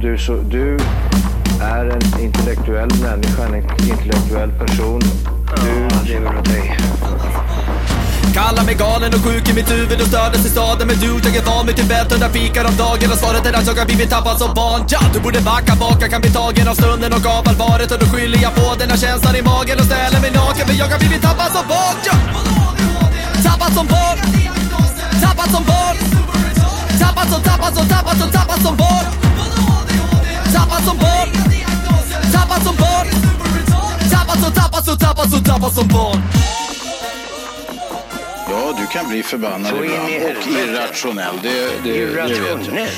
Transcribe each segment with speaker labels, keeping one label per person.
Speaker 1: du, så, du är en intellektuell människa, en intellektuell person. Du lever av dig.
Speaker 2: Kallar mig galen och sjuk i mitt huvud och stördes i staden Men du, jag är van vid Tibet och där fikar om dagen Och svaret är att jag har blivit tappad som barn ja, Du borde backa bak, jag kan bli tagen av stunden och av allvaret Och då skyller jag på den här känslan i magen och ställer mig naken För jag har blivit tappad som barn ja. Tappad som barn Tappad som barn Tappad som, tappad som, tappad som, tappad som barn Tappad som barn Tappad som barn Tappad som, tappad som, tappad som, tappad som barn
Speaker 3: Ja, du kan bli förbannad
Speaker 1: Så in i
Speaker 3: ibland och
Speaker 1: helvete.
Speaker 3: irrationell. Det, det, det vet jag.
Speaker 1: Irrationell.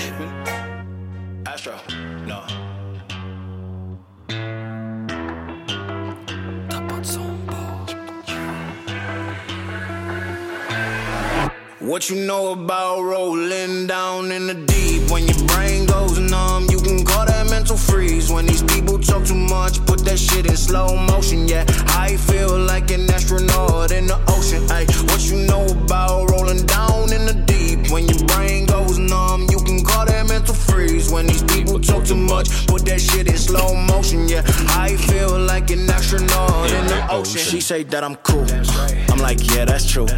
Speaker 4: What you know about rolling down in the deep? When your brain goes numb, you can call that mental freeze. When these people talk too much, put that shit in slow motion. Yeah, I feel like an astronaut in the ocean. Ay, what you know about rolling down in the deep? When your brain goes numb, you can call that mental freeze. When these people talk too much, put that shit in slow motion. Yeah, I feel like an astronaut in the ocean. She say that I'm cool. I'm like, yeah, that's true.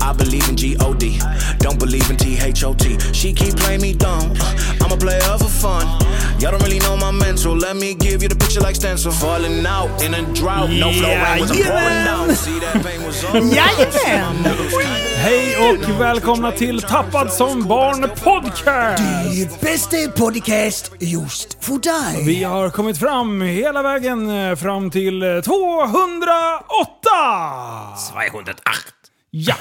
Speaker 4: I believe in G-O-D. Don't believe in T-H-O-T. She keep playing me dumb. I'm a player for fun. Y'all don't really know my mental. Let me give you the picture like stencil. Falling out in a drought. No flow
Speaker 5: Yeah,
Speaker 4: rain was
Speaker 5: yeah,
Speaker 4: pouring
Speaker 5: man.
Speaker 4: down. See that pain was on.
Speaker 5: Jajamän!
Speaker 6: Hej och välkomna till Tappad som barn podcast!
Speaker 5: Bästa Eh, podcast just för dig.
Speaker 6: Vi har kommit fram hela vägen eh, fram till eh, 208!
Speaker 7: 208.
Speaker 6: Ja!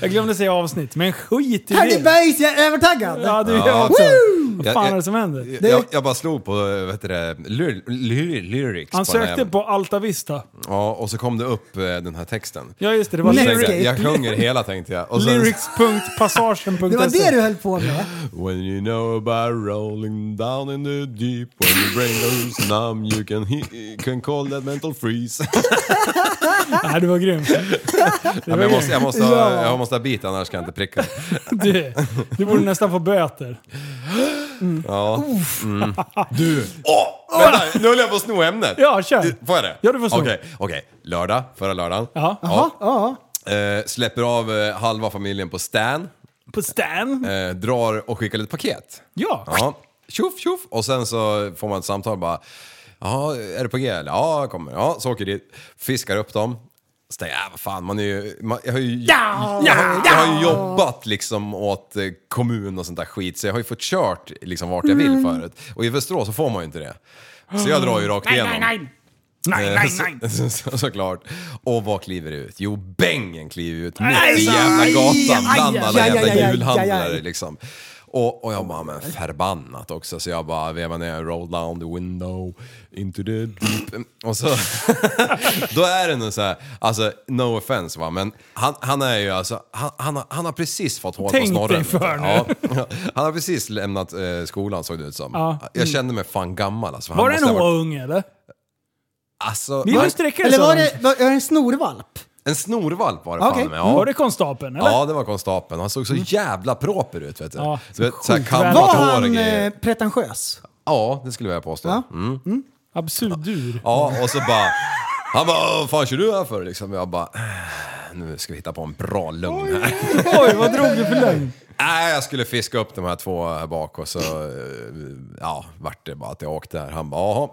Speaker 6: Jag glömde säga avsnitt, men skit i
Speaker 5: Harry
Speaker 6: det.
Speaker 5: Bergs, jag är övertaggad.
Speaker 6: Ja, du jag
Speaker 7: Ja.
Speaker 6: också.
Speaker 5: Woo!
Speaker 6: Vad fan
Speaker 7: Jag-
Speaker 6: är det som händer?
Speaker 5: Det-
Speaker 7: Jag, jag bara slog på eh, vad heter det, lyr, lyr, lyrics.
Speaker 6: Han
Speaker 7: på den här-
Speaker 6: sökte på Alta Vista.
Speaker 7: Ja, och så kom det upp eh, den här texten.
Speaker 6: Ja, just det. Det var
Speaker 7: Så
Speaker 5: Nej.
Speaker 6: lyrics.
Speaker 7: tänkte jag,
Speaker 5: Lyrics.
Speaker 7: jag sjunger hela tänkte jag. Och sen,
Speaker 6: lyrics.passagen.se.
Speaker 5: Det var det du höll på med.
Speaker 7: When you know about rolling down in the deep When your brain goes numb you can, he- can call that mental freeze.
Speaker 6: Nej, du var grym.
Speaker 7: ja, men jag, måste, jag, måste ha,
Speaker 5: Ja.
Speaker 7: jag måste ha bit annars kan jag inte pricka.
Speaker 6: Du, du borde nästan få böter.
Speaker 7: Åh! Mm. Vänta, nu höll jag på att sno ämnet.
Speaker 6: Ja, kör.
Speaker 7: Får jag det?
Speaker 6: Ja, du får sno.
Speaker 7: Okej, okej. lördag, förra lördagen.
Speaker 6: Ja.
Speaker 5: Ja.
Speaker 7: Eh, släpper av eh, halva familjen på Stan.
Speaker 6: På Stan?
Speaker 7: eh, drar och skickar lite paket.
Speaker 6: Ja.
Speaker 7: Ja. Tjoff, tjoff. Och sen så får man ett samtal bara. Ja, är det på G? eller? Ja, jag kommer. Ja, så åker dit. Fiskar upp dem. Så tänker jag, "Ah, vad fan, man är ju... Man, jag, har ju jag, har- jag har ju jobbat liksom åt eh, kommun och sånt där skit, så jag har ju fått kört liksom vart jag vill förut. Och i Västerås så får man ju inte det. Så jag drar ju rakt igenom.
Speaker 6: Nej,
Speaker 7: Eh,
Speaker 6: nej,
Speaker 7: så-
Speaker 6: nej.
Speaker 7: Så, så, såklart. Och vad kliver det ut? Jo, bängen kliver ut
Speaker 6: Aj,
Speaker 7: mitt i
Speaker 6: aj,
Speaker 7: jävla
Speaker 6: aj,
Speaker 7: gatan
Speaker 6: aj,
Speaker 7: bland
Speaker 6: aj,
Speaker 7: alla
Speaker 5: aj, aj, aj,
Speaker 7: jävla
Speaker 5: aj,
Speaker 7: julhandlare
Speaker 5: aj.
Speaker 7: liksom. Och, och jag bara, men förbannat också. Så jag bara vevar ner, roll down the window, into the deep. Och så, då är det nog så här, alltså no offense va, men han, han är ju alltså, han, han, har, han har precis fått hål på
Speaker 6: Tänk dig
Speaker 7: snorren. vet du.
Speaker 6: för nu.
Speaker 7: Ja, han har precis lämnat eh, skolan såg det ut som.
Speaker 6: Ja. Mm.
Speaker 7: Jag kände mig fan gammal alltså. för han
Speaker 6: Var det en
Speaker 7: måste ha varit-
Speaker 6: H-unge eller?
Speaker 7: Alltså,
Speaker 6: Vi
Speaker 7: han-
Speaker 6: var sträckare
Speaker 5: Eller var det, var var det en snorvalp?
Speaker 7: En snorvalp var det
Speaker 5: Okej.
Speaker 7: fan med. Ja.
Speaker 6: Ah, Mm. Var det konstapeln eller? Mm.
Speaker 7: ja, det var konstapeln. Han såg så jävla proper ut vet du.
Speaker 6: Ja,
Speaker 7: du vet, så här
Speaker 6: sjukt
Speaker 7: kammat
Speaker 5: Var
Speaker 7: hår och
Speaker 5: han
Speaker 7: grejer.
Speaker 5: eh, pretentiös?
Speaker 7: Ja, det skulle jag påstå. Ja,
Speaker 5: Ja.
Speaker 6: Absurdur.
Speaker 7: ja och så bara... Han bara "Vad fan kör du här för?” liksom. Jag bara "Äh, “Nu ska vi hitta på en bra lögn här”.
Speaker 6: Oj, vad drog du för lögn?
Speaker 7: Nej, jag skulle fiska upp de här två här bak och så... eh, Ja, vart det bara att jag åkte där. Han bara “Jaha”.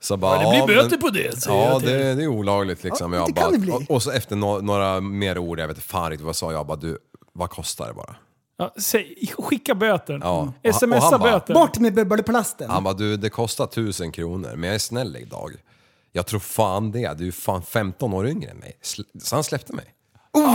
Speaker 7: Så bara,
Speaker 6: det blir
Speaker 7: "Ja,
Speaker 6: böter på det, säger
Speaker 7: Ja,
Speaker 6: jag till
Speaker 7: det, det är olagligt liksom.
Speaker 5: Ja,
Speaker 7: jag
Speaker 5: det
Speaker 7: bara,
Speaker 5: kan det bli.
Speaker 7: och, och så efter no, några mer ord, jag vet inte fan riktigt vad jag sa, jag bara “Du, vad kostar det bara?”
Speaker 6: Ja, säg, skicka böter. Mm.
Speaker 7: Ja. Och han
Speaker 6: Smsa
Speaker 7: bara-
Speaker 6: böter.
Speaker 5: Bort med bubbelplasten.
Speaker 7: Han bara, du det kostar tusen kronor, men jag är snäll idag. Jag tror fan det, du är fan 15 år yngre än mig. Sl- Så han släppte mig.
Speaker 6: Ja,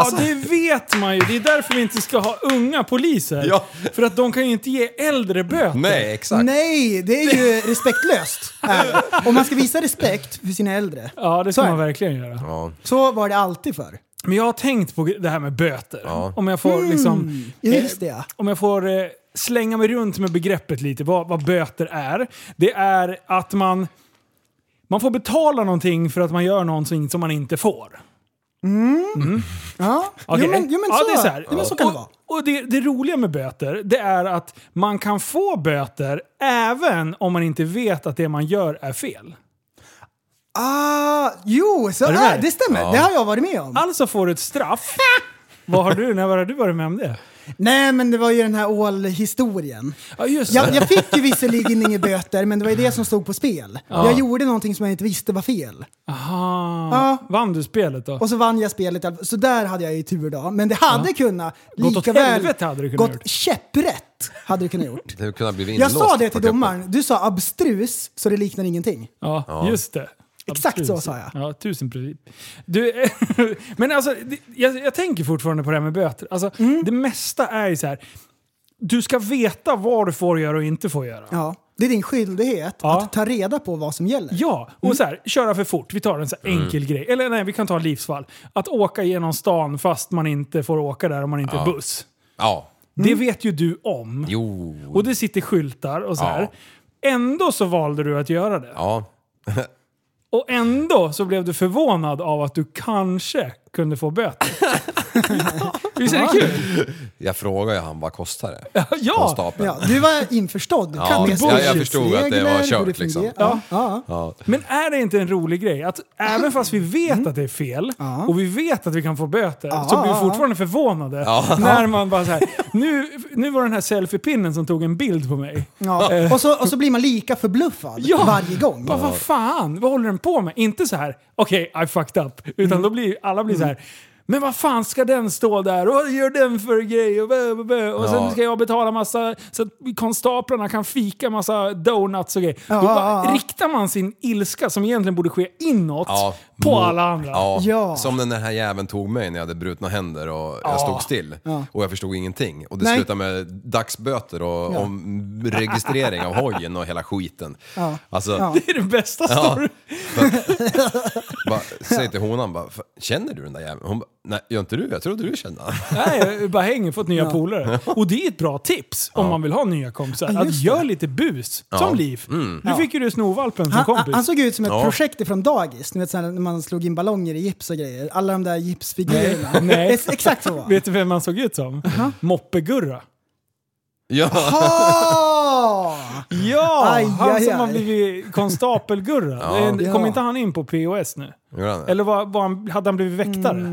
Speaker 7: Alltså-
Speaker 6: det vet man ju. Det är därför vi inte ska ha unga poliser.
Speaker 7: Ja. Mm.
Speaker 6: För att de kan ju inte ge äldre böter.
Speaker 7: Nej, exakt.
Speaker 5: Nej, det är ju respektlöst. Äh, Om man ska visa respekt för sina äldre.
Speaker 6: Ja, det
Speaker 5: Så
Speaker 6: ska
Speaker 5: är
Speaker 6: man
Speaker 5: det.
Speaker 6: verkligen göra.
Speaker 5: Så var det alltid förr.
Speaker 6: Men jag har tänkt på det här med böter. Om jag får liksom...
Speaker 7: Mm.
Speaker 5: Just det ja.
Speaker 6: om jag får eh, slänga mig runt med begreppet lite, vad, vad böter är. Det är att man, man får betala någonting för att man gör någonting som man inte får.
Speaker 5: Ja,
Speaker 6: Okej?
Speaker 5: jo, men, jo, men
Speaker 6: ja,
Speaker 5: så,
Speaker 6: det är så här.
Speaker 5: Jo, men så kan
Speaker 6: och,
Speaker 5: det vara.
Speaker 6: Och det, det roliga med böter, det är att man kan få böter även om man inte vet att det man gör är fel.
Speaker 5: Ah, jo, så är
Speaker 6: du
Speaker 5: det,
Speaker 6: med?
Speaker 5: det stämmer. Det har jag varit med om.
Speaker 6: Alltså får du ett straff. Vad har du, när har du varit med om det?
Speaker 5: Nej, men det var ju den här ålhistorien.
Speaker 6: Ja, just
Speaker 5: Jag, jag fick ju visserligen inga böter, men det var ju det som stod på spel. Jag gjorde någonting som jag inte visste var fel.
Speaker 6: Aha.
Speaker 5: Ja.
Speaker 6: Ah, Vann du spelet då?
Speaker 5: Och så vann jag spelet, i alla fall. så där hade jag ju tur då. Men det hade kunnat,
Speaker 6: Gått åt
Speaker 5: lika väl,
Speaker 6: helvete hade du kunnat gjort.
Speaker 5: gått käpprätt hade du kunnat gjort.
Speaker 7: Det kunde ha blivit
Speaker 5: Jag
Speaker 7: inlåst
Speaker 5: sa det
Speaker 7: på
Speaker 5: till
Speaker 7: kuppen.
Speaker 5: domaren, du sa abstrus så det liknar ingenting.
Speaker 6: Ja, just det.
Speaker 5: Exakt
Speaker 6: Absolut.
Speaker 5: så sa jag.
Speaker 6: Ja, tusen precis. Du, men alltså, det- jag, jag tänker fortfarande på det här med böter. Alltså,
Speaker 5: Mm.
Speaker 6: Det mesta är ju så här. Du ska veta vad du får göra och inte får göra.
Speaker 5: Ja. Det är din skyldighet
Speaker 6: Ja.
Speaker 5: att ta reda på vad som gäller.
Speaker 6: Ja, och
Speaker 5: Mm.
Speaker 6: så här, köra för fort. Vi tar en så här enkel grej. Eller nej, vi kan ta livsfall. Att åka genom stan fast man inte får åka där om man inte är buss.
Speaker 7: Ja.
Speaker 5: Mm.
Speaker 6: Det vet ju du om.
Speaker 7: Jo.
Speaker 6: Och det sitter skyltar och så
Speaker 7: Ja.
Speaker 6: här. Ändå så valde du att göra det.
Speaker 7: Ja.
Speaker 6: Och ändå så blev du förvånad av att du kanske kunde få böter. Visst är det kul?
Speaker 7: Jag frågade ju han vad kostar det? På
Speaker 6: Ja!
Speaker 7: stapeln.
Speaker 5: Ja, du var införstådd. Du
Speaker 7: Ja,
Speaker 5: kan det.
Speaker 7: jag- jag förstod att det var
Speaker 5: Regler, hur
Speaker 7: kört,
Speaker 5: det fungerar.
Speaker 7: liksom.
Speaker 5: Ja. Ja.
Speaker 6: Men är det inte en rolig grej? Att även fast vi vet att det är fel och vi vet att vi kan få böter så blir vi fortfarande förvånade. När man bara så här, nu, nu var den här selfiepinnen som tog en bild på mig.
Speaker 5: Ja. Och, så, och så blir man lika förbluffad
Speaker 6: Ja.
Speaker 5: varje gång.
Speaker 6: Bara, vad fan, vad håller den på med? Inte så här, okej, I fucked up. Utan
Speaker 5: Mm.
Speaker 6: då blir alla blir så här, men vad fan ska den stå där? Och vad gör den för grej? Och, bö, bö, bö. och sen
Speaker 7: Ja.
Speaker 6: ska jag betala massa, så att konstaplarna kan fika massa donuts och grejer.
Speaker 5: Ja,
Speaker 6: då bara,
Speaker 5: ja, ja.
Speaker 6: riktar man sin ilska, som egentligen borde ske inåt,
Speaker 7: Ja.
Speaker 6: på
Speaker 7: Mo-
Speaker 6: alla andra.
Speaker 7: Ja.
Speaker 5: Ja.
Speaker 7: Som den här jäveln tog mig när jag hade brutna händer och jag stod still. Och jag förstod ingenting. Och det
Speaker 5: Nej.
Speaker 7: slutade med dagsböter och
Speaker 5: Ja.
Speaker 7: omregistrering av hojen och hela skiten.
Speaker 5: Ja.
Speaker 7: Alltså,
Speaker 5: Ja.
Speaker 6: Det är den bästa storyn.
Speaker 7: bara, säg till honan bara, "Fan, känner du den där jäveln? Hon bara, nej gör inte du? Jag trodde du kände honom."
Speaker 6: Nej, jag bara hänger, fått nya polare. Och det är ett bra tips om man vill ha nya kompisar.
Speaker 5: Ja,
Speaker 6: att
Speaker 5: just Mm.
Speaker 6: gör lite bus, som Liv. Nu fick ju du snovalpen som
Speaker 5: Han, han,
Speaker 6: kompis.
Speaker 5: han såg ut som ett
Speaker 7: Ja.
Speaker 5: projekt ifrån dagis. Ni vet såhär när man slog in ballonger i gips och grejer. Alla de där gipsfigurerna.
Speaker 6: Nej. Nej.
Speaker 5: Ex- Exakt så var
Speaker 6: Vet du vem han såg ut som? Moppe-Gurra.
Speaker 7: Ja.
Speaker 5: oh!
Speaker 6: Ja!
Speaker 5: Aj,
Speaker 6: han
Speaker 5: aj,
Speaker 6: som
Speaker 5: aj.
Speaker 6: har blivit konstapel-Gurra. Det är- Kom
Speaker 5: Ja.
Speaker 6: inte han in på POS nu?
Speaker 7: Gjorde han det?
Speaker 6: Eller var, var han, hade han blivit väktare?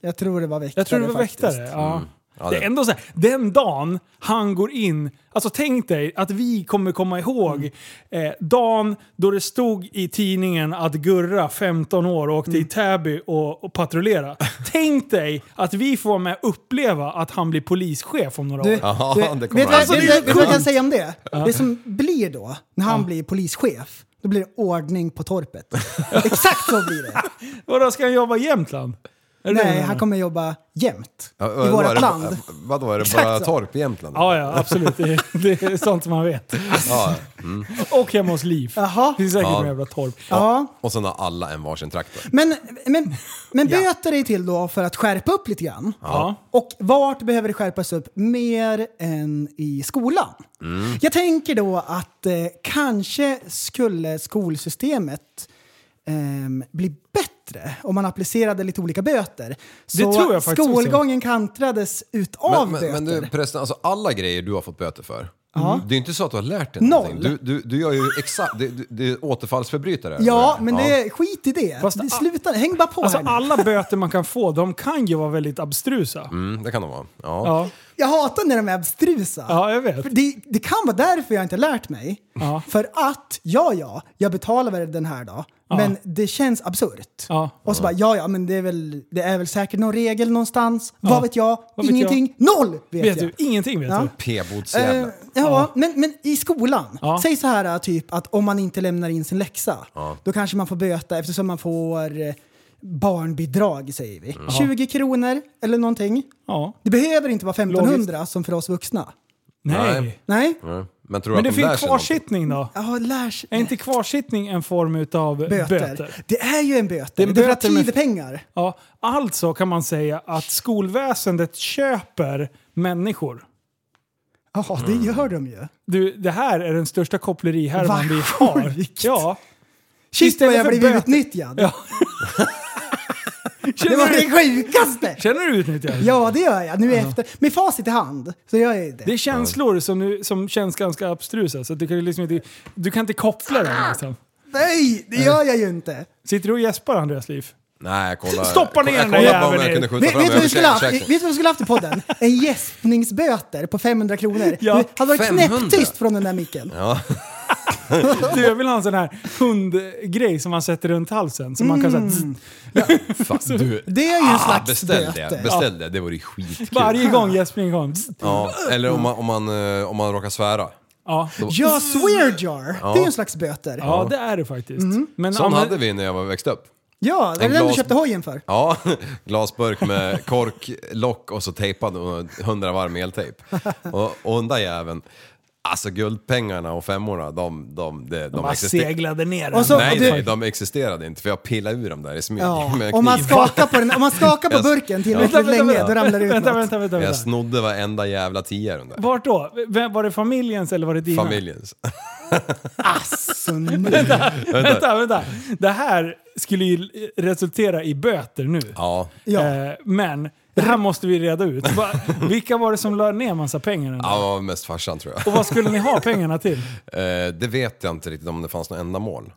Speaker 5: Jag tror Mm, det var väktare
Speaker 6: Jag tror det var
Speaker 5: faktiskt.
Speaker 6: väktare. Ja.
Speaker 7: Ja,
Speaker 6: Det är ändå så här, den dagen han går in, alltså tänk dig att vi kommer komma
Speaker 5: Mm.
Speaker 6: ihåg eh, dagen då det stod i tidningen att Gurra, 15 år, åkte
Speaker 5: Mm.
Speaker 6: i Täby och, och patrullera. tänk dig att vi får vara med och uppleva att han blir polischef om några
Speaker 5: Du,
Speaker 6: år.
Speaker 5: du,
Speaker 7: Ja, det
Speaker 5: vet
Speaker 7: kommer
Speaker 5: du vad-
Speaker 7: alltså,
Speaker 5: vet
Speaker 7: det
Speaker 5: du
Speaker 7: är
Speaker 5: vet du vad jag kan säga om det? Det som blir då, när han blir polischef, då blir det ordning på torpet. Exakt så blir det.
Speaker 6: Vadå, ska han jobba i Jämtland? Är det det du
Speaker 5: Nej,
Speaker 6: menar?
Speaker 5: han kommer jobba jämt
Speaker 7: Ja,
Speaker 5: i
Speaker 7: vadå, är
Speaker 5: vårt
Speaker 7: det-
Speaker 5: land.
Speaker 7: Vadå, är det
Speaker 5: Exakt
Speaker 7: bara
Speaker 5: så.
Speaker 7: torp i Jämtland?
Speaker 6: Ja, ja, absolut. Det, det är sånt som man vet.
Speaker 7: Ja.
Speaker 6: Och hemma hos Liv.
Speaker 5: Jaha.
Speaker 6: Det finns säkert
Speaker 7: Ja.
Speaker 6: några jävla torp.
Speaker 5: Ja.
Speaker 7: Och sen har alla en varsin traktor.
Speaker 5: Men, men, men böter är till då för att skärpa upp lite grann.
Speaker 6: Ja.
Speaker 5: Och vart behöver det skärpas upp mer än i skolan?
Speaker 6: Mm.
Speaker 5: Jag tänker då att eh, kanske skulle skolsystemet ehm, bli bättre om man applicerade lite olika böter. Så
Speaker 6: tror jag faktiskt också.
Speaker 5: skolgången kantrades utav
Speaker 7: Men, men,
Speaker 5: böter.
Speaker 7: men du förresten, alltså alla grejer du har fått böter för. Mm. Det är inte så att du har lärt dig
Speaker 5: Noll.
Speaker 7: någonting. Du, du, du gör ju exakt, det, det- det är återfallsförbrytare.
Speaker 5: ja, men det, skit i det.
Speaker 6: Fast
Speaker 5: det
Speaker 6: a-
Speaker 5: sluta, häng bara på
Speaker 6: Alltså
Speaker 5: här nu.
Speaker 6: alla böter man kan få, de kan ju vara väldigt abstrusa.
Speaker 7: Mm, det kan de vara. Ja.
Speaker 6: Ja.
Speaker 5: Jag hatar när de är abstrusa.
Speaker 6: ja, jag vet.
Speaker 5: För det, det kan vara därför jag inte lärt mig.
Speaker 6: Ja.
Speaker 5: För att, ja ja, jag betalar väl den här då. Men det känns absurt.
Speaker 6: Ja.
Speaker 5: Och så bara, ja ja, men det är väl, det är väl säkert någon regel någonstans. Vad vet jag?
Speaker 6: Vad vet
Speaker 5: Ingenting. Noll vet,
Speaker 6: Vet
Speaker 5: jag.
Speaker 6: du? Ingenting vet
Speaker 5: Ja.
Speaker 6: du.
Speaker 5: Eh,
Speaker 7: P-bodsjäveln.
Speaker 5: ja, Men, men i skolan.
Speaker 6: Ja.
Speaker 5: Säg så här typ att om man inte lämnar in sin läxa, då kanske man får böta eftersom man får eh, barnbidrag säger vi.
Speaker 6: Mm.
Speaker 5: 20 kronor eller någonting.
Speaker 6: Ja.
Speaker 5: Det behöver inte vara 1500 som för oss vuxna.
Speaker 6: Nej.
Speaker 7: Nej.
Speaker 5: Nej?
Speaker 7: Mm. Men tror du
Speaker 6: Men
Speaker 7: att
Speaker 6: det
Speaker 7: de lär
Speaker 6: finns
Speaker 7: sig någonting?
Speaker 6: kvarsittning då?
Speaker 5: Ja, lär sig.
Speaker 6: Är inte kvarsittning en form utav böter?
Speaker 5: böter. Det är ju en böter. Det är,
Speaker 6: en
Speaker 5: för att
Speaker 6: böter med-
Speaker 5: tid är pengar.
Speaker 6: Ja. Alltså kan man säga att skolväsendet köper människor.
Speaker 5: Ja,
Speaker 6: Mm.
Speaker 5: det gör de ju.
Speaker 6: Du, det här är den största
Speaker 5: Vad
Speaker 6: kopplerihervan vi har.
Speaker 5: sjukt.
Speaker 6: Ja.
Speaker 5: Shit vad
Speaker 6: Istället
Speaker 5: jag
Speaker 6: för
Speaker 5: blivit
Speaker 6: böter-
Speaker 5: utnyttjad.
Speaker 6: Ja.
Speaker 5: Det var
Speaker 6: Känner
Speaker 5: det
Speaker 6: du,
Speaker 5: sjukaste!
Speaker 6: känner du utnyttjad?
Speaker 5: Ja, det gör jag. Nu är efter. Med facit i hand så gör jag
Speaker 6: Det
Speaker 5: det.
Speaker 6: är känslor som, nu, som känns ganska abstrusa, så att du kan ju liksom inte, du kan inte koppla dem. Liksom.
Speaker 5: Nej, det gör jag ju inte.
Speaker 6: Sitter du och gäspar, Andreas Liv?
Speaker 7: Nej, kolla.
Speaker 6: Stoppa ner
Speaker 7: jag
Speaker 6: den där
Speaker 7: kollade bara om
Speaker 6: jäveln
Speaker 7: jag
Speaker 6: i.
Speaker 7: kunde skjuta
Speaker 5: Vet,
Speaker 7: fram
Speaker 5: vet, du vad vi
Speaker 7: över
Speaker 5: skulle haft,
Speaker 7: käk-
Speaker 5: vet
Speaker 7: käken.
Speaker 5: du vad vi skulle haft i podden? En gäspningsböter på 500 kronor.
Speaker 6: Ja,
Speaker 5: det hade varit
Speaker 7: 500.
Speaker 5: knäpptyst från den där micken.
Speaker 6: Du, jag vill ha en sån här hundgrej som man sätter runt halsen. Som man kan säga,
Speaker 5: Mm.
Speaker 6: zzz.
Speaker 7: Fan, du.
Speaker 5: Alltså,
Speaker 7: Ah,
Speaker 5: Det är ju en slags
Speaker 7: Beställ det,
Speaker 5: böter.
Speaker 7: beställ det. Det vore ju skitkul.
Speaker 6: varje gång gäspningen kom. zzz.
Speaker 7: Ja, eller om man, om, man, eh, om man råkar svära.
Speaker 6: Ja.
Speaker 5: Ja, swear jar. Det är ju en slags böter. Ja,
Speaker 6: ja, det är det faktiskt.
Speaker 5: Mm.
Speaker 6: Men
Speaker 7: Sån
Speaker 6: använd-
Speaker 7: hade vi när jag var växt upp.
Speaker 5: det är
Speaker 7: En
Speaker 5: den du
Speaker 7: glas-
Speaker 5: köpte hojen för.
Speaker 7: Ja, glasburk med kork, lock och så tejpad och 100 varm eltejp. Och, och den där jäveln, alltså guldpengarna och femmorna, de, de, de, de,
Speaker 6: Bara
Speaker 7: existerade.
Speaker 6: seglade ner
Speaker 5: Och
Speaker 6: den.
Speaker 5: så-
Speaker 7: Nej,
Speaker 5: du-
Speaker 7: nej, de existerade inte för jag pillade ur dem där i smyg
Speaker 5: Ja.
Speaker 7: med
Speaker 5: Om, man
Speaker 7: kniv.
Speaker 5: skakar på den, om man skakar på
Speaker 6: Vänta,
Speaker 5: burken tillräckligt
Speaker 6: vänta,
Speaker 5: länge,
Speaker 6: vänta.
Speaker 5: då ramlar det ut
Speaker 6: Vänta,
Speaker 5: något.
Speaker 6: vänta, vänta.
Speaker 7: Jag
Speaker 6: vänta.
Speaker 7: snodde varenda jävla tia ur den där.
Speaker 6: Vart då? Vem- Var det familjens eller var det dina?
Speaker 7: Familjens.
Speaker 5: Asså, nu.
Speaker 6: Vänta, vänta. Det här skulle ju resultera i böter nu.
Speaker 7: Ja.
Speaker 5: Ja.
Speaker 6: Eh, Men det här måste vi reda ut. Va- Vilka var det som la ner massa pengar? ändå?
Speaker 7: ja, det var mest farsan tror jag.
Speaker 6: Och vad skulle ni ha pengarna till?
Speaker 7: Eh, det vet jag inte riktigt om det fanns något ändamål.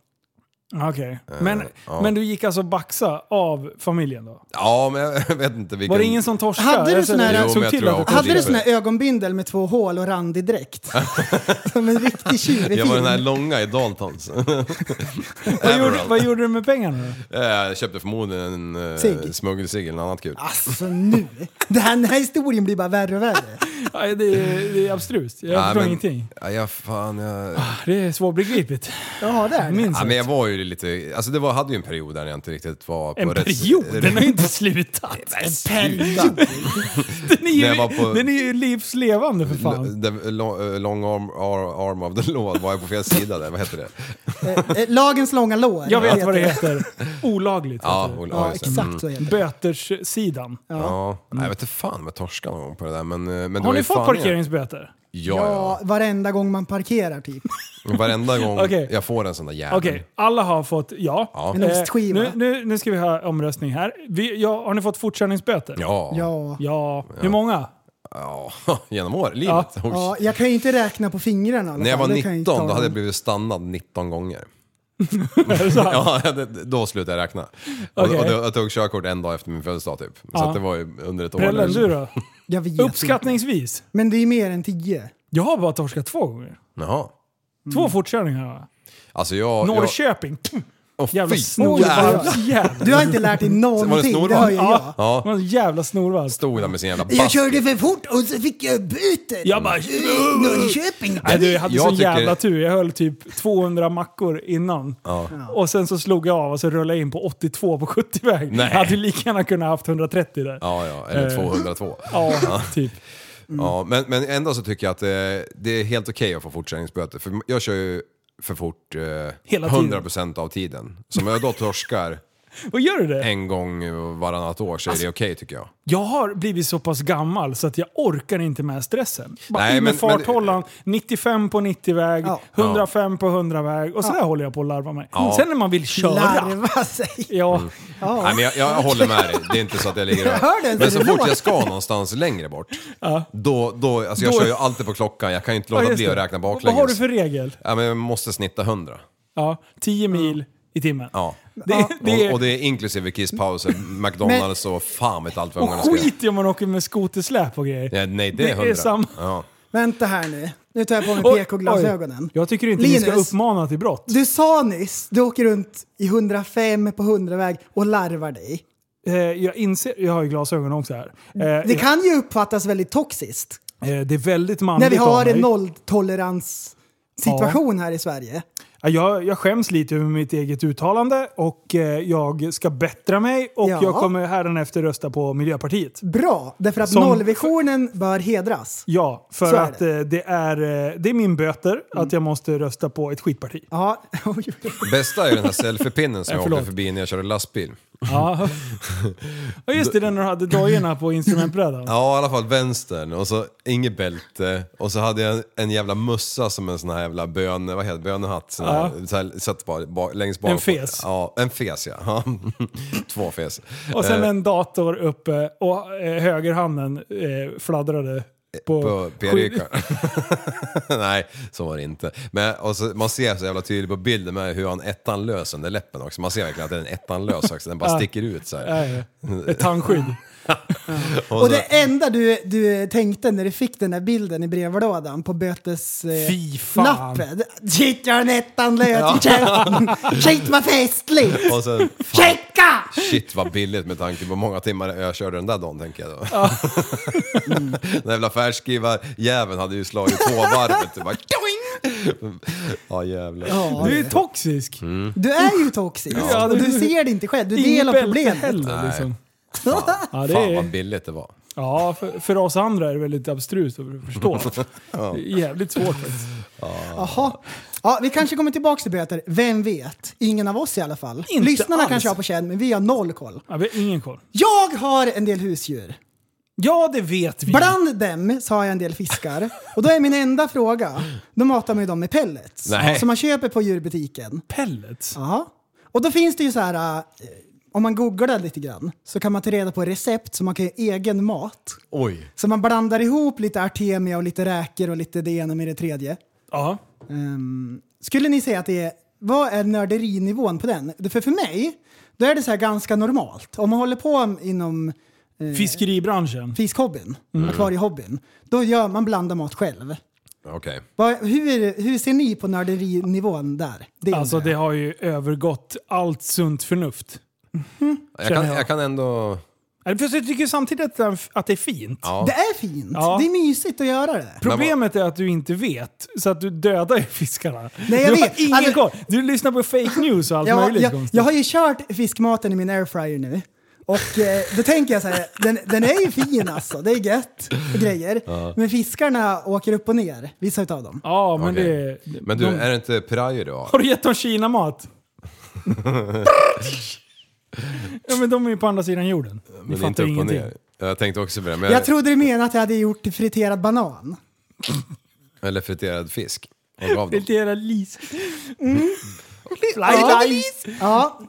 Speaker 6: Okej.
Speaker 7: Eh,
Speaker 6: Men, men du gick alltså baxa av familjen då?
Speaker 7: Ja, men jag vet inte vilken...
Speaker 6: Var det ingen som torskade?
Speaker 5: Hade du
Speaker 6: Alltså,
Speaker 5: sån
Speaker 6: såg
Speaker 5: här- Jo,
Speaker 7: men jag
Speaker 6: till
Speaker 7: tror
Speaker 6: att
Speaker 7: jag
Speaker 6: det-
Speaker 7: också-
Speaker 5: Hade du sån här ögonbindel med två hål och randig dräkt? Som en riktig tjuv i
Speaker 7: Jag var den här
Speaker 5: film.
Speaker 7: långa i Daltons.
Speaker 6: vad, gjorde, vad gjorde du med pengarna då?
Speaker 7: Eh, Jag köpte förmodligen en uh,
Speaker 5: Cigg.
Speaker 7: smuggelcigg eller något annat kul.
Speaker 6: Ah,
Speaker 5: Alltså nu! Den här, den här historien blir bara värre och värre.
Speaker 6: Ja, det, är, det är abstrust. Jag
Speaker 7: Nej,
Speaker 6: förstår
Speaker 7: men-
Speaker 6: ingenting. Ah,
Speaker 7: Ja, jag, fan, jag...
Speaker 6: Det är svårbegripligt.
Speaker 5: Ja, det är det.
Speaker 6: Minst
Speaker 7: Ja, men jag
Speaker 6: sagt.
Speaker 7: var ju lite... Alltså det var, hade ju en period där jag inte riktigt var på
Speaker 6: En
Speaker 7: rätt-
Speaker 6: period?
Speaker 7: rätt-
Speaker 6: Den har ju inte slutat.
Speaker 5: En period.
Speaker 6: Den är
Speaker 7: När jag var
Speaker 6: ju,
Speaker 7: på-
Speaker 6: den är ju livslevande för fan.
Speaker 7: L- the long, eh, long arm, ar- arm of the law, var jag på fel sida där? Vad heter det?
Speaker 5: Eh, eh, Lagens långa lår.
Speaker 6: Jag vet vad det heter. Olagligt.
Speaker 7: Ja,
Speaker 6: heter det.
Speaker 7: Ola,
Speaker 5: Ja,
Speaker 7: just det. Mm.
Speaker 5: exakt så heter det.
Speaker 6: Böterssidan.
Speaker 7: Ja, nej, jag vet inte fan om jag torskade någon gång på det där men, eh, men det
Speaker 6: Har
Speaker 7: var ju
Speaker 6: ni fått
Speaker 7: fan-
Speaker 6: parkeringsböter?
Speaker 7: Ja,
Speaker 5: Ja,
Speaker 7: ja.
Speaker 5: varenda gång man parkerar typ.
Speaker 7: Varenda gång
Speaker 6: Okej.
Speaker 7: jag får en sån där jävel.
Speaker 6: Okej, alla har fått ja. Eh,
Speaker 7: Ja.
Speaker 5: En ostskiva.
Speaker 6: nu, nu, nu ska vi ha omröstning här. Vi, ja, har ni fått fortkörningsböter?
Speaker 7: Ja. Ja.
Speaker 5: Ja.
Speaker 6: Ja. Hur många?
Speaker 7: genom år, livet. Oj.
Speaker 5: ja. Jag kan ju inte räkna på fingrarna i alla
Speaker 7: När jag var
Speaker 5: fall. Det kan
Speaker 7: 19
Speaker 5: inte ta
Speaker 7: då hade jag
Speaker 5: dem.
Speaker 7: blivit stannad 19 gånger. ja, det- då slutade jag räkna. Och,
Speaker 6: Okej.
Speaker 7: och jag, jag tog körkort en dag efter min födelsedag typ. Så
Speaker 6: Ja.
Speaker 7: att det var ju under ett år.
Speaker 6: Prellen,
Speaker 7: där.
Speaker 6: du då?
Speaker 5: Jag vet inte.
Speaker 6: Uppskattningsvis.
Speaker 5: Men det är mer än 10.
Speaker 6: Jag har bara torskat två gånger.
Speaker 7: Jaha.
Speaker 6: Två fortkörningar va?
Speaker 7: Alltså Mm. jag... jag
Speaker 6: Norrköping. Pff,
Speaker 7: oh,
Speaker 6: Jävla
Speaker 5: Oj,
Speaker 7: jävlar.
Speaker 5: vad-
Speaker 6: snorvalp. Jävlar.
Speaker 5: Du har inte lärt dig någonting, det
Speaker 7: snorval?
Speaker 5: hör ju jag.
Speaker 6: Ja.
Speaker 7: Ja.
Speaker 6: Det var en jävla snorvalp.
Speaker 7: Stod där med sin jävla
Speaker 5: Jag
Speaker 7: bast.
Speaker 5: körde för fort och så fick jag böter.
Speaker 6: Jag bara...
Speaker 5: Norrköping.
Speaker 6: Nej, du, jag hade
Speaker 7: Jag
Speaker 6: sån
Speaker 7: tycker-
Speaker 6: jävla tur. Jag höll typ 200 mackor innan. Och sen så slog jag av och så rullade jag in på 82 på 70-väg. Jag
Speaker 7: Nej.
Speaker 6: hade lika gärna kunnat haft 130 där.
Speaker 7: Ja, ja. Eller 202.
Speaker 6: Ja, typ.
Speaker 7: Ja, men, men ändå så tycker jag att eh, det är helt okej att få fortkörningsböter. För jag kör ju för fort eh,
Speaker 6: Hela tiden.
Speaker 7: 100% av tiden. Så om jag då torskar
Speaker 6: Vad gör du det?
Speaker 7: en gång varannat år så är det okej tycker jag.
Speaker 6: Jag har blivit så pass gammal så att jag orkar inte med stressen. Bara
Speaker 7: Nej,
Speaker 6: in med
Speaker 7: men- men-
Speaker 6: farthållaren, 95 på 90-väg,
Speaker 5: Ja.
Speaker 6: 105 på 100-väg och så där håller jag på att larva mig. Sen när man vill köra.
Speaker 5: Larva sig.
Speaker 6: Ja,
Speaker 7: Mm. Nej, men jag, jag håller med dig, det är inte så att jag ligger och...
Speaker 5: hörde inte,
Speaker 7: Men så
Speaker 5: det
Speaker 7: fort
Speaker 5: låter.
Speaker 7: jag ska någonstans längre bort, då, då, alltså jag
Speaker 6: Då-
Speaker 7: kör ju alltid på klockan, jag kan ju inte
Speaker 6: ja
Speaker 7: låta
Speaker 6: just
Speaker 7: bli att
Speaker 6: det.
Speaker 7: räkna
Speaker 6: Vad
Speaker 7: baklänges.
Speaker 6: har du för regel?
Speaker 7: ja, men jag måste snitta 100.
Speaker 6: Ja, 10 mil i timmen.
Speaker 7: Ja.
Speaker 6: Det, det
Speaker 7: Och, och
Speaker 6: är,
Speaker 7: det är inklusive kisspauser, McDonalds och fan vet allt vad ungarna
Speaker 6: och
Speaker 7: ska göra.
Speaker 6: skit i om man åker med skotersläp och grejer.
Speaker 7: Ja, nej, det
Speaker 6: Det
Speaker 7: är
Speaker 6: är
Speaker 7: 100.
Speaker 6: samma.
Speaker 7: Ja.
Speaker 5: Vänta här nu. Nu tar jag på mig
Speaker 6: Oj,
Speaker 5: PK-glasögonen.
Speaker 6: oj. Jag tycker inte ni ska
Speaker 5: Linus.
Speaker 6: uppmana till brott.
Speaker 5: Du sa nyss, du åker runt i 105 på 100-väg och larvar dig.
Speaker 6: Eh, jag inser, jag har ju glasögon också här. Eh,
Speaker 5: Det kan ju uppfattas väldigt toxiskt.
Speaker 6: eh, det är väldigt
Speaker 5: När
Speaker 6: manligt
Speaker 5: vi har
Speaker 6: av mig.
Speaker 5: en nolltolerans situation här i Sverige.
Speaker 6: Ja, Jag, jag skäms lite över mitt eget uttalande och eh, jag ska bättra mig och
Speaker 5: Ja.
Speaker 6: jag kommer hädanefter rösta på Miljöpartiet.
Speaker 5: Bra, därför att
Speaker 6: Som-
Speaker 5: nollvisionen bör hedras.
Speaker 6: Ja, för
Speaker 5: Så är Mm.
Speaker 6: att eh, det är, eh, det är min böter att jag måste rösta på ett skitparti.
Speaker 5: Ja, oj, oj, oj.
Speaker 7: Bästa är den här selfiepinnen som
Speaker 6: Ja,
Speaker 7: jag
Speaker 6: förlåt.
Speaker 7: åkte förbi när jag körde lastbil.
Speaker 6: Ja. ja, just det. Den när du hade dojorna på instrumentbrädan.
Speaker 7: Ja, i alla fall vänstern och så inget bälte och så hade jag en, en jävla mössa som en sån här jävla bön, vad heter det, bönehatt. Sån här, så här, satt bara, ba, längst bak.
Speaker 6: En fes.
Speaker 7: Ja, en fes ja. Ja. Två fes.
Speaker 6: Och sen
Speaker 7: Eh,
Speaker 6: en dator uppe och eh, högerhanden eh, fladdrade på...
Speaker 7: på
Speaker 6: skydd-
Speaker 7: p Nej, så var det inte. Men, och så, man ser så jävla tydligt på bilden med hur han ettanlös under läppen också. Man ser verkligen att den är ettanlös också, den bara sticker ut så här.
Speaker 6: Nej, ett tandskydd.
Speaker 7: Och
Speaker 5: Och
Speaker 7: så,
Speaker 5: det enda du, du tänkte när du fick den där bilden i brevlådan på bötes... Eh,
Speaker 6: Fy fan.
Speaker 5: Lappen. Shit, jag har en ettanlös i käften. Shit, vad festligt!
Speaker 7: och sen, fan,
Speaker 5: Checka!
Speaker 7: shit vad billigt med tanke på hur många timmar jag körde den där dagen tänker jag då. den jävla färskrivaren hade ju slagit två varvet. Det bara, doing! ja Mm. jävlar.
Speaker 5: Ja,
Speaker 6: Du är toxisk.
Speaker 5: du är ju toxisk.
Speaker 6: Ja.
Speaker 5: Och du ser det inte själv. Du
Speaker 6: Inget
Speaker 5: delar
Speaker 6: bälte
Speaker 5: problemet.
Speaker 6: Heller, liksom. Ja, det
Speaker 7: Fan vad
Speaker 6: är,
Speaker 7: billigt det var.
Speaker 6: ja för, för oss andra är det väldigt abstrust att förstå. Det är jävligt svårt faktiskt.
Speaker 5: Jaha. Ja, vi kanske kommer tillbaka till böter. Vem vet? Ingen av oss i alla fall.
Speaker 6: Inte
Speaker 5: Lyssnarna
Speaker 6: alls.
Speaker 5: kanske har på känn, men vi har noll koll.
Speaker 6: Ja, vi har ingen koll.
Speaker 5: Jag har en del husdjur.
Speaker 6: Ja, det vet vi.
Speaker 5: Bland dem så har jag en del fiskar. Och då är min enda fråga, då matar man ju dem med pellets.
Speaker 7: Nej.
Speaker 5: Som man köper på djurbutiken.
Speaker 6: Pellets.
Speaker 5: Ja. Och då finns det ju så här, eh, om man googlar lite grann så kan man ta reda på recept så man kan göra egen mat.
Speaker 7: Oj.
Speaker 5: Så man blandar ihop lite artemia och lite räkor och lite det ena med det tredje.
Speaker 6: Ja.
Speaker 5: Ehm, skulle ni säga att det är, vad är nörderinivån på den? För för mig, då är det så här ganska normalt. Om man håller på inom
Speaker 6: Fiskeribranschen.
Speaker 5: fiskhobbyn,
Speaker 6: Mm.
Speaker 5: akvariehobbyn, då gör man blandar mat själv.
Speaker 7: Okej.
Speaker 5: Vad- Hur, hur ser ni på nörderinivån där? Det är
Speaker 6: Alltså det har ju övergått allt sunt förnuft.
Speaker 7: Jag, kan,
Speaker 6: Känner jag.
Speaker 7: jag kan ändå...
Speaker 6: Nej, Fast jag tycker samtidigt att det är- att det är fint.
Speaker 7: Ja.
Speaker 5: Det är fint.
Speaker 6: Ja.
Speaker 5: Det är mysigt att göra det.
Speaker 6: Problemet är att du inte vet, så att du dödar ju fiskarna.
Speaker 5: Nej, jag
Speaker 6: du har
Speaker 5: vet.
Speaker 6: ingen
Speaker 5: Alltså-
Speaker 6: koll. Du lyssnar på fake news och
Speaker 7: Alltså,
Speaker 6: allt
Speaker 5: Jag,
Speaker 6: möjligt
Speaker 5: jag,
Speaker 6: konstigt.
Speaker 5: jag har ju kört fiskmaten i min airfryer nu. Och eh, då tänker jag så här, den, den är ju fin alltså. Det är gött och grejer. Men fiskarna åker upp och ner, vissa utav dem.
Speaker 6: Ja, men
Speaker 7: Okej.
Speaker 6: det...
Speaker 7: Men du, är det inte pirayor du har?
Speaker 6: Har du gett dem Kina-mat? ja, men de är ju på andra sidan jorden. Ni
Speaker 7: Men inte
Speaker 6: fattar
Speaker 7: upp och
Speaker 6: ingenting.
Speaker 7: ner. Jag tänkte också på det. Men
Speaker 5: Jag trodde du menade att jag hade gjort friterad banan.
Speaker 7: Eller friterad fisk. Och gav dem.
Speaker 6: Inte era lis.
Speaker 5: Ja.
Speaker 6: lis.
Speaker 5: Ja.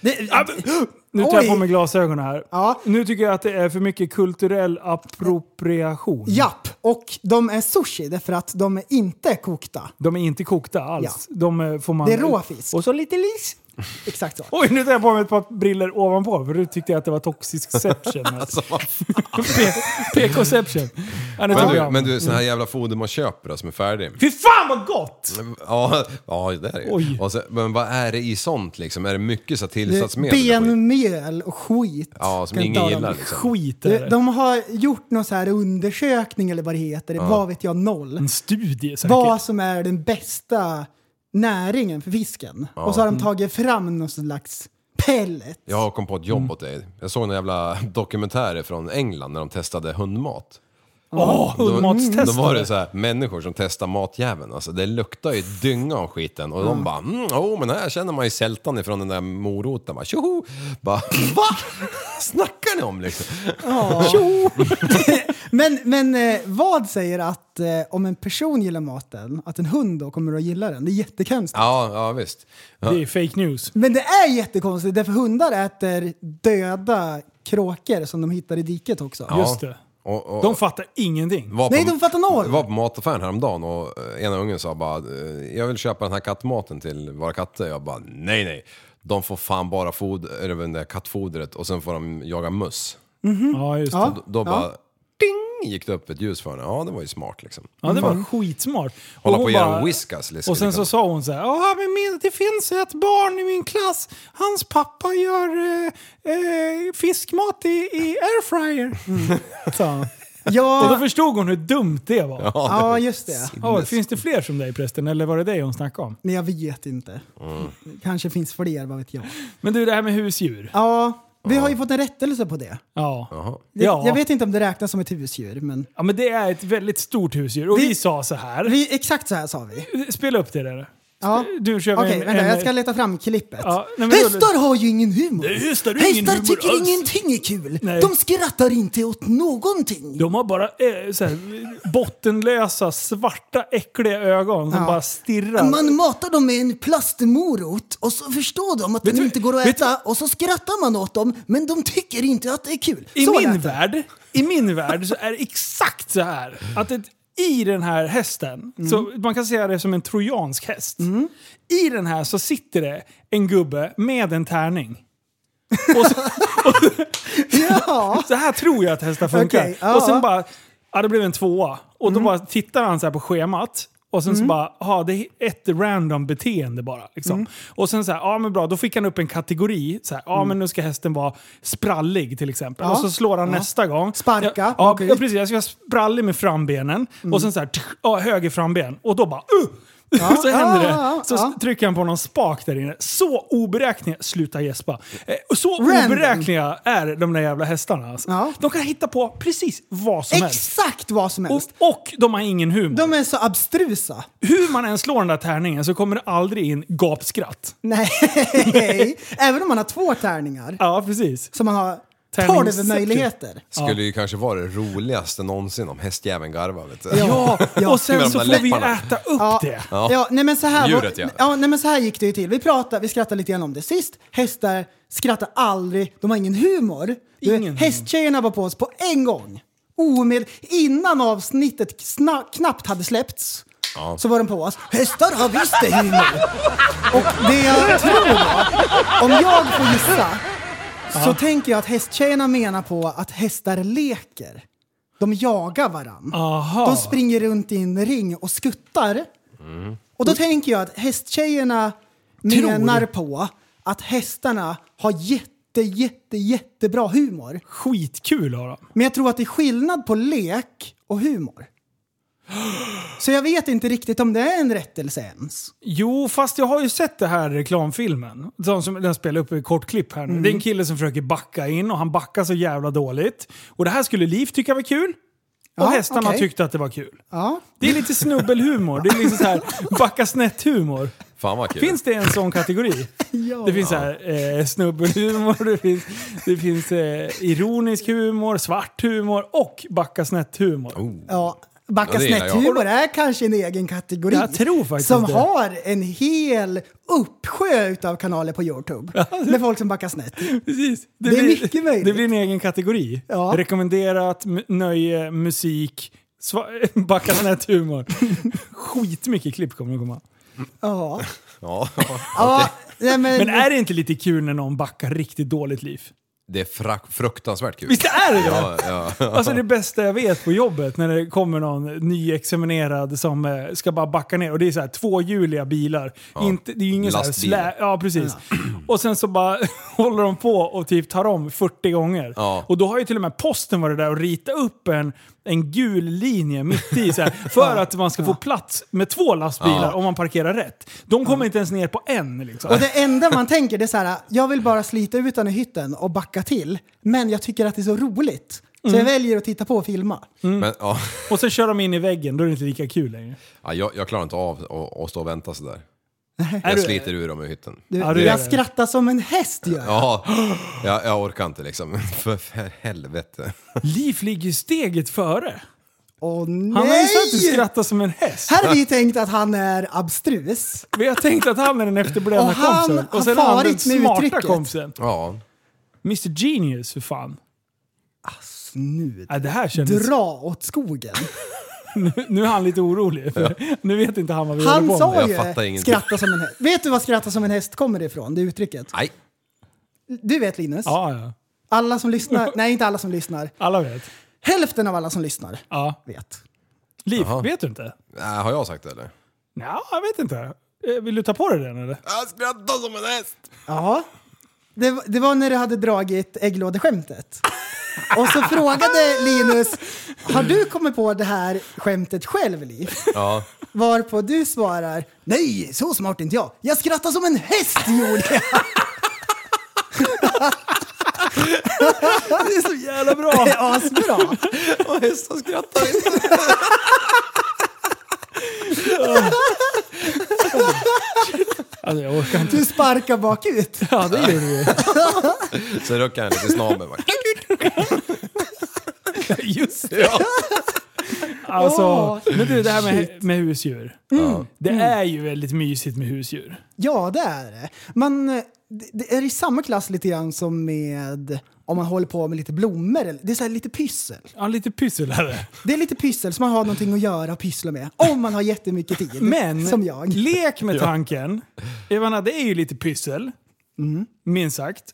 Speaker 5: Det,
Speaker 6: Ja, men- Nu tar
Speaker 5: Oj.
Speaker 6: jag på mig glasögonen här.
Speaker 5: Ja.
Speaker 6: Nu tycker jag att det är för mycket kulturell appropriation.
Speaker 5: japp, och de är sushi därför att de är inte kokta.
Speaker 6: De är inte kokta alls. De eh, får man...
Speaker 5: Det är rå fisk.
Speaker 6: Och så lite lis.
Speaker 5: Exakt så.
Speaker 6: Oj, nu tar jag på mig ett par briller ovanpå för du tyckte jag att det var toxicception. alltså. PK-ception. Ja, nu
Speaker 7: Men
Speaker 6: tar
Speaker 7: du,
Speaker 6: jag.
Speaker 7: men du, sån här jävla foder man köper då, som är färdig.
Speaker 6: Fy fan vad gott!
Speaker 7: Ja, ja det är det
Speaker 6: Oj.
Speaker 7: ju. Och så, Men vad är det i sånt liksom? Är det mycket så här tillsatsmedel? och skit?
Speaker 5: Benmjöl och skit.
Speaker 7: Ja, som
Speaker 5: Kan
Speaker 7: ingen
Speaker 5: ta dem.
Speaker 7: gillar liksom.
Speaker 6: Skit är
Speaker 5: De,
Speaker 6: det.
Speaker 5: de har gjort någon så här undersökning eller vad det heter, vad vet jag, noll.
Speaker 6: En studie säkert.
Speaker 5: Vad som är den bästa näringen för fisken. Och så har de tagit fram någon slags pellet.
Speaker 7: Jag kom på ett jobb åt dig. Jag såg några jävla dokumentärer från England när de testade hundmat.
Speaker 6: Åh,
Speaker 7: Då-
Speaker 6: hundmatstestare.
Speaker 7: Då var det så här, människor som testar matjäveln. Alltså, det luktar ju dynga om skiten. Och de bara, mm, oh, men här känner man ju sältan ifrån den där moroten. Bara, tjoho! Bara, va? Snackar ni om liksom?
Speaker 5: Tjo! men, men eh, vad säger att eh, om en person gillar maten, att en hund då kommer att gilla den? Det är jättekonstigt.
Speaker 7: Ja, ja visst. Ja.
Speaker 6: Det är fake news.
Speaker 5: Men det är jättekonstigt därför hundar äter döda kråkor som de hittar i diket också.
Speaker 7: Ja.
Speaker 6: Just det.
Speaker 7: Och, och,
Speaker 6: De fattar ingenting.
Speaker 7: var
Speaker 5: Nej, de fattar noll.
Speaker 7: var på mataffären häromdagen och eh, ena ungen sa bara eh, jag vill köpa den här kattmaten till våra katter. Jag bara nej nej. De får fan bara foder, eller det där kattfodret och sen får de jaga möss.
Speaker 6: Ja, just det.
Speaker 5: Mm. Ja.
Speaker 6: Ja,
Speaker 7: Då, då bara ding gick det upp ett ljus för henne. Ja det var ju smart liksom.
Speaker 6: det var skitsmart. Och
Speaker 7: Hålla
Speaker 6: hon
Speaker 7: på och göra
Speaker 6: bara-
Speaker 7: en whiskas liksom.
Speaker 6: Och sen så sa hon så här, ja men min, det finns ett barn i min klass, hans pappa gör eh, eh, fiskmat i, i airfryer. Sa han. Och då
Speaker 5: Ja,
Speaker 6: förstod hon hur dumt det var. Ja.
Speaker 5: ja just det.
Speaker 6: finns det fler som dig prästen, eller var det dig hon snackade om?
Speaker 5: Men jag vet inte. Kanske finns fler, vad vet jag.
Speaker 6: Men du, det här med husdjur.
Speaker 5: Ja, vi har ju fått en rättelse på det.
Speaker 6: Ja.
Speaker 5: Ja.
Speaker 6: Ja.
Speaker 5: Jag vet inte om det räknas som ett husdjur, men...
Speaker 6: ja, men det är ett väldigt stort husdjur. Och vi,
Speaker 5: Vi-
Speaker 6: sa så här,
Speaker 5: Vi, exakt så här sa vi.
Speaker 6: spela upp det där.
Speaker 5: Ja.
Speaker 6: Du kör vi
Speaker 5: Okej,
Speaker 6: en-
Speaker 5: vänta,
Speaker 6: en-
Speaker 5: jag ska leta fram klippet.
Speaker 6: Ja, nej, men då-
Speaker 5: hästar har ju ingen humor.
Speaker 6: Nej, hästar har ingen
Speaker 5: hästar
Speaker 6: humor
Speaker 5: tycker
Speaker 6: alls.
Speaker 5: ingenting är kul.
Speaker 6: Nej.
Speaker 5: De skrattar inte åt någonting.
Speaker 6: De har bara eh, så här, bottenlösa, svarta, äckliga ögon som
Speaker 5: Ja.
Speaker 6: bara stirrar.
Speaker 5: Man matar dem med en plastmorot och så förstår de att den
Speaker 6: du-
Speaker 5: inte går att
Speaker 6: vet du-
Speaker 5: äta och så skrattar man åt dem men de tycker inte att det är kul.
Speaker 6: I
Speaker 5: så lät
Speaker 6: min
Speaker 5: det.
Speaker 6: värld, I min värld så är det exakt så här. Att ett, I den här hästen, så
Speaker 5: Mm.
Speaker 6: man kan säga det som en trojansk häst. I den här så sitter det en gubbe med en tärning. Och så,
Speaker 5: Ja.
Speaker 6: så här tror jag att hästar funkar.
Speaker 5: Okej, ja. Mm.
Speaker 6: Och sen bara, ja det blev en tvåa. Och då bara tittar han så här på schemat. Och sen så bara, ja det är ett random beteende bara. Liksom.
Speaker 5: Mm.
Speaker 6: Och sen så här, ja men bra, då fick han upp en kategori. Så här, ja men nu ska hästen vara sprallig till exempel.
Speaker 5: Ja.
Speaker 6: Och så slår han
Speaker 5: Ja.
Speaker 6: nästa gång.
Speaker 5: Sparka, Mm.
Speaker 6: Ja, ja,
Speaker 5: åka
Speaker 6: ja
Speaker 5: ut.
Speaker 6: precis, jag ska vara sprallig med frambenen. Och sen så här, tch, ja, höger framben. Och då bara, uh! så händer
Speaker 5: ja, ja,
Speaker 6: det. Så
Speaker 5: ja.
Speaker 6: trycker han på någon spak där inne. Så oberäkneliga, sluta gäspa. Eh, Så
Speaker 5: Random.
Speaker 6: oberäkneliga är de där jävla hästarna. Alltså.
Speaker 5: Ja.
Speaker 6: De kan hitta på precis vad som helst.
Speaker 5: Exakt vad som helst.
Speaker 6: Och, och de har ingen humor.
Speaker 5: De är så abstrusa.
Speaker 6: Hur man än slår den där tärningen så kommer det aldrig in gapskratt.
Speaker 5: Nej, även om man har två tärningar
Speaker 6: Ja, precis.
Speaker 5: så man har
Speaker 6: Tärningssätt.
Speaker 5: tolv möjligheter.
Speaker 7: Skulle ju kanske vara det roligaste någonsin om hästjäveln garvar vet du.
Speaker 6: Ja,
Speaker 5: Ja.
Speaker 6: och sen
Speaker 7: Med de
Speaker 6: så
Speaker 7: där
Speaker 6: får vi
Speaker 7: läpparna.
Speaker 6: äta upp
Speaker 5: Ja,
Speaker 6: det.
Speaker 5: ja. nej men så här, var,
Speaker 7: Djuret, ja.
Speaker 5: ja, nej men så här gick det ju till. Vi, pratade, vi skrattade lite grann om det sist. Hästar skrattar aldrig, de har ingen humor. Du,
Speaker 6: Ingen.
Speaker 5: Hästtjejerna var på oss på en gång. Omed, innan avsnittet kna, knappt hade släppts så var de på oss. Hästar har visst det humor! Och det jag tror då, om jag får gissa, så tänker jag att hästtjejerna menar på att hästar leker. De jagar varann.
Speaker 6: Aha.
Speaker 5: De springer runt i en ring och skuttar. Och då tänker jag att hästtjejerna menar på att hästarna har jätte, jätte, jättebra humor.
Speaker 6: Skitkul har de.
Speaker 5: Men jag tror att det är skillnad på lek och humor. Så jag vet inte riktigt om det är en rättelse ens.
Speaker 6: Jo, fast jag har ju sett det här reklamfilmen. Den som den spelar upp i kort klipp här nu.
Speaker 5: Mm.
Speaker 6: Det är en kille som försöker backa in och han backar så jävla dåligt. Och det här skulle Liv tycka var kul. Och
Speaker 5: Ja,
Speaker 6: hästarna
Speaker 5: okej.
Speaker 6: tyckte att det var kul.
Speaker 5: Ja.
Speaker 6: Det är lite snubbelhumor. Det är liksom så här backa snett-humor.
Speaker 7: Fan vad kul.
Speaker 6: Finns det en sån kategori? Det finns så här, eh, snubbelhumor, det finns, det finns eh, ironisk humor, svart humor och backa snett-humor.
Speaker 5: Ja, backa
Speaker 7: Ja, det gillar jag.
Speaker 5: snett-humor är kanske en egen kategori.
Speaker 6: Jag tror faktiskt
Speaker 5: Som
Speaker 6: det.
Speaker 5: har en hel uppsjö utav kanaler på Youtube. med folk som backar snett.
Speaker 6: Precis.
Speaker 5: Det är mycket möjligt.
Speaker 6: Det blir en egen kategori.
Speaker 5: Ja.
Speaker 6: Rekommenderat, m- nöje, musik, sva- backa snett-humor. Skitmycket klipp kommer det komma.
Speaker 5: Ja.
Speaker 7: Ja.
Speaker 5: ja nej, men,
Speaker 6: Men är det inte lite kul när någon backar riktigt dåligt liv?
Speaker 7: Det är frak- fruktansvärt kul.
Speaker 6: Visst är det det?
Speaker 7: Ja, ja.
Speaker 6: Alltså det bästa jag vet på jobbet när det kommer någon nyexaminerad som eh, ska bara backa ner. Och det är så här tvåhjuliga bilar. Inte, det är ju ingen så här
Speaker 7: Lastbil.
Speaker 6: slä, Ja, precis. Och sen så bara håller de på och typ tar om 40 gånger.
Speaker 7: Ja.
Speaker 6: Och då har ju till och med posten varit där och ritat upp en, en gul linje mitt i. Så här, för att man ska få plats med två lastbilar om man parkerar rätt. De kommer inte ens ner på en liksom.
Speaker 5: Och det enda man tänker det är så här, jag vill bara slita ut den i hytten och backa till. Men jag tycker att det är så roligt. Så
Speaker 6: Mm.
Speaker 5: jag väljer att titta på och filma.
Speaker 7: Men, ja.
Speaker 6: Och sen kör de in i väggen, då är det inte lika kul längre.
Speaker 7: Ja, jag, jag klarar inte av att- att stå och vänta sådär.
Speaker 6: Är
Speaker 7: Jag
Speaker 6: du-
Speaker 7: sliter ur dem ur hytten.
Speaker 5: Du,
Speaker 6: Ja, det gör
Speaker 5: jag
Speaker 6: det.
Speaker 5: skrattar som en häst gör jag.
Speaker 7: Ja, jag, jag orkar inte liksom. För, för helvete.
Speaker 6: Liv ligger steget före.
Speaker 5: Åh
Speaker 6: Han har ju sagt att du
Speaker 5: nej!
Speaker 6: skrattar som en häst.
Speaker 5: Här har vi tänkt att han är abstrus.
Speaker 6: Vi har tänkt att han är den efterblivna
Speaker 5: Och han
Speaker 6: kompisen.
Speaker 5: har
Speaker 6: Och sen har han den
Speaker 5: farit med
Speaker 6: smarta
Speaker 5: uttrycket.
Speaker 6: kompisen.
Speaker 7: Ja.
Speaker 6: Mr Genius för fan.
Speaker 5: Nu,
Speaker 6: Äh, det här kändes...
Speaker 5: dra åt skogen.
Speaker 6: Nu är han lite orolig. För Nu vet inte han vad vi håller
Speaker 5: Han
Speaker 6: på med.
Speaker 5: sa
Speaker 7: Jag
Speaker 5: ju
Speaker 7: fattar ingenting.
Speaker 5: skratta som en häst. Vet du vad skratta som en häst kommer ifrån? Det uttrycket.
Speaker 7: Nej.
Speaker 5: Du vet Linus?
Speaker 6: Ja, ja.
Speaker 5: Alla som lyssnar, nej inte alla som lyssnar.
Speaker 6: Alla vet.
Speaker 5: Hälften av alla som lyssnar
Speaker 6: Ja.
Speaker 5: vet.
Speaker 6: Liv, vet du inte?
Speaker 7: Äh, har jag sagt det eller?
Speaker 6: Ja, jag vet inte. Eh, Vill du ta på dig den eller?
Speaker 7: Jag skrattar som en häst!
Speaker 5: Ja. Det, var- det var när du hade dragit ägglådeskämtet. Och så frågade Linus, har du kommit på det här skämtet själv Liv?
Speaker 7: Ja.
Speaker 5: Varpå du svarar, nej så smart är inte jag. Jag skrattar som en häst gjorde jag.
Speaker 6: Det är så jävla bra!
Speaker 5: Det är asbra.
Speaker 7: Och hästar skrattar inte.
Speaker 6: Alltså jag orkar inte.
Speaker 5: Du sparkar bakut.
Speaker 6: Ja, det gjorde vi.
Speaker 7: Så ruckar han lite snabel. bara.
Speaker 6: Just det.
Speaker 7: Ja.
Speaker 6: Alltså,
Speaker 5: Åh, Mm.
Speaker 6: men du, det här med, med husdjur. Det är ju väldigt mysigt med husdjur.
Speaker 5: Ja, det är det. Man, eh, det, det är i samma klass lite grann som med om man håller på med lite blommor. eller- Det är så här lite pyssel.
Speaker 6: Ja, lite pysslare.
Speaker 5: Det är lite pyssel så man har någonting att göra och pyssla med. Om man har jättemycket tid.
Speaker 6: Men
Speaker 5: som jag.
Speaker 6: lek med tanken. Jag menar, det är ju lite pyssel.
Speaker 5: Mm.
Speaker 6: Minst sagt.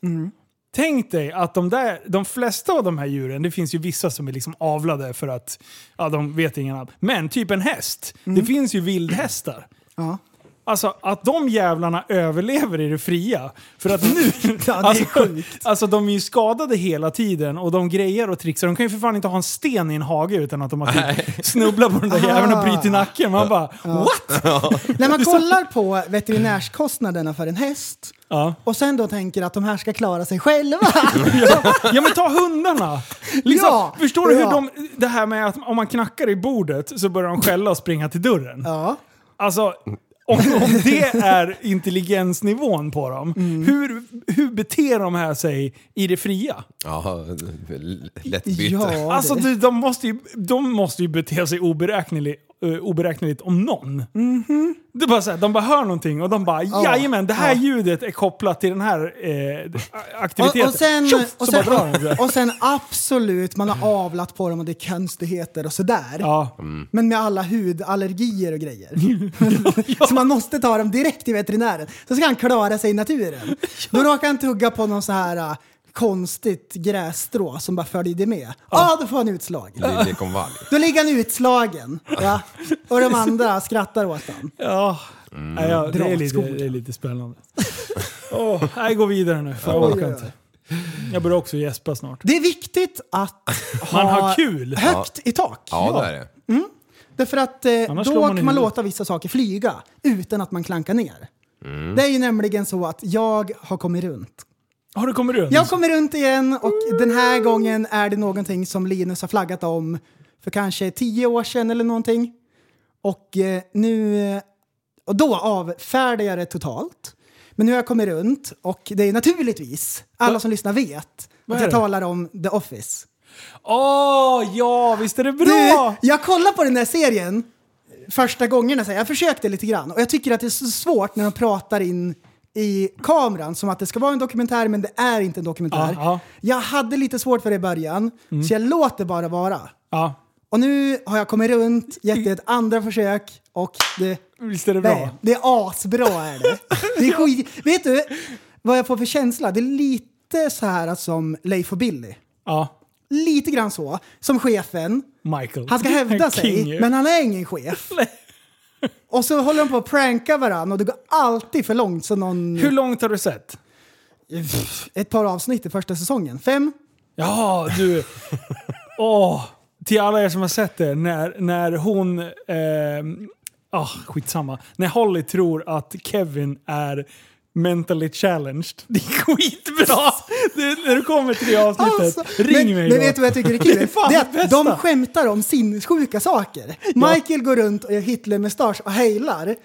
Speaker 6: Tänk dig att de, där, de flesta av de här djuren, det finns ju vissa som är liksom avlade för att ja, de vet ingen annan. Men typ en häst. Det finns ju vildhästar.
Speaker 5: Mm. Ja.
Speaker 6: Alltså att de jävlarna överlever i det fria. För att nu...
Speaker 5: Ja, det är
Speaker 6: alltså,
Speaker 5: sjukt.
Speaker 6: alltså de är ju skadade hela tiden och de grejer och trixar. De kan ju för fan inte ha en sten i en hage utan att de har typ snubblat på den där jäveln och brutit
Speaker 5: Ah.
Speaker 6: nacken. Man bara what?
Speaker 5: När man kollar på veterinärskostnaderna för en häst
Speaker 6: Ja.
Speaker 5: och sen då tänker att de här ska klara sig själva.
Speaker 6: ja men ta hundarna! Liksom,
Speaker 5: Ja,
Speaker 6: förstår du hur
Speaker 5: ja.
Speaker 6: de... Det här med att om man knackar i bordet så börjar de skälla och springa till dörren.
Speaker 5: Ja.
Speaker 6: Alltså, om, om det är intelligensnivån på dem,
Speaker 5: Mm.
Speaker 6: hur, hur beter de här sig i det fria?
Speaker 7: Ja, lätt byte.
Speaker 5: Ja,
Speaker 6: Alltså
Speaker 5: det-
Speaker 6: du, de, måste ju, de måste ju bete sig oberäkneligt, eh, oberäkneligt om någon.
Speaker 5: Mhm.
Speaker 6: Det är bara så här, de bara hör någonting och de bara jajamän, det här ljudet är kopplat till den här eh, aktiviteten.
Speaker 5: Och, och, sen,
Speaker 6: Tjoff!
Speaker 5: och,
Speaker 6: så
Speaker 5: sen,
Speaker 6: bara drar de det.
Speaker 5: och sen absolut, man har avlat på dem och det är konstigheter och sådär.
Speaker 6: Ja.
Speaker 5: Men med alla hudallergier och grejer. så man måste ta dem direkt till veterinären. Så ska han klara sig i naturen. Då råkar han tugga på någon så här äh, konstigt grässtrå som bara följde med. Ja, ah, då får han utslag.
Speaker 7: Liljekonvalj.
Speaker 5: Då ligger han utslagen. Ja. Och de andra skrattar åt honom.
Speaker 6: Ja. Nej, ja, det, är lite,
Speaker 5: Drakskola.
Speaker 6: det är lite spännande. Åh, nej, gå vidare nu. För jag
Speaker 5: Oj,
Speaker 6: orkar
Speaker 5: oj,
Speaker 6: inte. Jag börjar också gäspa snart.
Speaker 5: Det är viktigt att ha
Speaker 6: Man har kul.
Speaker 5: högt i tak.
Speaker 7: Ja, det är det.
Speaker 5: Därför att eh,
Speaker 6: Annars
Speaker 5: då
Speaker 6: slår man i
Speaker 5: kan man
Speaker 6: huvudet.
Speaker 5: låta vissa saker flyga utan att man klankar ner. Det är ju nämligen så att jag har kommit runt.
Speaker 6: Har du kommit runt?
Speaker 5: Jag kommer runt igen och den här gången är det någonting som Linus har flaggat om för kanske tio år sedan eller någonting. Och eh, nu... eh, Och då avfärdar jag det totalt. Men nu har jag kommit runt och det är naturligtvis, alla som lyssnar vet,
Speaker 6: Vad
Speaker 5: att
Speaker 6: är
Speaker 5: jag
Speaker 6: det?
Speaker 5: talar om The Office.
Speaker 6: Åh, ja, visst är det
Speaker 5: Du,
Speaker 6: bra!
Speaker 5: jag kollar på den där serien första gångerna, så här, jag försökte lite grann och jag tycker att det är så svårt när de pratar in i kameran som att det ska vara en dokumentär men det är inte en dokumentär.
Speaker 6: Ja, ja.
Speaker 5: Jag hade lite svårt för det i början så jag låter bara vara.
Speaker 6: Ja,
Speaker 5: Och nu har jag kommit runt, gett det ett andra försök och det,
Speaker 6: visst är det
Speaker 5: nej,
Speaker 6: bra?
Speaker 5: det är asbra är det. det är skit, vet du vad jag får för känsla? Det är lite så här som Leif och Billy.
Speaker 6: Ja,
Speaker 5: Lite grann så, som chefen.
Speaker 6: Michael.
Speaker 5: Han ska
Speaker 6: King
Speaker 5: hävda sig,
Speaker 6: ju.
Speaker 5: men han är ingen chef. Och så håller de på att pranka varandra och det går alltid för långt. Så någon,
Speaker 6: Hur långt har du sett?
Speaker 5: ett par avsnitt i första säsongen. Fem?
Speaker 6: Ja, du. Åh, till alla er som har sett det. När, när hon... ehm, Ah, skitsamma. När Holly tror att Kevin är mentally challenged. Det är skitbra! Du, när du kommer till det avsnittet,
Speaker 5: Alltså,
Speaker 6: ring
Speaker 5: men,
Speaker 6: mig
Speaker 5: Men
Speaker 6: då.
Speaker 5: vet du vad jag tycker är
Speaker 6: Det är
Speaker 5: kul?
Speaker 6: fan
Speaker 5: det är
Speaker 6: det
Speaker 5: att
Speaker 6: bästa.
Speaker 5: de skämtar om sinnessjuka saker. Michael går runt och gör Hitler-mustasch och hejlar.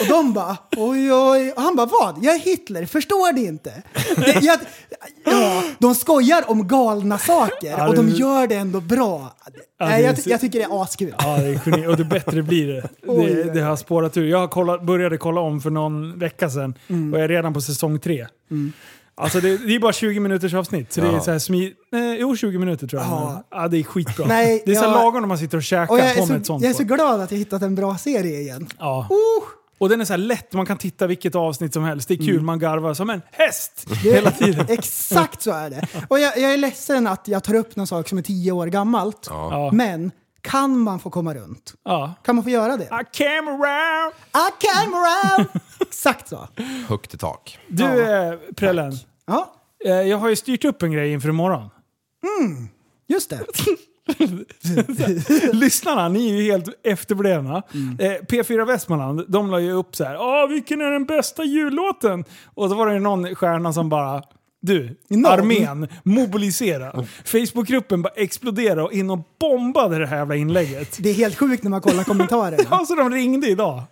Speaker 5: Och de bara oj oj. Och han bara vad? Jag är Hitler, förstår ni inte? Det, jag, ja, de skojar om galna saker
Speaker 6: Ja,
Speaker 5: och de
Speaker 6: det-
Speaker 5: gör det ändå bra.
Speaker 6: det
Speaker 5: Nej, jag,
Speaker 6: är så-
Speaker 5: jag tycker det är askul.
Speaker 6: Ja, det är geni. Och det bättre blir det.
Speaker 5: Oj,
Speaker 6: Det,
Speaker 5: oj,
Speaker 6: det har spårat ur. Jag har kollat, började kolla om för någon vecka sedan
Speaker 5: Mm.
Speaker 6: och jag är redan på säsong tre. Alltså det, det är bara 20 minuters avsnitt. Så det är
Speaker 7: Ja.
Speaker 6: så här smi, nej, jo, 20 minuter tror jag.
Speaker 5: Ja.
Speaker 6: Ja. Ja, det är skitbra.
Speaker 5: Nej,
Speaker 6: det är så här
Speaker 5: jag-
Speaker 6: lagom när man sitter och käkar
Speaker 5: Och jag,
Speaker 6: på
Speaker 5: är
Speaker 6: med ett
Speaker 5: så,
Speaker 6: sånt. Oh,
Speaker 5: jag är
Speaker 6: va?
Speaker 5: så glad att jag hittat en bra serie igen.
Speaker 6: ja. Och den är så här lätt, man kan titta vilket avsnitt som helst. Det är kul,
Speaker 5: Mm.
Speaker 6: man garvar som en häst hela tiden.
Speaker 5: Exakt så är det. Och jag, jag är ledsen att jag tar upp någon sak som är tio år gammalt.
Speaker 6: Ja.
Speaker 5: Men kan man få komma runt?
Speaker 6: Ja.
Speaker 5: Kan man få göra det?
Speaker 6: I came around.
Speaker 5: I can around! Exakt så.
Speaker 7: Högt i tak.
Speaker 6: Du
Speaker 5: Ja.
Speaker 6: eh, Prellen,
Speaker 5: Ja,
Speaker 6: eh, jag har ju styrt upp en grej inför imorgon.
Speaker 5: just det.
Speaker 6: Lyssnarna, ni är ju helt efterblivna. Eh, P4 Västmanland, de la ju upp så här. "Ah, vilken är den bästa jullåten? Och så var det ju någon stjärna som bara... Du,
Speaker 5: Någon?
Speaker 6: armén, mobilisera. Facebookgruppen bara exploderade och in och bombade det här jävla inlägget.
Speaker 5: Det är helt sjukt när man kollar kommentarerna.
Speaker 6: Ja, så de ringde idag.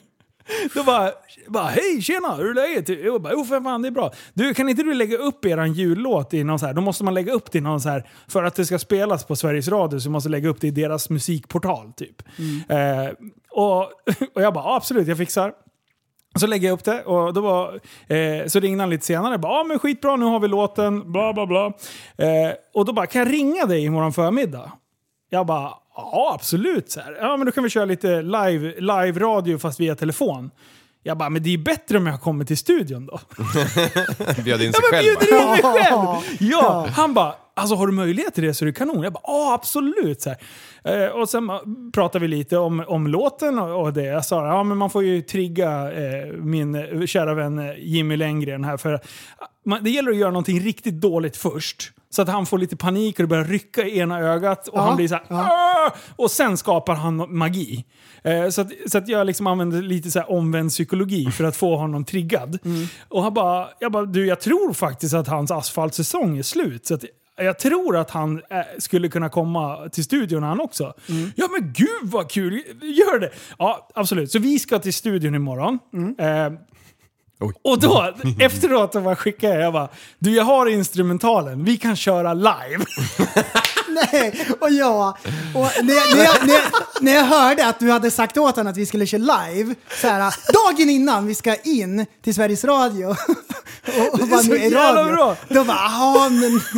Speaker 6: Då bara, bara hej tjena, hur är läget? Jag bara, jo för fan det är bra. Du, kan inte du lägga upp eran jullåt i någon så här, då måste man lägga upp det i någon så här, för att det ska spelas på Sveriges Radio så måste man lägga upp det i deras musikportal typ. Eh, och, och jag bara, "Ja, absolut jag fixar. Så lägger jag upp det och då var, eh, så ringde han lite senare. Bara, ah, men skitbra, nu har vi låten, bla bla bla. Eh, och då bara, kan jag ringa dig imorgon förmiddag? Jag bara, ja absolut. Så här. Ja men då kan vi köra lite live, live radio fast via telefon. Jag bara, men det är ju bättre om jag kommer till studion då.
Speaker 7: Bjöd in sig
Speaker 6: Ja, men
Speaker 7: själv.
Speaker 6: bjuder in mig
Speaker 5: bara.
Speaker 6: själv! Ja, han bara, alltså har du möjlighet till det så är det kanon. Jag bara, ja absolut. Så här. Eh, och sen eh, pratade vi lite om, om låten och, och det. Jag sa, ja men man får ju trigga eh, min eh, kära vän eh, Jimmy Lenngren här. För eh, man, det gäller att göra någonting riktigt dåligt först. Så att han får lite panik och det börjar rycka i ena ögat och han blir så här, "Åh!" Och sen skapar han magi. Eh, så, att, så att jag liksom använder lite så här omvänd psykologi för att få honom triggad. Och han bara, jag bara, du jag tror faktiskt att hans asfaltsäsong är slut. Så att, jag tror att han eh, skulle kunna komma till studion han också. Ja men gud vad kul! Gör det! Ja, absolut. Så vi ska till studion imorgon. Eh, och då, efteråt, då bara skickade jag, jag bara, du jag har instrumentalen, vi kan köra live.
Speaker 5: Nej, och jag... Och när, jag- när, jag, när, jag, när jag hörde att du hade sagt åt honom att vi skulle köra live, så här, dagen innan vi ska in till Sveriges Radio och, och vara
Speaker 6: så
Speaker 5: med i
Speaker 6: jävla
Speaker 5: radio.
Speaker 6: bra.
Speaker 5: Då bara, jaha men...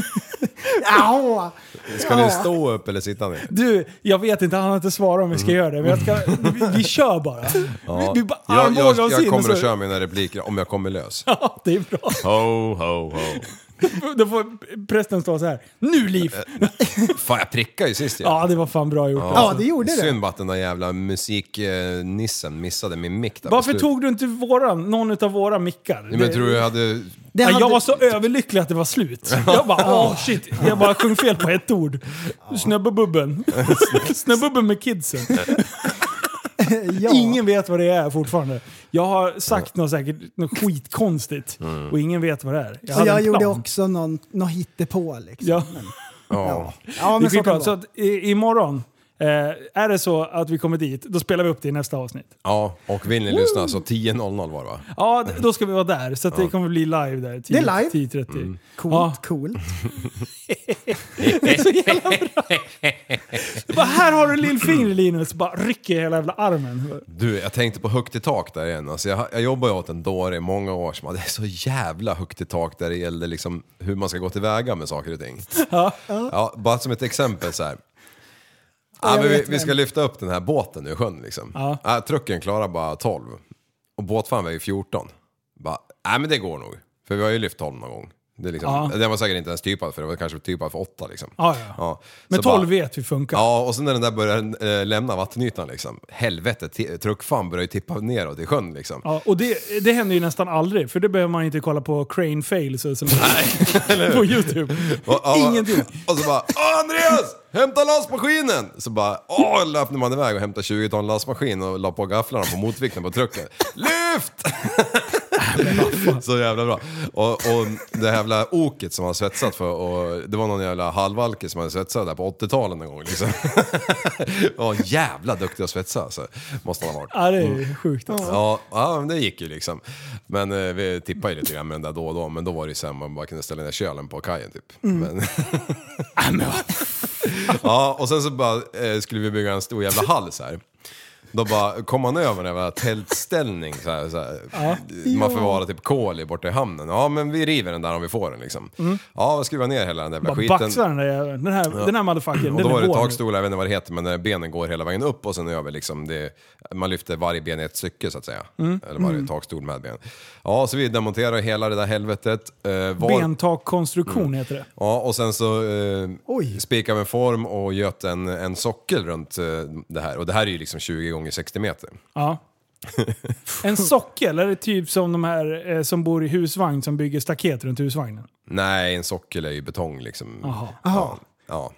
Speaker 5: Jaha.
Speaker 7: Ska ni
Speaker 5: Ja.
Speaker 7: stå upp eller sitta ner?
Speaker 6: Du, jag vet inte, han har inte svarat om vi ska
Speaker 7: Mm.
Speaker 6: göra det, men jag ska, vi, vi kör bara. Vi, vi bara
Speaker 7: Jag, jag,
Speaker 6: armbågar oss
Speaker 7: jag
Speaker 6: in
Speaker 7: kommer
Speaker 6: så-
Speaker 7: att köra mina repliker om jag kommer lös.
Speaker 6: Ja, det är bra.
Speaker 7: Ho, ho, ho.
Speaker 6: Då får prästen stå så här. Nu Liv!
Speaker 7: Fan, jag prickade ju sist ju.
Speaker 6: Ja, det var fan bra gjort.
Speaker 5: Ja, det gjorde det.
Speaker 7: Synd bara att den där jävla musiknissen missade min mick där på
Speaker 6: Varför
Speaker 7: slutet.
Speaker 6: tog du inte våran, någon av våra mickar?
Speaker 7: Nej, men jag tror jag hade...
Speaker 5: Det
Speaker 6: Ja,
Speaker 5: hade-
Speaker 6: Jag var så överlycklig att det var slut. Jag bara åh shit, jag bara sjöng fel på ett ord. Snöbbebubben. Snöbbubben med kidsen.
Speaker 5: ja.
Speaker 6: Ingen vet vad det är fortfarande. Jag har sagt något säkert något skitkonstigt
Speaker 7: Mm.
Speaker 6: och ingen vet vad det är. Jag,
Speaker 5: Och
Speaker 6: hade
Speaker 5: jag
Speaker 6: en
Speaker 5: gjorde
Speaker 6: plan.
Speaker 5: också någon, någon hittepå liksom.
Speaker 6: Ja.
Speaker 7: Ja.
Speaker 6: Det
Speaker 5: Ja,
Speaker 6: är
Speaker 5: men så kan
Speaker 6: skitbra.
Speaker 5: det
Speaker 6: Så
Speaker 5: vara.
Speaker 6: att i, imorgon, eh, är det så att vi kommer dit, då spelar vi upp det i nästa avsnitt.
Speaker 7: ja, och vill ni lyssna så 10.00 var det va?
Speaker 6: Ja, d- då ska vi vara där. Så att det kommer bli live där. 10,
Speaker 5: Det är live.
Speaker 6: 10.30.
Speaker 7: Mm.
Speaker 5: Coolt,
Speaker 6: Ja.
Speaker 5: coolt.
Speaker 6: Det är så jävla bra. Jag bara, här har du lillfingret Linus. Bara rycker i hela jävla armen.
Speaker 7: Du, jag tänkte på högt i tak där igen. Alltså jag, jag jobbade ju åt en dåre i många år som hade så jävla högt i tak där det gällde liksom hur man ska gå tillväga med saker och ting. Ja, bara som ett exempel så här. Ja,
Speaker 5: jag
Speaker 7: men vi,
Speaker 5: vet
Speaker 7: vi ska lyfta upp den här båten ur sjön liksom.
Speaker 6: Ja.
Speaker 7: Ja, trucken klarar bara 12 och båtfan väger 14. Bara, nej men det går nog. För vi har ju lyft 12 någon gång. Det är liksom,
Speaker 6: Ja.
Speaker 7: Den var säkert inte ens typad för det var kanske typad för 8 liksom.
Speaker 6: Ja, ja. Men
Speaker 7: så
Speaker 6: 12
Speaker 7: bara-
Speaker 6: vet vi funkar.
Speaker 7: Ja, och sen när den där börjar eh, lämna vattenytan liksom. Helvete, t- truckfan börjar ju tippa neråt i sjön liksom.
Speaker 6: Ja, och det, det händer ju nästan aldrig, för det behöver man inte kolla på crane fails och sånt där. på YouTube.
Speaker 7: Och, ja,
Speaker 6: Ingenting.
Speaker 7: Och så bara "Åh, Andreas! Hämta lastmaskinen! Så bara åh, löpte man iväg och hämtade 20 ton lastmaskin och la på gafflarna på motvikten på trucken. Lyft! så jävla bra. Och, och det här jävla oket som han svetsat för, och det var någon jävla halvalke som hade svetsat där på 80-talet en gång liksom. och jävla duktig att svetsa alltså. Måste han ha varit.
Speaker 6: Ja, det är
Speaker 7: Mm.
Speaker 6: ju sjukt. alltså.
Speaker 7: Ja, ja men det gick ju liksom. Men eh, vi tippade ju lite grann med den där då och då, men då var det ju så här, man bara kunde ställa ner kölen på kajen typ. Men... ja, och sen så bara, eh, skulle vi bygga en stor jävla hall så här. Då bara kom han över den här tältställning så här, så här. Man förvarar typ kol i borta i hamnen. Ja men vi river den där om vi får den liksom. Ja, vi skruvar ner hela den där jävla
Speaker 6: Bara
Speaker 7: skiten. Mm.
Speaker 6: baxar den där jäveln. Den här, den här motherfuckern,
Speaker 7: Och då
Speaker 6: den
Speaker 7: var
Speaker 6: är
Speaker 7: det
Speaker 6: vår. nu.
Speaker 7: takstolar, jag vet inte vad det heter, men när benen går hela vägen upp och sen över liksom. Det, man lyfter varje ben i ett stycke så att säga.
Speaker 6: Mm.
Speaker 7: Eller varje takstol med ben. Ja, så vi demonterar hela det där helvetet. Eh, var-
Speaker 6: Bentakkonstruktion
Speaker 7: Mm.
Speaker 6: heter det.
Speaker 7: Ja, och sen så eh,
Speaker 5: Oj.
Speaker 7: spikade vi en form och göt en, en sockel runt eh, det här. Och det här är ju liksom 20 gånger 60 meter.
Speaker 6: Ja. En sockel, är det typ som de här eh, som bor i husvagn som bygger staket runt husvagnen? Typ
Speaker 7: Nej, en sockel är ju betong liksom.
Speaker 6: Jaha.
Speaker 7: Ja, ja.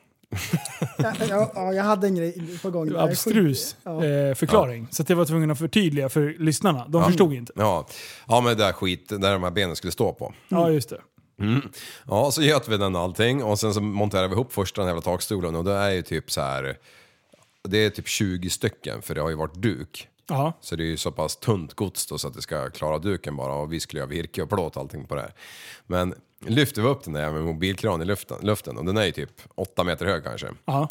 Speaker 5: Ja, ja, jag hade en grej på gång.
Speaker 6: Det
Speaker 5: där.
Speaker 6: var abstrus
Speaker 5: Ja.
Speaker 6: eh, förklaring. Så att jag var tvungen att förtydliga för lyssnarna. De förstod inte.
Speaker 7: Ja. ja, men det där skit, där de här benen skulle stå på.
Speaker 5: Mm.
Speaker 6: Ja, just det.
Speaker 7: Ja, så göt vi den allting och sen så monterade vi ihop första den jävla takstolen och det är ju typ så här. Det är typ 20 stycken för det har ju varit duk.
Speaker 6: Ja.
Speaker 7: Så det är ju så pass tunt gods då så att det ska klara duken bara och vi skulle göra virke och plåt och allting på det här. Men lyfter vi upp den där med mobilkran i luften, luften och den är ju typ 8 meter hög kanske.
Speaker 6: Ja.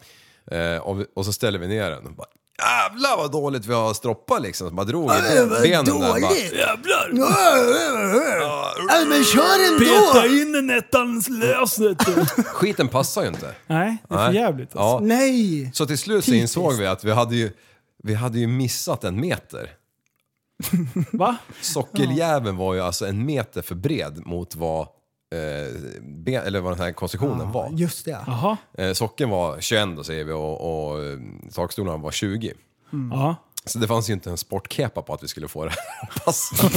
Speaker 7: Eh, och, vi, och så ställer vi ner den. Och bara, Jävlar vad dåligt vi har stroppat liksom. Så bara drog i benen där. Bara,
Speaker 6: Jävlar!
Speaker 5: Nej, men kör
Speaker 6: Peta
Speaker 5: ändå!
Speaker 6: in en ettans lösnet!
Speaker 7: skiten passar ju inte.
Speaker 6: Nej, det är för
Speaker 7: Nej.
Speaker 6: jävligt. Alltså.
Speaker 7: Ja.
Speaker 5: Nej!
Speaker 7: Så till slut så
Speaker 5: Typiskt.
Speaker 7: insåg vi att vi hade ju, vi hade ju missat en meter.
Speaker 6: Va?
Speaker 7: Sockeljäveln var ju alltså en meter för bred mot vad, eh, ben, eller vad den här konstruktionen var.
Speaker 5: Just det.
Speaker 6: Jaha.
Speaker 7: Eh, socken var 21 då säger vi och, och eh, takstolarna var 20.
Speaker 6: Ja.
Speaker 7: Så det fanns ju inte en sportkepa på att vi skulle få det att passa.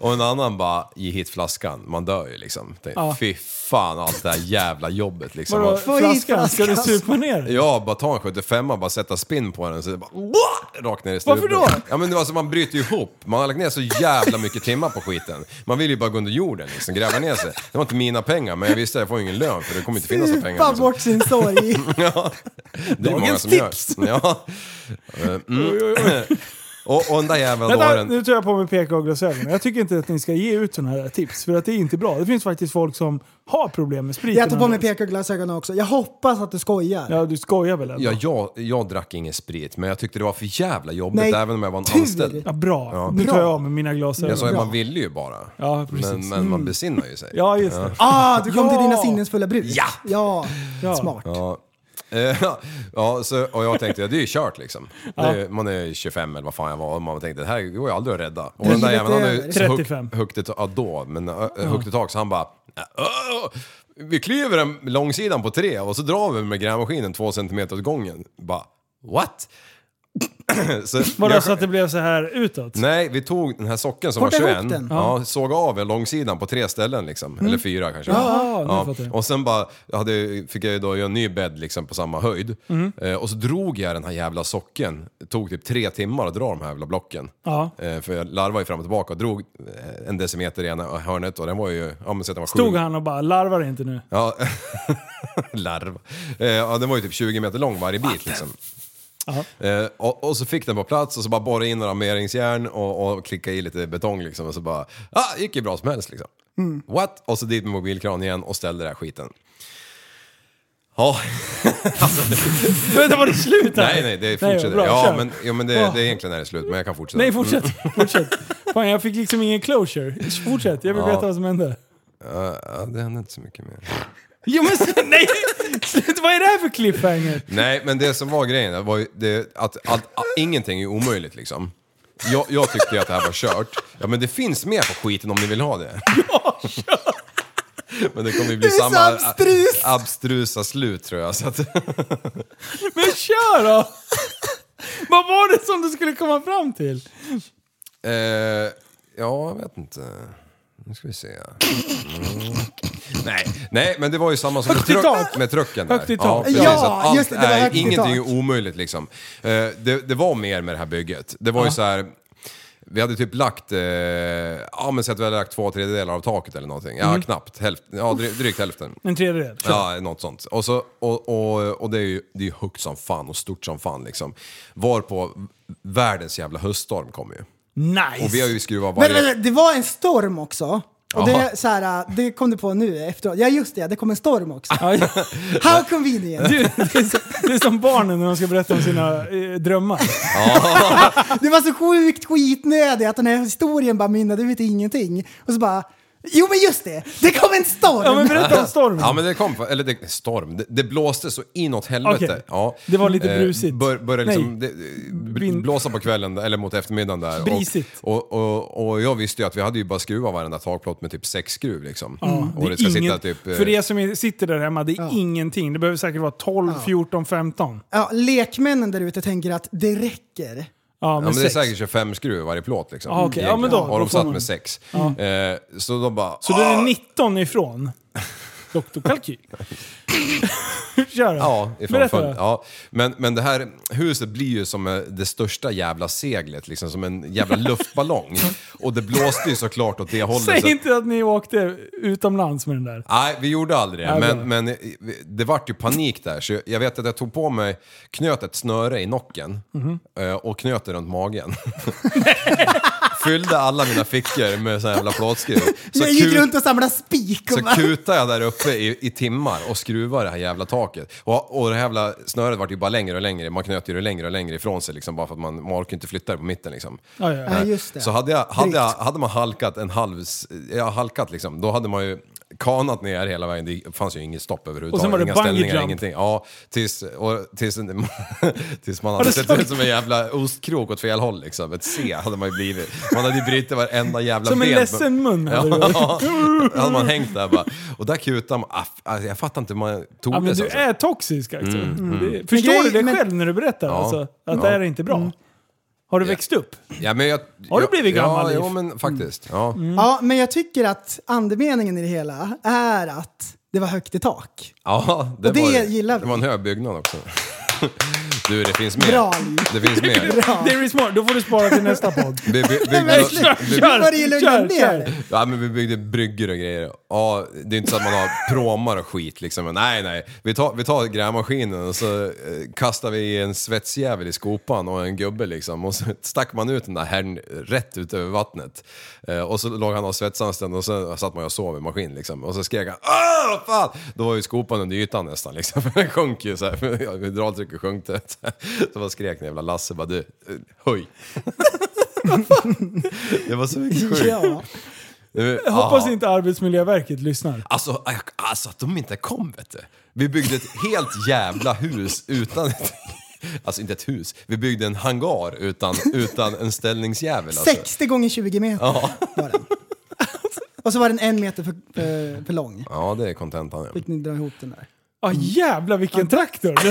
Speaker 7: och en annan bara, ge hit flaskan, man dör ju liksom. Tänkte,
Speaker 6: Ja.
Speaker 7: Fy fan allt det här jävla jobbet liksom.
Speaker 6: Vadå,
Speaker 7: Och-
Speaker 5: Få hit
Speaker 6: flaskan? Ska du
Speaker 5: flaskan.
Speaker 6: supa ner?
Speaker 7: Ja, bara ta en 75 bara sätta spinn på den så det bara... Wah! Rakt ner i strupen.
Speaker 6: Varför då?
Speaker 7: Ja men det var så man bryter ju ihop. Man har lagt ner så jävla mycket timmar på skiten. Man vill ju bara gå under jorden liksom, gräva ner sig. Det var inte mina pengar men jag visste att jag får ingen lön för det kommer inte finnas några pengar.
Speaker 6: liksom.
Speaker 5: Supa bort sin sorg.
Speaker 7: Ja. Det är ju många
Speaker 6: Dagens
Speaker 7: som
Speaker 6: tips.
Speaker 7: gör. Ja. Eh, mm.
Speaker 6: Oj, oj, oj.
Speaker 7: Och, och den där jäveln då har
Speaker 6: Vänta,
Speaker 7: en...
Speaker 6: nu tar jag på mig PK-glasögonen. Jag tycker inte att ni ska ge ut sådana här tips, för att det är inte bra. Det finns faktiskt folk som har problem med spriten.
Speaker 5: Jag tog på mig PK-glasögonen också. Jag hoppas att du skojar.
Speaker 6: Ja, du skojar väl ändå?
Speaker 7: Ja, jag, jag drack ingen sprit men jag tyckte det var för jävla jobbigt
Speaker 5: Nej,
Speaker 7: även om jag var en
Speaker 5: tur.
Speaker 7: anställd.
Speaker 6: Ja, bra.
Speaker 7: Ja.
Speaker 6: Nu tar
Speaker 5: Bra.
Speaker 6: jag av mig mina glasögon.
Speaker 7: Jag sa ju
Speaker 5: Bra.
Speaker 7: man ville ju bara.
Speaker 6: Ja, precis. Mm.
Speaker 7: men, men man besinnar ju sig.
Speaker 6: Ja, just det.
Speaker 5: Ah, du kom
Speaker 6: Ja.
Speaker 5: till dina sinnesfulla bruk.
Speaker 7: Ja.
Speaker 5: Ja,
Speaker 6: Ja.
Speaker 5: smart.
Speaker 7: Ja. Eh, ja, så, och jag tänkte, ja, det är ju kört liksom. Det är, Man är 25 eller vad fan jag var och man tänkte, det här går ju aldrig att rädda. Och den där
Speaker 5: Livet
Speaker 7: jäveln han har ju
Speaker 5: över.
Speaker 7: så högt-
Speaker 6: 35.
Speaker 7: högt i tak, ja, då, men ö, högt i tak så han bara, "Åh, vi klyver den långsidan på tre och så drar vi med grävmaskinen två centimeter åt gången. Bara, what? så,
Speaker 6: Vadå,
Speaker 7: jag-
Speaker 6: så att det blev så här utåt?
Speaker 7: Nej, vi tog den här socken som
Speaker 5: Korta
Speaker 7: var
Speaker 5: ihop
Speaker 7: 21,
Speaker 5: den.
Speaker 7: ja, såg av en långsidan på tre ställen liksom, eller fyra kanske.
Speaker 6: Mm. Ja, nu
Speaker 7: Ja,
Speaker 6: fattar jag.
Speaker 7: och sen bara, jag hade, fick jag ju då göra en ny bädd liksom på samma höjd.
Speaker 6: Mm.
Speaker 7: Eh, och så drog jag den här jävla socken. Det tog typ tre timmar att dra de här jävla blocken.
Speaker 6: Ja.
Speaker 7: Eh, för jag larvade ju fram och tillbaka och drog eh, en decimeter i ena hörnet och den var ju, ja men så att den var sju.
Speaker 6: Stod han och bara larvar inte nu?
Speaker 7: Ja, larv. Eh, ja, den var ju typ 20 meter lång varje bit liksom.
Speaker 6: Ja.
Speaker 7: Eh, och, och så fick den på plats och så bara borra in några armeringsjärn och, och klicka i lite betong liksom och så bara, ah, gick ju bra som helst liksom.
Speaker 6: Mm.
Speaker 7: What? Och så dit med mobilkran igen och ställde den här skiten. Ja,
Speaker 6: Vänta, var det slut här?
Speaker 7: nej nej, det fortsätter.
Speaker 6: bra,
Speaker 7: ja,
Speaker 6: kör.
Speaker 7: men, ja men det, det är egentligen när det är slut, men jag kan fortsätta.
Speaker 6: Nej, fortsätt. Fortsätt. Fan, jag fick liksom ingen closure. Fortsätt, jag vill veta vad som hände.
Speaker 7: Ja, ja, det hände inte så mycket mer.
Speaker 6: Jo men s- nej! Sluta, vad är det här för cliffhanger?
Speaker 7: Nej, men det som var grejen det var ju det, att, att, att ingenting är omöjligt liksom. Jag, jag tyckte ju att det här var kört. Ja, men det finns mer på skiten om ni vill ha det. Ja, kört! Men det kommer ju
Speaker 5: Du
Speaker 7: bli
Speaker 5: är så
Speaker 7: samma
Speaker 5: abstrus.
Speaker 7: a- abstrusa slut tror jag. Så att,
Speaker 6: Men kör då! Vad var det som du skulle komma fram till?
Speaker 7: eh, ja, jag vet inte. Nu ska vi se. Mm. Nej, nej, men det var ju samma som med,
Speaker 6: Högt i tak.
Speaker 7: truck, med trucken. Där.
Speaker 6: Högt i tak.
Speaker 7: precis.
Speaker 5: Ja,
Speaker 7: Att allt
Speaker 5: just det, det var
Speaker 7: är-
Speaker 5: högt i
Speaker 7: Ingenting
Speaker 5: tak.
Speaker 7: är omöjligt liksom. Eh, det, det var mer med det här bygget. Det var ju så här... Vi hade typ lagt, eh, ja men säg att vi hade lagt två tredjedelar av taket eller någonting.
Speaker 5: Mm.
Speaker 7: Ja knappt, hälften, ja dry- drygt hälften.
Speaker 6: En tredjedel.
Speaker 7: Ja, något sånt. Och, så, och, och, och det är ju det är ju högt som fan och stort som fan liksom. Varpå världens jävla höststorm kom ju.
Speaker 6: Nice!
Speaker 7: Och vi har ju skruvat
Speaker 5: Men,
Speaker 7: varje...
Speaker 5: men, det var en storm också. Och
Speaker 7: Jaha.
Speaker 5: det, så här, det kom du på nu efteråt. Ja just det, det kom en storm också.
Speaker 6: Ja,
Speaker 5: How convenient!
Speaker 6: Ah. du, det, är så, det är som barnen när de ska berätta om sina eh, drömmar.
Speaker 5: Det var så sjukt skitnödig att den här historien bara mynnade ut i ingenting. Och så bara, jo men just det, det kom en storm!
Speaker 6: Ja men berätta om stormen.
Speaker 7: Ja men det kom, eller det, storm, det, det blåste så inåt helvete.
Speaker 6: Okej.
Speaker 7: Ja. Eh,
Speaker 6: Det var lite brusigt.
Speaker 7: bör, började liksom
Speaker 6: Nej.
Speaker 7: det, bl- blåsa på kvällen eller mot eftermiddagen där.
Speaker 6: Brisigt.
Speaker 7: Och, och, och, och jag visste ju att vi hade ju bara skruvar varenda takplåt med typ sex skruv liksom. Och
Speaker 6: Det
Speaker 7: det,
Speaker 6: är
Speaker 7: ska
Speaker 6: ingen-
Speaker 7: sitta typ... eh,
Speaker 6: För er som sitter där hemma, det är ingenting. Det behöver säkert vara 12, 14, 15.
Speaker 5: Ja, lekmännen där ute tänker att det räcker.
Speaker 6: Ja,
Speaker 7: Ja,
Speaker 6: men
Speaker 7: men det är
Speaker 6: sex.
Speaker 7: säkert 25 skruv i varje plåt liksom.
Speaker 6: Ah, okej. Ja,
Speaker 7: egentligen.
Speaker 6: men då-
Speaker 7: och
Speaker 6: då
Speaker 7: de
Speaker 6: får
Speaker 7: satt
Speaker 6: man-
Speaker 7: med sex. Eh, så de bara...
Speaker 6: Så du är 19 ifrån. Dr. Kalkyl. Kör!
Speaker 7: Ja, ifrån
Speaker 6: Berätta.
Speaker 7: full, ja. Men, men det här huset blir ju som eh, det största jävla seglet, liksom som en jävla luftballong. Och det blåste ju såklart åt det hållet. så-
Speaker 6: Säg inte att ni åkte utomlands med den där.
Speaker 7: Nej, vi gjorde aldrig det.
Speaker 6: Nej,
Speaker 7: Men, men det vart ju panik där. Så jag vet att jag tog på mig, knöt ett snöre i nocken
Speaker 6: Mhm.
Speaker 7: eh, och knöt det runt magen. Fyllde alla mina fickor med sån här jävla plåtskruv. Så
Speaker 5: jag gick
Speaker 7: kul-
Speaker 5: runt och samlade spik. och
Speaker 7: så
Speaker 5: bara-
Speaker 7: kutade jag där uppe i, i timmar och skruvade det här jävla taket. Och, och det här jävla snöret vart ju bara längre och längre. Man knöt ju det längre och längre ifrån sig liksom, bara för att man, man orkar inte flytta det på mitten liksom.
Speaker 6: Ja, ja, ja.
Speaker 5: Ja, just det.
Speaker 7: Så hade, jag, hade, jag,
Speaker 5: Drygt.
Speaker 7: hade man halkat en halv... s- Ja, halkat liksom. Då hade man ju kanat ner hela vägen. Det fanns ju inget stopp överhuvudtaget.
Speaker 6: Och sen var det
Speaker 7: Inga
Speaker 6: bungee
Speaker 7: ställningar,
Speaker 6: jump.
Speaker 7: ingenting. Ja, tills, och, tills, tills man hade
Speaker 6: du
Speaker 7: sett
Speaker 6: slagit-
Speaker 7: ut som en jävla ostkrok åt fel håll liksom. Ett C hade man ju blivit. Man hade ju brutit varenda jävla
Speaker 6: Som en
Speaker 7: ben.
Speaker 6: ledsen mun hade du.
Speaker 7: Ja, då hade man hängt där bara. Och där kutade man. Ah, Alltså, jag fattar inte hur man tog
Speaker 6: Ja,
Speaker 7: det
Speaker 6: men
Speaker 7: så.
Speaker 6: du
Speaker 7: alltså. Mm,
Speaker 6: är toxisk Axel. Det, förstår
Speaker 5: Men
Speaker 6: du
Speaker 5: grej-
Speaker 6: det
Speaker 5: men- Mm.
Speaker 6: själv när du berättar? Alltså, att det här är inte bra. Har du växt upp?
Speaker 7: Ja, men jag,
Speaker 6: Har du blivit gammal, Mm.
Speaker 7: Ja,
Speaker 6: Liv?
Speaker 7: jo, men faktiskt. Ja.
Speaker 5: Ja, men jag tycker att andemeningen i det hela är att det var högt i tak.
Speaker 7: Ja, det,
Speaker 5: Och det
Speaker 7: var,
Speaker 5: gillar vi.
Speaker 7: Det var en hög byggnad också. Du, det finns mer.
Speaker 5: Bra, Liv.
Speaker 7: Det finns mer.
Speaker 5: Ja.
Speaker 6: Det är smart. Då får du spara till nästa podd.
Speaker 7: Vi, by,
Speaker 5: verkligen.
Speaker 7: byggde,
Speaker 5: Nu börjar det lugna
Speaker 6: kör,
Speaker 5: ner
Speaker 6: kör.
Speaker 5: dig.
Speaker 7: ja, men vi byggde bryggor och grejer. Ja, det är inte så att man har pråmar och skit liksom. Men nej, nej. Vi tar, vi tar grävmaskinen och så eh, kastar vi i en svetsjävel i skopan och en gubbe liksom. Och så stack man ut den där herrn rätt ut över vattnet. Eh, och så låg han och svetsade en stund och sen satt man och sov i maskin liksom. Och så skrek han Åh, vad fan! Då var ju skopan under ytan nästan liksom. För den sjönk ju såhär. Hydraultrycket sjönk. det. Så bara skrek den jävla Lasse bara du, eh, höj! Det var så mycket sjukt.
Speaker 5: Ja.
Speaker 7: Nu-
Speaker 6: Jag hoppas
Speaker 7: ja.
Speaker 6: inte Arbetsmiljöverket lyssnar.
Speaker 7: Alltså, aj- alltså att de inte kom vet du. Vi byggde ett helt jävla hus utan... Ett, alltså inte ett hus, vi byggde en hangar utan, utan en ställningsjävel. Alltså.
Speaker 5: 60 gånger 20 meter var den. Och så var den en meter för, för, för lång.
Speaker 7: Ja, det är kontentan. ja.
Speaker 5: Fick ni dra ihop den där.
Speaker 6: Ja Ah,
Speaker 7: Mm.
Speaker 6: jävlar vilken traktor! Det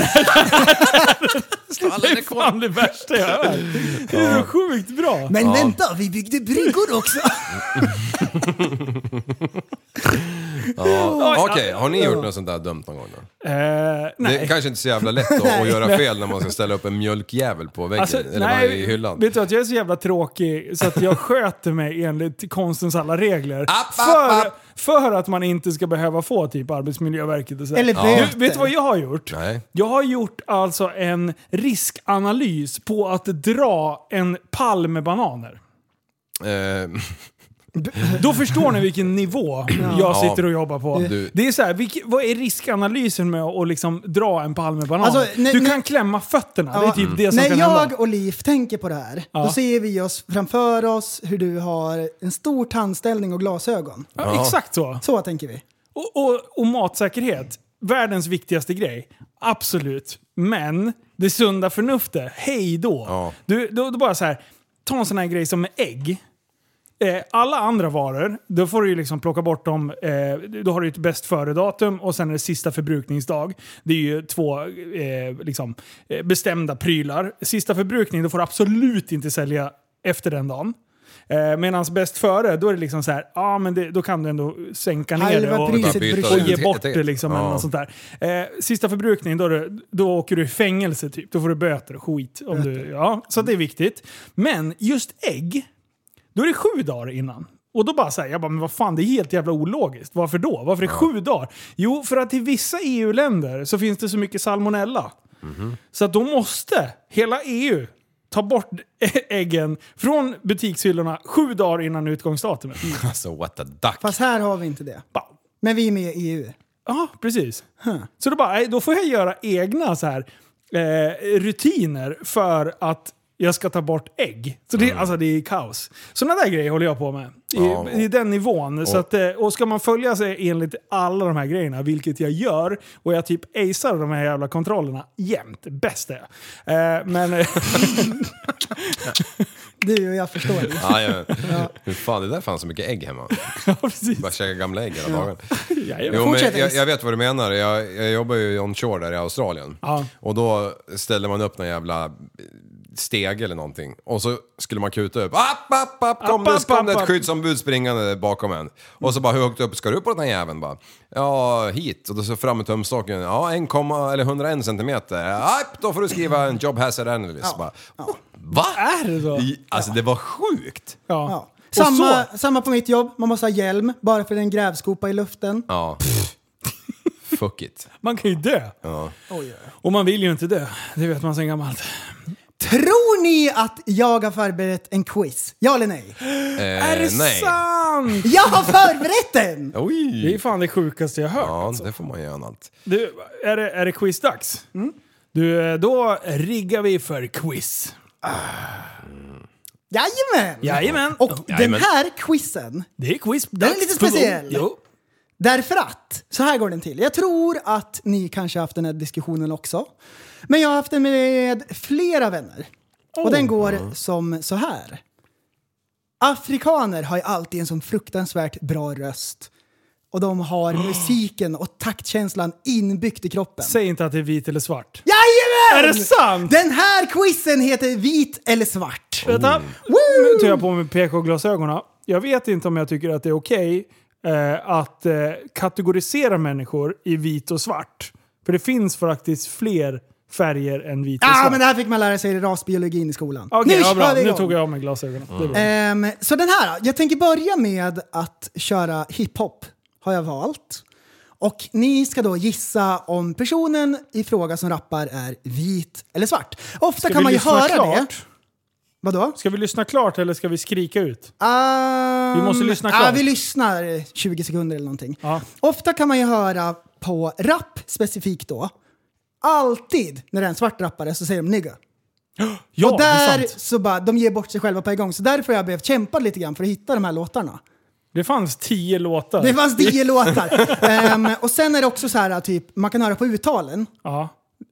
Speaker 6: där är fan det värsta jag har hört. Det är så sjukt bra. Eh,
Speaker 5: Men vänta, vi byggde bryggor också!
Speaker 7: Ja. Okej, har ni gjort något sånt där dumt någon gång då?
Speaker 6: Eh,
Speaker 7: Det
Speaker 6: nej.
Speaker 7: är kanske inte så jävla lätt att, att göra fel när man ska ställa upp en mjölkjävel på väggen
Speaker 6: Alltså,
Speaker 7: eller
Speaker 6: nej,
Speaker 7: i hyllan.
Speaker 6: Vet du att jag är så jävla tråkig så att jag sköter mig enligt konstens alla regler.
Speaker 7: app,
Speaker 6: för,
Speaker 7: app.
Speaker 6: för att man inte ska behöva få typ Arbetsmiljöverket och så. här.
Speaker 5: Eller
Speaker 6: du,
Speaker 5: böter.
Speaker 6: Vet du vad jag har gjort?
Speaker 7: Nej.
Speaker 6: Jag har gjort alltså en riskanalys på att dra en pall med bananer.
Speaker 7: Eh,
Speaker 6: Då förstår ni vilken nivå jag sitter och jobbar på.
Speaker 7: Du-
Speaker 6: Det är så här, vilk, vad är riskanalysen med att liksom dra en palm med banan?
Speaker 5: Alltså, när-
Speaker 6: du
Speaker 5: när-
Speaker 6: kan klämma fötterna, det är
Speaker 5: Ja,
Speaker 6: typ det som
Speaker 5: När
Speaker 6: kan
Speaker 5: jag
Speaker 6: hända.
Speaker 5: och Liv tänker på det här,
Speaker 6: Ja.
Speaker 5: då ser vi oss framför oss hur du har en stor tandställning och glasögon.
Speaker 6: Ja, exakt så.
Speaker 5: Så tänker vi.
Speaker 6: Och, och, och matsäkerhet, världens viktigaste grej. Absolut. Men det sunda förnuftet, hej då.
Speaker 7: Ja.
Speaker 6: Du, då, då bara så här, ta en sån här grej som med ägg. Eh, alla andra varor, då får du ju liksom plocka bort dem. Eh, då har du ett bäst före-datum och sen är det sista förbrukningsdag. Det är ju två eh, liksom, eh, bestämda prylar. Sista förbrukning, då får du absolut inte sälja efter den dagen. Eh, Medan bäst före, då är det liksom så här, ja men det, då kan du ändå sänka ner det.
Speaker 5: Halva
Speaker 6: och-
Speaker 5: priset
Speaker 7: byta
Speaker 5: bryr
Speaker 7: ut.
Speaker 6: och
Speaker 5: sig
Speaker 6: ge
Speaker 5: inte.
Speaker 7: Jag
Speaker 6: bort
Speaker 7: tänkte-
Speaker 6: det liksom.
Speaker 7: ja.
Speaker 6: Eller något sånt där. Eh, sista förbrukningen, då, är det- då åker du i fängelse typ. Då får du böter och skit. Om du, ja, så det är viktigt. Men just ägg, då är det sju dagar innan. Och då bara säger jag bara, men vad fan det är helt jävla ologiskt. Varför då? Varför är det sju dagar? Jo, för att i vissa EU-länder så finns det så mycket salmonella.
Speaker 7: Mhm.
Speaker 6: Så att då måste hela EU ta bort äggen från butikshyllorna sju dagar innan utgångsdatumet.
Speaker 7: alltså what the duck.
Speaker 5: Fast här har vi inte det.
Speaker 6: Bara,
Speaker 5: Men vi är med i E EU.
Speaker 6: Ja, precis. Så då bara, nej, då får jag göra egna så här, eh, rutiner för att jag ska ta bort ägg. Så det, alltså, det är kaos. Sådana där grejer håller jag på med. I,
Speaker 7: Mm. Ja.
Speaker 6: i den nivån. så att, eh, och ska man följa sig enligt alla de här grejerna, vilket jag gör, och jag typ acear de här jävla kontrollerna jämt. Bäst är jag. Eh, men eh,
Speaker 5: Du och jag förstår det.
Speaker 7: Ja, ja. Hur fan, det där fanns så mycket ägg hemma.
Speaker 6: ja, precis.
Speaker 7: Bara käka gamla ägg hela dagen.
Speaker 6: Jajamän.
Speaker 7: Jo, men
Speaker 5: Fortsätt,
Speaker 7: jag,
Speaker 5: Ace.
Speaker 7: jag vet vad du menar. Jag, jag jobbar ju onshore där i Australien.
Speaker 6: Ja.
Speaker 7: Och då ställde man upp någon jävla eh, steg eller någonting. Och så skulle man kuta upp. App, app, app, kom
Speaker 6: App,
Speaker 7: det,
Speaker 6: app,
Speaker 7: kom det
Speaker 6: app,
Speaker 7: ett
Speaker 6: app.
Speaker 7: skyddsombud springande bakom en. Och så bara, hur högt upp ska du upp på den här jäveln? Bara, ja, hit. Och då så fram med tumstocken. Ja, 1, eller 101 centimeter. App, då får du skriva en job hazard analysis. Bara, Va?
Speaker 6: Är det så?
Speaker 7: I- Alltså det var sjukt.
Speaker 6: Ja.
Speaker 5: Ja.
Speaker 6: Och
Speaker 5: Samma,
Speaker 6: så-
Speaker 5: samma på mitt jobb, man måste ha hjälm bara för det är en grävskopa i luften.
Speaker 7: Ja. Fuck it.
Speaker 6: Man kan ju dö. Och man vill ju inte dö. Det vet man sen gammalt.
Speaker 7: Eh,
Speaker 5: Tror ni att jag har förberett en quiz? Ja eller nej?
Speaker 7: Eh,
Speaker 6: är det
Speaker 7: nej.
Speaker 6: sant?
Speaker 5: Jag har förberett den!
Speaker 6: Det
Speaker 7: Oj!
Speaker 6: är fan det sjukaste jag hört.
Speaker 7: Ja,
Speaker 5: Alltså.
Speaker 7: det får man göra allt.
Speaker 6: Du, är det, är det quizdags?
Speaker 5: Mm.
Speaker 6: Du, eh, då riggar vi för quiz.
Speaker 5: Jajamän!
Speaker 6: Jajamän.
Speaker 5: Och
Speaker 7: Jajamän.
Speaker 5: den här quizen,
Speaker 6: det är quiz
Speaker 5: Den är lite speciell.
Speaker 6: Jo.
Speaker 5: därför att, så här går den till. Jag tror att ni kanske haft den här diskussionen också. Men jag har haft den med flera vänner. Och
Speaker 6: Oh.
Speaker 5: den går som så här. Afrikaner har ju alltid en sån fruktansvärt bra röst. Och de har musiken och taktkänslan inbyggt i kroppen.
Speaker 6: Säg inte att det är vit eller svart.
Speaker 5: Jajamän!
Speaker 6: Är det sant?
Speaker 5: Den här quizen heter Vit eller svart.
Speaker 6: Vänta, nu tar jag på mig PK-glasögonen. Jag vet inte om jag tycker att det är okej eh, att eh, kategorisera människor i vit och svart. För det finns faktiskt fler färger än vit och
Speaker 5: Ja,
Speaker 6: svart.
Speaker 5: Ah, men det här fick man lära sig i rasbiologin i skolan.
Speaker 6: Okej, ja,
Speaker 5: kör
Speaker 6: bra.
Speaker 5: vi
Speaker 6: Nu
Speaker 5: igång.
Speaker 6: tog jag av mig glasögonen. Det är bra.
Speaker 5: Ehm, så den här då. Jag tänker börja med att köra hiphop. Har jag valt. Och ni ska då gissa om personen i fråga som rappar är vit eller svart. Ofta
Speaker 6: Ska
Speaker 5: kan
Speaker 6: vi
Speaker 5: man ju
Speaker 6: lyssna
Speaker 5: höra det.
Speaker 6: klart?
Speaker 5: Vadå?
Speaker 6: Ska vi lyssna klart eller ska vi skrika ut?
Speaker 5: Ehm,
Speaker 6: Vi måste lyssna
Speaker 5: Ja,
Speaker 6: klart.
Speaker 5: vi lyssnar 20 sekunder eller någonting.
Speaker 6: Ja.
Speaker 5: Ofta kan man ju höra på rap specifikt då. Alltid när det är en svart rappare så säger de nigga.
Speaker 6: Ja,
Speaker 5: och
Speaker 6: det är
Speaker 5: där
Speaker 6: sant.
Speaker 5: så bara, de ger bort sig själva på en gång. Så därför har jag behövt kämpa lite grann för att hitta de här låtarna.
Speaker 6: Det fanns tio låtar.
Speaker 5: Det fanns tio låtar. Ehm, och sen är det också så här, typ, man kan höra på uttalen
Speaker 6: ja.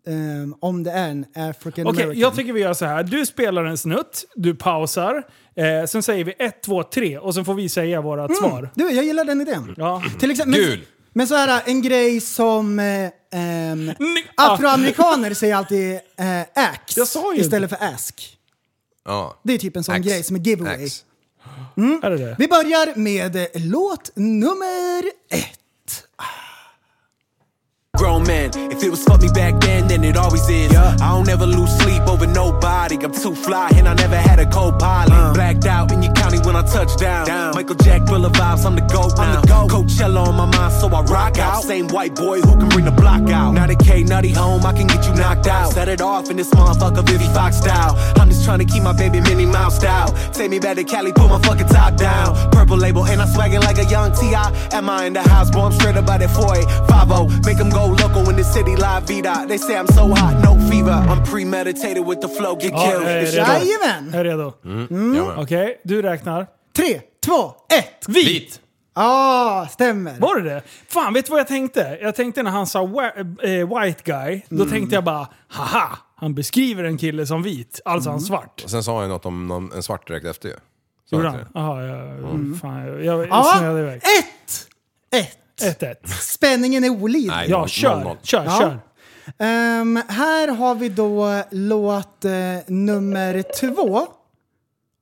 Speaker 5: ehm, om det är en African
Speaker 6: Okej,
Speaker 5: American.
Speaker 6: jag tycker vi gör så här. Du spelar en snutt, du pausar, eh, sen säger vi ett, två, tre och sen får vi säga vårat svar.
Speaker 5: Du, jag gillar den idén.
Speaker 6: Ja.
Speaker 5: Till exempel, men,
Speaker 7: Kul.
Speaker 5: men så här, en grej som eh, ehm,
Speaker 6: Ni- ah.
Speaker 5: afroamerikaner säger alltid eh, ax
Speaker 6: Jag sa ju det.
Speaker 5: istället för ask.
Speaker 7: Ja.
Speaker 5: Det är typ en sån
Speaker 7: Ax.
Speaker 5: grej som är giveaway.
Speaker 7: Ax.
Speaker 6: Är det det?
Speaker 5: Vi börjar med eh, låt nummer ett.
Speaker 4: Grown man, if it was fuck me back then, then it always is. I don't ever lose sleep over nobody. I'm too fly and I never had a co-pilot. Blacked out in your county when I touch Uh. down. Michael Jack Thriller vibes, I'm the GOAT now. I'm the GOAT. Coachella on my mind, so I rock out. Same white boy who can bring the block out. Now the K nutty home, I can get you knocked out. Set it off in this motherfucker Vivi Fox style. I'm just trying to keep my baby Minnie Mouse style. Take me back to Cali, put my fucking top down. Purple label and I'm swagging like a young T.I. Am I in the house, boy, I'm straight up out at 4850. oh. Make them go local in the city, La Vida. They say I'm so hot, no fever. I'm premeditated with the flow, get
Speaker 6: Ja,
Speaker 4: killed.
Speaker 6: jag är Eh.
Speaker 4: It's
Speaker 6: redo.
Speaker 5: Jajamän.
Speaker 6: Jag är redo.
Speaker 5: Mm.
Speaker 6: Okej, du räknar.
Speaker 5: Tre, två, ett.
Speaker 6: Vit!
Speaker 5: Ja, stämmer.
Speaker 6: Var det det? Fan, vet du vad jag tänkte? Jag tänkte när han sa whi- eh, white guy, då tänkte jag bara haha, han beskriver en kille som vit, alltså han svart.
Speaker 7: Och sen sa jag något om någon, en svart direkt efter ju. Sa
Speaker 6: Gjorde
Speaker 7: jag
Speaker 6: han?
Speaker 7: inte det?
Speaker 6: Jaha, jag, fan, jag, jag
Speaker 5: Ja,
Speaker 6: snöade iväg.
Speaker 5: ett, ett.
Speaker 6: 1-1.
Speaker 5: Spänningen är olidlig.
Speaker 7: Nej,
Speaker 6: Ja,
Speaker 7: noll-
Speaker 6: kör,
Speaker 7: noll- noll.
Speaker 6: kör,
Speaker 5: Ja.
Speaker 6: kör.
Speaker 5: Ehm, här har vi då låt eh, nummer två.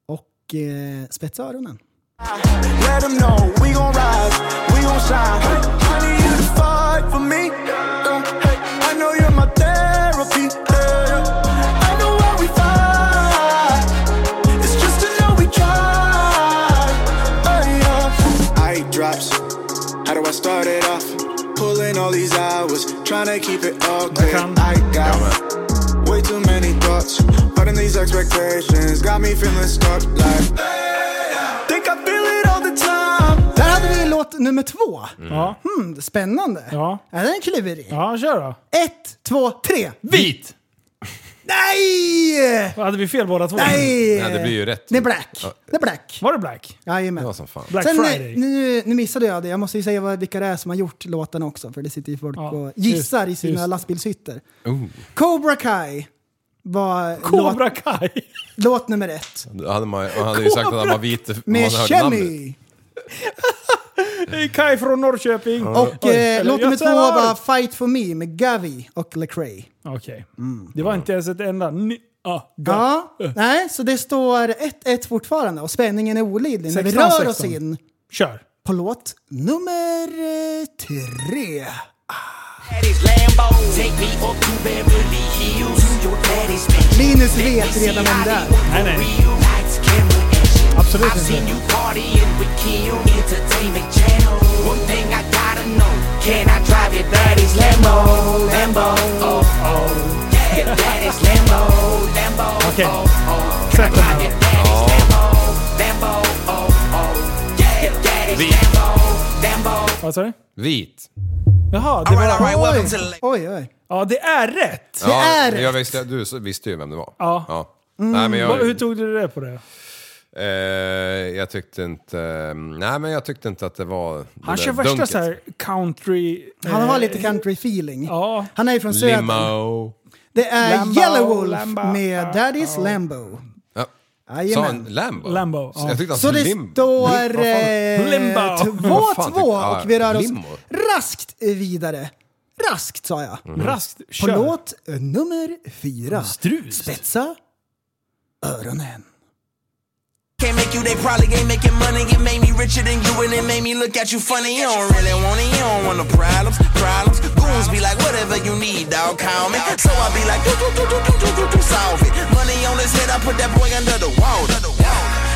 Speaker 5: Och eh, spetsa öronen.
Speaker 4: Let them know we gon' rise, we gon' shine. Honey, you the fight for me. Uh, hey, I know you're my therapy. yeah. I know why we fight. It's just to know we tried. Hey, uh. I eat drops. How do I start it off? Pulling all these hours, trying to keep it all clear.
Speaker 6: come.
Speaker 4: I got way too many thoughts, but in these expectations got me feeling stuck. Like, think I feel it all the time.
Speaker 5: Där hade vi låt nummer två.
Speaker 6: Ja.
Speaker 5: Hmm, spännande.
Speaker 6: Ja.
Speaker 5: Är den är klurig?
Speaker 6: ja, kör då.
Speaker 5: Ett, två, tre.
Speaker 6: Vit!
Speaker 5: Nej!
Speaker 6: Hade vi fel båda två?
Speaker 5: Nej!
Speaker 7: Nej, det blir ju rätt.
Speaker 5: Det är black.
Speaker 7: Ja.
Speaker 5: Det är black.
Speaker 6: Var det black?
Speaker 5: Jajamän.
Speaker 7: Det var som fan.
Speaker 6: Black
Speaker 5: Sen,
Speaker 6: Friday?
Speaker 5: eh, nu, nu missade jag det. Jag måste ju säga vad vilka det är som har gjort låtarna också. För det sitter ju folk
Speaker 6: Ja,
Speaker 5: och
Speaker 6: just-
Speaker 5: gissar i sina
Speaker 6: just.
Speaker 5: lastbilshytter.
Speaker 7: Oh,
Speaker 5: Cobra Kai var låt,
Speaker 6: Cobra Kai!
Speaker 5: låt nummer ett.
Speaker 7: då hade man, man hade ju sagt att han var vit. om man
Speaker 5: Med
Speaker 7: hörde namnet.
Speaker 5: Chemi.
Speaker 6: Det är Kai från Norrköping!
Speaker 5: Och
Speaker 6: Oj,
Speaker 5: eh,
Speaker 6: eller
Speaker 5: låt nummer två
Speaker 6: Göteborg.
Speaker 5: var Fight for me med Gavi och Lecrae.
Speaker 6: Okej. Det var inte ens ett enda... Ah, Ni, Ja, bra.
Speaker 5: Mm. Ja, nej, så det står 1-1 fortfarande och spänningen är olidlig när vi
Speaker 6: 16,
Speaker 5: rör oss
Speaker 6: 16.
Speaker 5: in
Speaker 6: Kör.
Speaker 5: på låt nummer eh, tre.
Speaker 8: daddy's Lambo. Take me up to Beverly Hills. To your daddy's mansion.
Speaker 5: Linus vet redan vem det är.
Speaker 6: Nej, nej.
Speaker 8: Real lights, camera, action.
Speaker 5: Absolut
Speaker 8: I've seen
Speaker 5: inte.
Speaker 8: you partying with Kim. Entertainment channel. One thing I gotta know. Can I drive your daddy's Lambo? Lambo. Oh, oh. Yeah, your daddy's Lambo. Lambo.
Speaker 6: Okej.
Speaker 8: Oh, oh. Can I
Speaker 6: Sätt den
Speaker 8: drive
Speaker 6: här.
Speaker 8: your daddy's Lambo? Lambo. Oh, oh. Yeah, your daddy's Lambo. Lambo.
Speaker 6: Vad sa du?
Speaker 7: Vit.
Speaker 6: Jaha, det var...
Speaker 2: Alright, welcome to the
Speaker 5: Oj, oj, oj.
Speaker 6: Ja, det är rätt!
Speaker 7: Ja,
Speaker 5: är
Speaker 7: jag visste, du så- visste ju vem det var.
Speaker 6: Ja.
Speaker 7: Nej, men
Speaker 6: Vad-
Speaker 7: jag,
Speaker 6: Hur tog du det på det?
Speaker 7: eh, jag tyckte inte... eh, Nej, men jag tyckte inte att det var... det
Speaker 6: Han
Speaker 7: där
Speaker 6: kör värsta
Speaker 7: dunket.
Speaker 6: så här country...
Speaker 5: Han har
Speaker 6: eh,
Speaker 5: lite country feeling.
Speaker 6: Ja.
Speaker 5: Han är ju från södern.
Speaker 7: Limo.
Speaker 5: Det är
Speaker 6: Lambo,
Speaker 5: Yellow Wolf
Speaker 6: Lambo,
Speaker 5: med
Speaker 6: ja,
Speaker 5: Daddy's Lambo.
Speaker 7: Ja. Sa han
Speaker 5: Jajamän.
Speaker 7: Lambo?
Speaker 6: Lambo,
Speaker 7: Så
Speaker 6: ja.
Speaker 7: Jag tyckte han
Speaker 5: Så
Speaker 7: sa
Speaker 5: det
Speaker 7: lim...
Speaker 5: står
Speaker 7: Lim- vad fan?
Speaker 6: Limbo.
Speaker 7: Vad fan tyckte-
Speaker 5: 2-2
Speaker 7: ja,
Speaker 5: och vi rör oss
Speaker 7: limo.
Speaker 5: raskt vidare. Raskt sa jag.
Speaker 6: Raskt,
Speaker 5: På
Speaker 6: kör!
Speaker 5: låt eh, nummer fyra.
Speaker 6: Strut!
Speaker 5: Spetsa öronen.
Speaker 9: Can't make you, they probably ain't making money. It made me richer than you, and it made me look at you funny. You don't really want it, you don't want no problems, problems. Goons be like, whatever you need, dog, call me. So I be like, do, do, do, do, do, do, do, do, solve it. Money on his head, I put that boy under the water.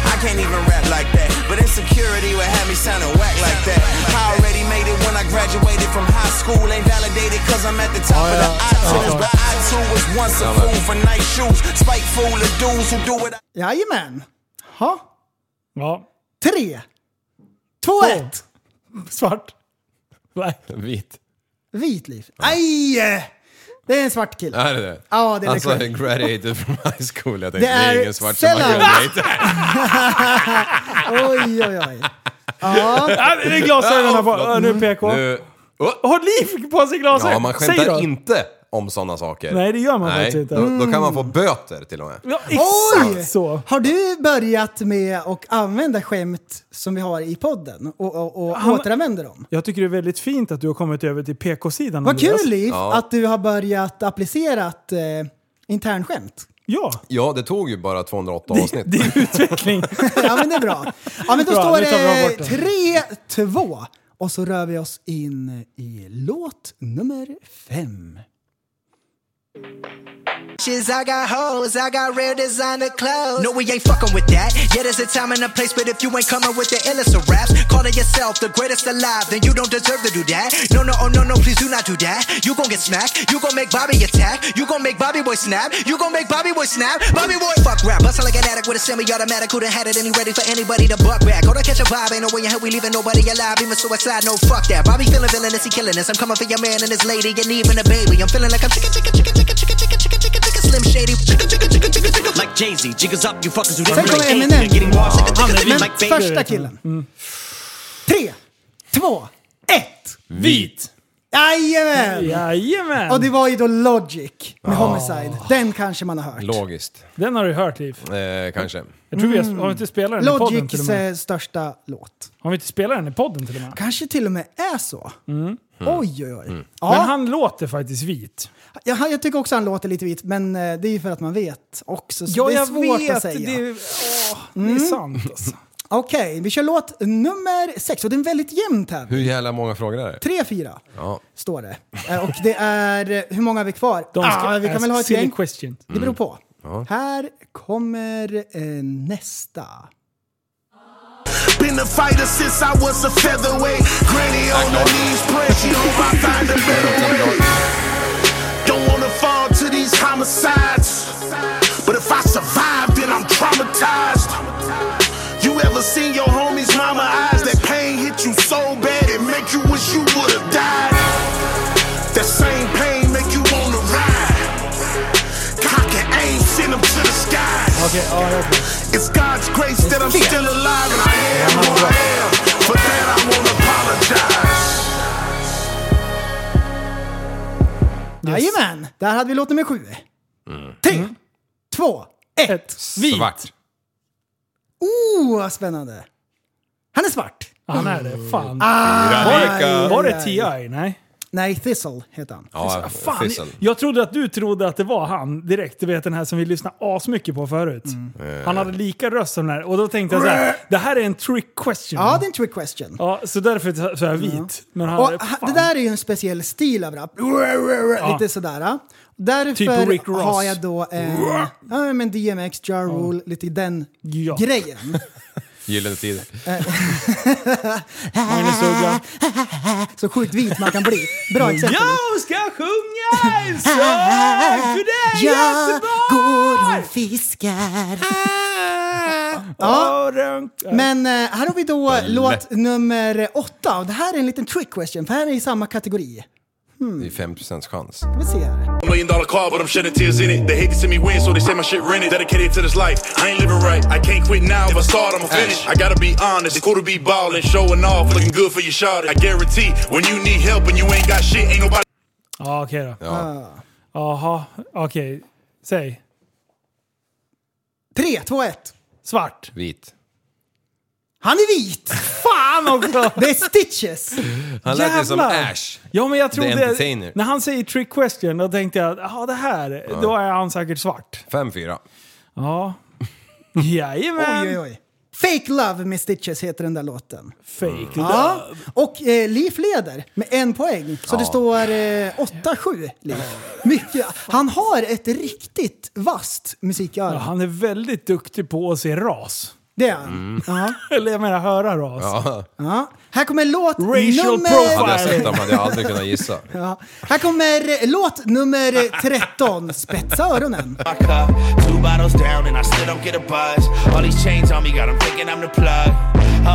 Speaker 9: I can't even rap like that, but insecurity would have me sounding whack like that. I already made it when I graduated from high school, ain't validated cause I'm at the top of the iTunes. But I too was once a fool for nice shoes, spiteful of dudes who do it.
Speaker 5: Jajamän. Ha.
Speaker 6: Ja,
Speaker 5: Tre. Två, ett.
Speaker 6: svart. Nej.
Speaker 5: eh,
Speaker 7: Vit.
Speaker 5: Vit liv. Aj! Det är en svart kille.
Speaker 7: Är det det?
Speaker 5: Ja, det är
Speaker 7: Han sa
Speaker 5: det.
Speaker 7: graduated from high school. Jag tänkte,
Speaker 5: Det
Speaker 7: det är,
Speaker 5: är
Speaker 7: ingen svart som har
Speaker 5: sellout.
Speaker 7: graduated.
Speaker 5: Oj, oj, oj. Ja,
Speaker 6: Ah, det är glasögonen på. Ah, nu PK.
Speaker 7: Nu... Oh.
Speaker 6: Har Liv på sig glasögon?
Speaker 7: Ja, man
Speaker 6: Säg
Speaker 7: skämtar
Speaker 6: då.
Speaker 7: inte om sådana saker.
Speaker 6: Nej, det gör man
Speaker 7: Nej,
Speaker 6: faktiskt inte.
Speaker 7: Då, då kan man få böter till och med.
Speaker 6: Ja, exakt
Speaker 5: Oj!
Speaker 6: så!
Speaker 5: har du börjat med att använda skämt som vi har i podden och, och, och
Speaker 6: Han-
Speaker 5: återanvänder dem?
Speaker 6: Jag tycker det är väldigt fint att du har kommit över till PK-sidan.
Speaker 5: Vad
Speaker 6: Andreas.
Speaker 5: kul Liv
Speaker 7: Ja.
Speaker 5: att du har börjat applicera ett eh, internskämt.
Speaker 6: Ja,
Speaker 7: Ja, det tog ju bara 208 avsnitt.
Speaker 6: det är utveckling.
Speaker 5: Ja men det är bra. Ja men då
Speaker 6: Bra,
Speaker 5: står
Speaker 6: nu tar vi bort
Speaker 5: det 3-2 och så rör vi oss in i låt nummer fem.
Speaker 9: Bitches, I got hoes, I got real designer clothes. No, we ain't fucking with that. Yeah, there's a time and a place, but if you ain't coming with the illest of raps, calling yourself the greatest alive, then you don't deserve to do that. No, no, oh no, no, please do not do that. You gon' get smacked, you gon' make Bobby attack, you gon' make Bobby Boy snap, you gon' make Bobby Boy snap. Bobby Boy fuck rap, bustin' like an addict with a semi-automatic who done had it and he ready for anybody to buck back. Go to catch a vibe, ain't no way in hell we leaving nobody alive, even suicide. No fuck that. Bobby feeling villainous, he killing us. I'm coming for your man and his lady and even a baby. I'm feeling like I'm chicken, chicken, chicken, chicken, chicken, chicken, chicken, chicken, chicken, slim shady. Chicken, chicken, chicken, chicken, chicken, like Jay Z. Jiggers up, you fuckers who
Speaker 5: Sen
Speaker 9: didn't
Speaker 5: kommer
Speaker 9: really hate
Speaker 5: Eminem.
Speaker 9: me. Getting washed, chicken, chicken, chicken,
Speaker 5: Men
Speaker 9: like baby.
Speaker 5: första
Speaker 6: Mm.
Speaker 5: killen. Tre, två, ett.
Speaker 7: Vit!
Speaker 5: Jajamän!
Speaker 6: Jajamän!
Speaker 5: Och det var ju då Logic med Homicide. Den kanske man har hört.
Speaker 7: Logiskt,
Speaker 6: Den har du hört Liv.
Speaker 7: eh, kanske.
Speaker 6: Jag tror vi
Speaker 5: Mm.
Speaker 6: har, har vi inte spelat den i podden till och
Speaker 5: Logics
Speaker 6: med?
Speaker 5: eh, största låt.
Speaker 6: Har vi inte spelat den i podden till och med?
Speaker 5: Kanske till och med är så. Oj, oj, oj.
Speaker 6: Mm. Men
Speaker 5: Ja,
Speaker 6: han låter faktiskt vit.
Speaker 5: jag, jag tycker också han låter lite vit, men eh, det är ju för att man vet också. Så det är svårt att säga. Mm.
Speaker 6: Det, är- åh, det är sant alltså.
Speaker 5: Okej, vi kör låt nummer sex. Och det är en väldigt jämn tävling.
Speaker 7: Hur jävla många frågor är det?
Speaker 5: 3-4
Speaker 7: Ja.
Speaker 5: står det. Eh, Och det är... eh, Hur många har vi kvar?
Speaker 6: De ska
Speaker 5: ah, vi kan
Speaker 6: ask
Speaker 5: väl ha ett
Speaker 6: silly
Speaker 5: gäng.
Speaker 6: question. Mm.
Speaker 5: Det beror på. Här kommer eh, nästa.
Speaker 4: Been a fighter since I was a featherweight. Granny on her knees, praying she hope I find a better way. Don't wanna fall to these homicides, but if I survive, then I'm traumatized. You ever seen your homies' mama eyes? That pain hit you so bad it make you wish you would've died. That same pain make you wanna ride. Cock and aim, send 'em to the skies.
Speaker 6: Okej, ja, jag tror.
Speaker 4: It's God's grace that I'm still alive and I am who I am. For that I won't apologize.
Speaker 5: Jajamän! Där hade vi låt nummer sju.
Speaker 6: Mm.
Speaker 5: Tre, två, ett.
Speaker 6: Vit.
Speaker 7: Svart.
Speaker 5: Oh, vad spännande! Han är svart.
Speaker 6: Han är det. Fan.
Speaker 7: Fyra
Speaker 5: Ah,
Speaker 6: var,
Speaker 7: lika.
Speaker 6: det, var det T.I.? Nej.
Speaker 5: Nej, Thistle heter han.
Speaker 7: Ja,
Speaker 6: Fan,
Speaker 7: fissen.
Speaker 6: jag trodde att du trodde att det var han direkt. Du vet den här som vi lyssnade asmycket på förut.
Speaker 5: Mm.
Speaker 6: Han hade lika röst som den här. Och då tänkte jag så här, det här är en trick question.
Speaker 5: Ja, det är en trick question.
Speaker 6: Ja, så därför så- så är jag vit. Men han,
Speaker 5: Och,
Speaker 6: fan.
Speaker 5: ha- det där är ju en speciell stil av rap. Lite sådär. Därför
Speaker 6: Typ Rick Ross.
Speaker 5: har jag då en, ja, men DMX, Ja Rule, lite den
Speaker 6: Ja.
Speaker 5: grejen.
Speaker 7: Gyllene tider.
Speaker 6: Han ville suga.
Speaker 5: Så sjukt vit man kan bli. Bra exempel.
Speaker 6: Jag ska sjunga en sång för dig
Speaker 5: Jag går
Speaker 6: Göteborg!
Speaker 5: och fiskar.
Speaker 6: Ja. Men,
Speaker 5: Men eh, här har vi då låt nummer åtta. Och det här är en liten trick question, för här är i samma kategori.
Speaker 7: Det är 5% chans.
Speaker 5: Vi får se här.
Speaker 9: Million dollar car, but I'm shedding tears in it. They hate to see me win, so they say my shit rented. Dedicated to this life, I ain't living right. I can't quit now, if I start, I'ma finish. I gotta be honest, it's cool to be ballin', showing off, looking good for your shot. I guarantee, when you need help and you ain't got shit, ain't nobody.
Speaker 6: ja, okej då.
Speaker 7: Ja.
Speaker 6: Jaha, okej. Säg.
Speaker 5: Tre, två, ett.
Speaker 6: Svart.
Speaker 7: Vit.
Speaker 5: Han är vit! Fan också! Det är Stitches!
Speaker 7: Han lät ju som
Speaker 6: Jävlar!
Speaker 7: Ash.
Speaker 6: Ja, men jag trodde...
Speaker 7: Entertainer.
Speaker 6: När han säger trick question, då tänkte jag att ah, det här, då är han säkert svart.
Speaker 7: 5-4.
Speaker 6: Ja. Jajamän!
Speaker 5: Oj, oj, oj. Fake Love med Stitches heter den där låten.
Speaker 6: Fake
Speaker 5: Ja, och eh, Leaf leder med en poäng. Så det står eh, 8-7 Leaf. Mycket. Han har ett riktigt vasst
Speaker 6: Ja,
Speaker 5: musiköra.
Speaker 6: han är väldigt duktig på att se ras.
Speaker 5: Det är han.
Speaker 6: Mm.
Speaker 5: Ja.
Speaker 6: Eller jag menar höra ras.
Speaker 7: Ja.
Speaker 5: Ja. Här kommer låt
Speaker 6: Racial
Speaker 5: nummer...
Speaker 7: Hade jag
Speaker 6: profile.
Speaker 7: sett dem hade jag aldrig kunnat gissa.
Speaker 5: Ja. Här kommer eh, låt nummer 13. Spetsa öronen.
Speaker 10: my cup. Two bottles down and I still don't get a buzz. All these chains on me got 'em thinking I'm the plug.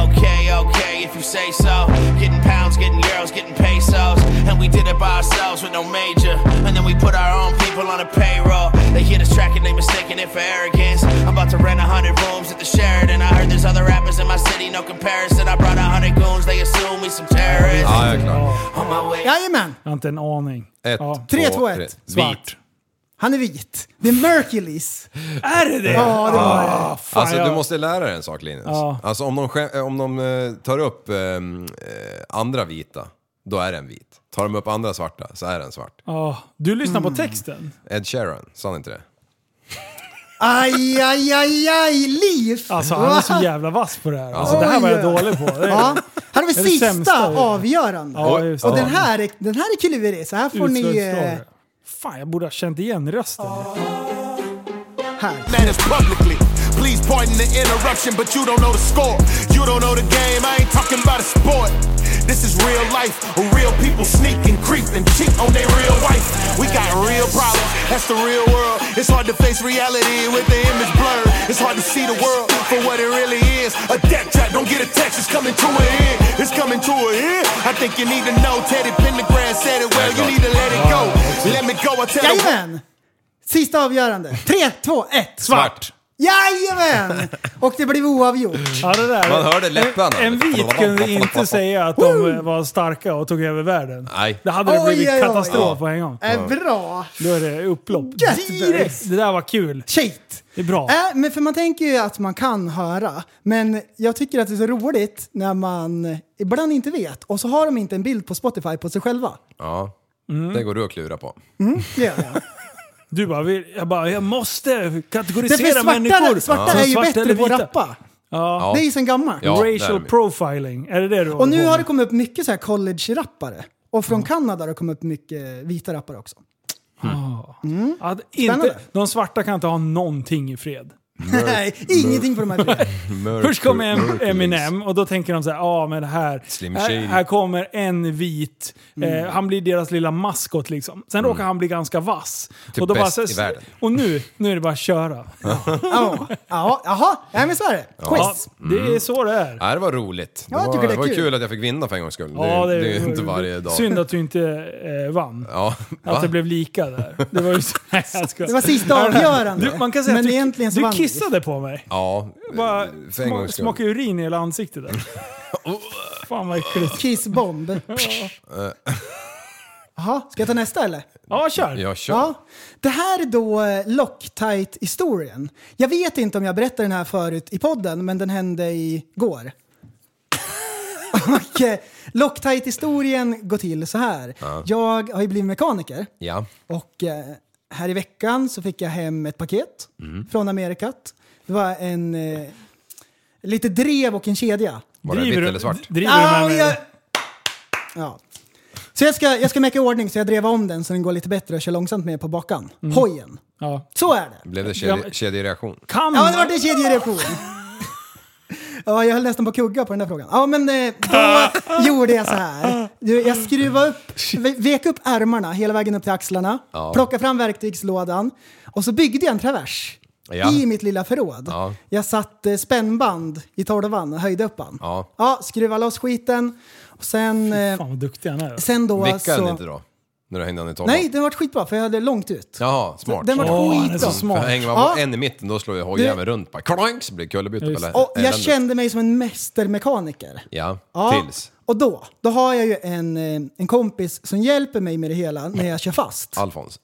Speaker 10: Okay, okay, if you say so. Getting pounds, getting euros, getting pesos. And we did it by ourselves with no major. And then we put our own people on the payroll. They hear this track and they mistaken it for arrogance. I'm about to rent a hundred rooms at the Sheridan. I heard there's other rappers in my city, no comparison. I brought a hundred goons, they assume we some terrorists.
Speaker 7: Ja, jag är klar.
Speaker 10: On my way.
Speaker 5: Jajamän,
Speaker 6: Jag har inte en aning.
Speaker 7: Ett,
Speaker 6: Ja.
Speaker 5: Tre, två,
Speaker 7: två,
Speaker 5: ett.
Speaker 7: tre.
Speaker 6: Svart.
Speaker 7: Vit.
Speaker 5: han är vit. Det är Mercules.
Speaker 6: Är det det?
Speaker 5: Ja, det var det.
Speaker 6: Ah, fan,
Speaker 7: Alltså
Speaker 6: jag-
Speaker 7: du måste lära dig en sak Linus.
Speaker 6: Ja.
Speaker 7: Alltså om de, skä- eh, om de eh, tar upp eh, eh, andra vita, då är den vit. Tar de upp andra svarta så är den svart.
Speaker 6: Ja. Du lyssnar
Speaker 5: Mm.
Speaker 6: på texten?
Speaker 7: Ed Sheeran, sa han inte det?
Speaker 5: Aj, aj, aj, aj, Leaf!
Speaker 6: Alltså han är så jävla vass på det här. Alltså,
Speaker 5: Ja.
Speaker 6: det här var jag
Speaker 5: Oj.
Speaker 6: dålig på. Det är-
Speaker 5: Ja, här har vi
Speaker 6: Det är det
Speaker 5: sista
Speaker 6: sämsta jag gjort.
Speaker 5: avgörande.
Speaker 6: Ja, just det.
Speaker 5: och den här, är- den här är klurig, så här får ni... Eh,
Speaker 6: Utslagsfråga. Fan, jag borde ha känt igen rösten.
Speaker 5: här.
Speaker 9: Matters publicly. Please pardon the interruption, but you don't know the score. You don't know the game, I ain't talking about a sport. This is real life, where real people sneak and creep and cheat on their real wife. We got real problems, that's the real world. It's hard to face reality with the image blurred. It's hard to see the world for what it really is. A death trap, don't get a text, it's coming to an end. It's coming to an end. I think you need to know, Teddy Pendergrass said it well, you need to let it go. Let me go, I tell the world.
Speaker 5: Jajamän! Sista avgörande. 3, 2, 1.
Speaker 7: Svart!
Speaker 5: Jajamän! Och det blev oavgjort.
Speaker 6: Ja, det där.
Speaker 7: Man hörde läpparna.
Speaker 6: En, en vit kunde inte säga att de eh, var starka och tog över världen.
Speaker 7: Nej.
Speaker 6: Det hade det
Speaker 5: Oj,
Speaker 6: blivit
Speaker 5: oj, oj.
Speaker 6: katastrof på en gång.
Speaker 5: Äh, bra!
Speaker 6: Då är det upplopp.
Speaker 5: Yes,
Speaker 6: Direkt! Det där var kul.
Speaker 5: Shit!
Speaker 6: Det är bra.
Speaker 5: Äh, men för man tänker ju att man kan höra, men jag tycker att det är så roligt när man ibland inte vet och så har de inte en bild på Spotify på sig själva.
Speaker 7: Ja,
Speaker 6: Mm.
Speaker 7: det går du att klura på.
Speaker 5: Det gör jag.
Speaker 6: Du bara, vill- jag, bara jag måste
Speaker 5: Därför
Speaker 6: kategorisera människor.
Speaker 5: svarta, svarta
Speaker 6: som
Speaker 5: är ju
Speaker 6: svarta
Speaker 5: bättre
Speaker 6: eller
Speaker 5: på att
Speaker 6: vita.
Speaker 5: rappa.
Speaker 7: Ja.
Speaker 5: Det är ju sen gammalt.
Speaker 7: Ja, det är
Speaker 6: Racial
Speaker 7: de ju.
Speaker 6: profiling, är det det du
Speaker 5: Och nu har det
Speaker 6: det...
Speaker 5: kommit upp mycket så här college-rappare. Och från Kanada har det kommit upp mycket vita rappare också.
Speaker 6: Att
Speaker 5: Spännande.
Speaker 6: inte, De svarta kan inte ha någonting i fred.
Speaker 5: Nej, ingenting på de här tre.
Speaker 6: Först kommer Em-
Speaker 7: Mercury's.
Speaker 6: Eminem och då tänker de så här, ja ah, men det här,
Speaker 7: Slim
Speaker 6: här,
Speaker 7: Shady.
Speaker 6: här kommer en vit,
Speaker 5: Mm.
Speaker 6: eh, han blir deras lilla maskot liksom. Sen råkar han bli ganska vass.
Speaker 7: Mm. Typ
Speaker 6: och, då bara,
Speaker 7: bäst
Speaker 6: så här,
Speaker 7: i världen.
Speaker 6: och nu, nu är det bara att köra.
Speaker 5: Ja, ja, jaha, ja, men så är det.
Speaker 6: Ja,
Speaker 5: Quiz.
Speaker 6: det
Speaker 7: Mm.
Speaker 6: är så det är.
Speaker 7: Nej, det var roligt.
Speaker 5: jag
Speaker 7: det var,
Speaker 5: tycker det är
Speaker 7: var
Speaker 5: kul.
Speaker 7: kul att jag fick vinna för en gångs skull.
Speaker 6: Ja,
Speaker 7: det, det är ju inte varje dag.
Speaker 6: Synd att du inte eh, vann.
Speaker 7: Ja, va?
Speaker 6: Att det blev lika där. Det var, ju, nej, jag skojar.
Speaker 5: Det var sista avgörande.
Speaker 6: du, man kan säga
Speaker 5: men
Speaker 6: att
Speaker 5: egentligen så
Speaker 6: du,
Speaker 5: vann
Speaker 6: du
Speaker 5: vi.
Speaker 6: kissade på mig.
Speaker 7: Ja,
Speaker 6: Bara
Speaker 7: för en
Speaker 6: sma-
Speaker 7: gångs skull.
Speaker 6: smakade urin i hela ansiktet där. Fan vad äckligt.
Speaker 5: Kissbomb. Jaha, ska jag ta nästa eller?
Speaker 6: Ja, kör.
Speaker 7: Jag kör.
Speaker 5: Ja. Det här är då eh, Loctite-historien. Jag vet inte om jag berättade den här förut i podden, men den hände igår. Och eh, Loctite-historien går till så här. Jag har ju blivit mekaniker
Speaker 7: Ja.
Speaker 5: och eh, här i veckan så fick jag hem ett paket
Speaker 6: Mm.
Speaker 5: från Amerikat. Det var en eh, lite drev och en kedja.
Speaker 7: Var det vitt eller svart?
Speaker 6: Driver
Speaker 5: Ah,
Speaker 6: du med
Speaker 5: jag... Ja. Så jag ska, jag ska meka i ordning så jag drev om den så den går lite bättre och kör långsamt med på bakan.
Speaker 6: Mm.
Speaker 5: Hojen.
Speaker 6: Ja.
Speaker 5: Så är det.
Speaker 7: Blev det
Speaker 6: Ja,
Speaker 7: kedje,
Speaker 6: men-
Speaker 7: kedjereaktion?
Speaker 6: Kan
Speaker 5: Ja, det vart en kedjereaktion. Ja, jag höll nästan på att kugga på den där frågan. Ja, men eh, då gjorde jag så här. Du, Jag skruvade upp, ve- vek upp ärmarna hela vägen upp till axlarna,
Speaker 7: Ja.
Speaker 5: plockade fram verktygslådan och så byggde jag en travers
Speaker 7: Ja.
Speaker 5: i mitt lilla förråd.
Speaker 7: Ja.
Speaker 5: Jag satte spännband i tolvan och höjde upp den.
Speaker 7: Ja.
Speaker 5: skruvade loss skiten och sen, eh,
Speaker 6: Fan vad duktig han är.
Speaker 5: sen då
Speaker 7: Vickade
Speaker 5: så...
Speaker 7: den inte då? När du hängde den i tolvan?
Speaker 5: alltså- Nej, den vart skitbra för jag hade långt ut.
Speaker 7: Jaha, smart.
Speaker 5: Den vart
Speaker 7: smart.
Speaker 6: Åh, han är
Speaker 5: skitbra.
Speaker 6: så smart.
Speaker 7: För Hänger man på
Speaker 5: Ja.
Speaker 7: en i mitten då slår ju hojjäveln runt bara. Klank! Så blir det kullerbytta på
Speaker 6: Just det.
Speaker 7: lä-
Speaker 5: Och jag
Speaker 7: eländet.
Speaker 5: kände mig som en mästermekaniker.
Speaker 7: Ja,
Speaker 5: Ja,
Speaker 7: tills.
Speaker 5: och då, då har jag ju en, eh, en kompis som hjälper mig med det hela när jag kör fast.
Speaker 7: Alfons.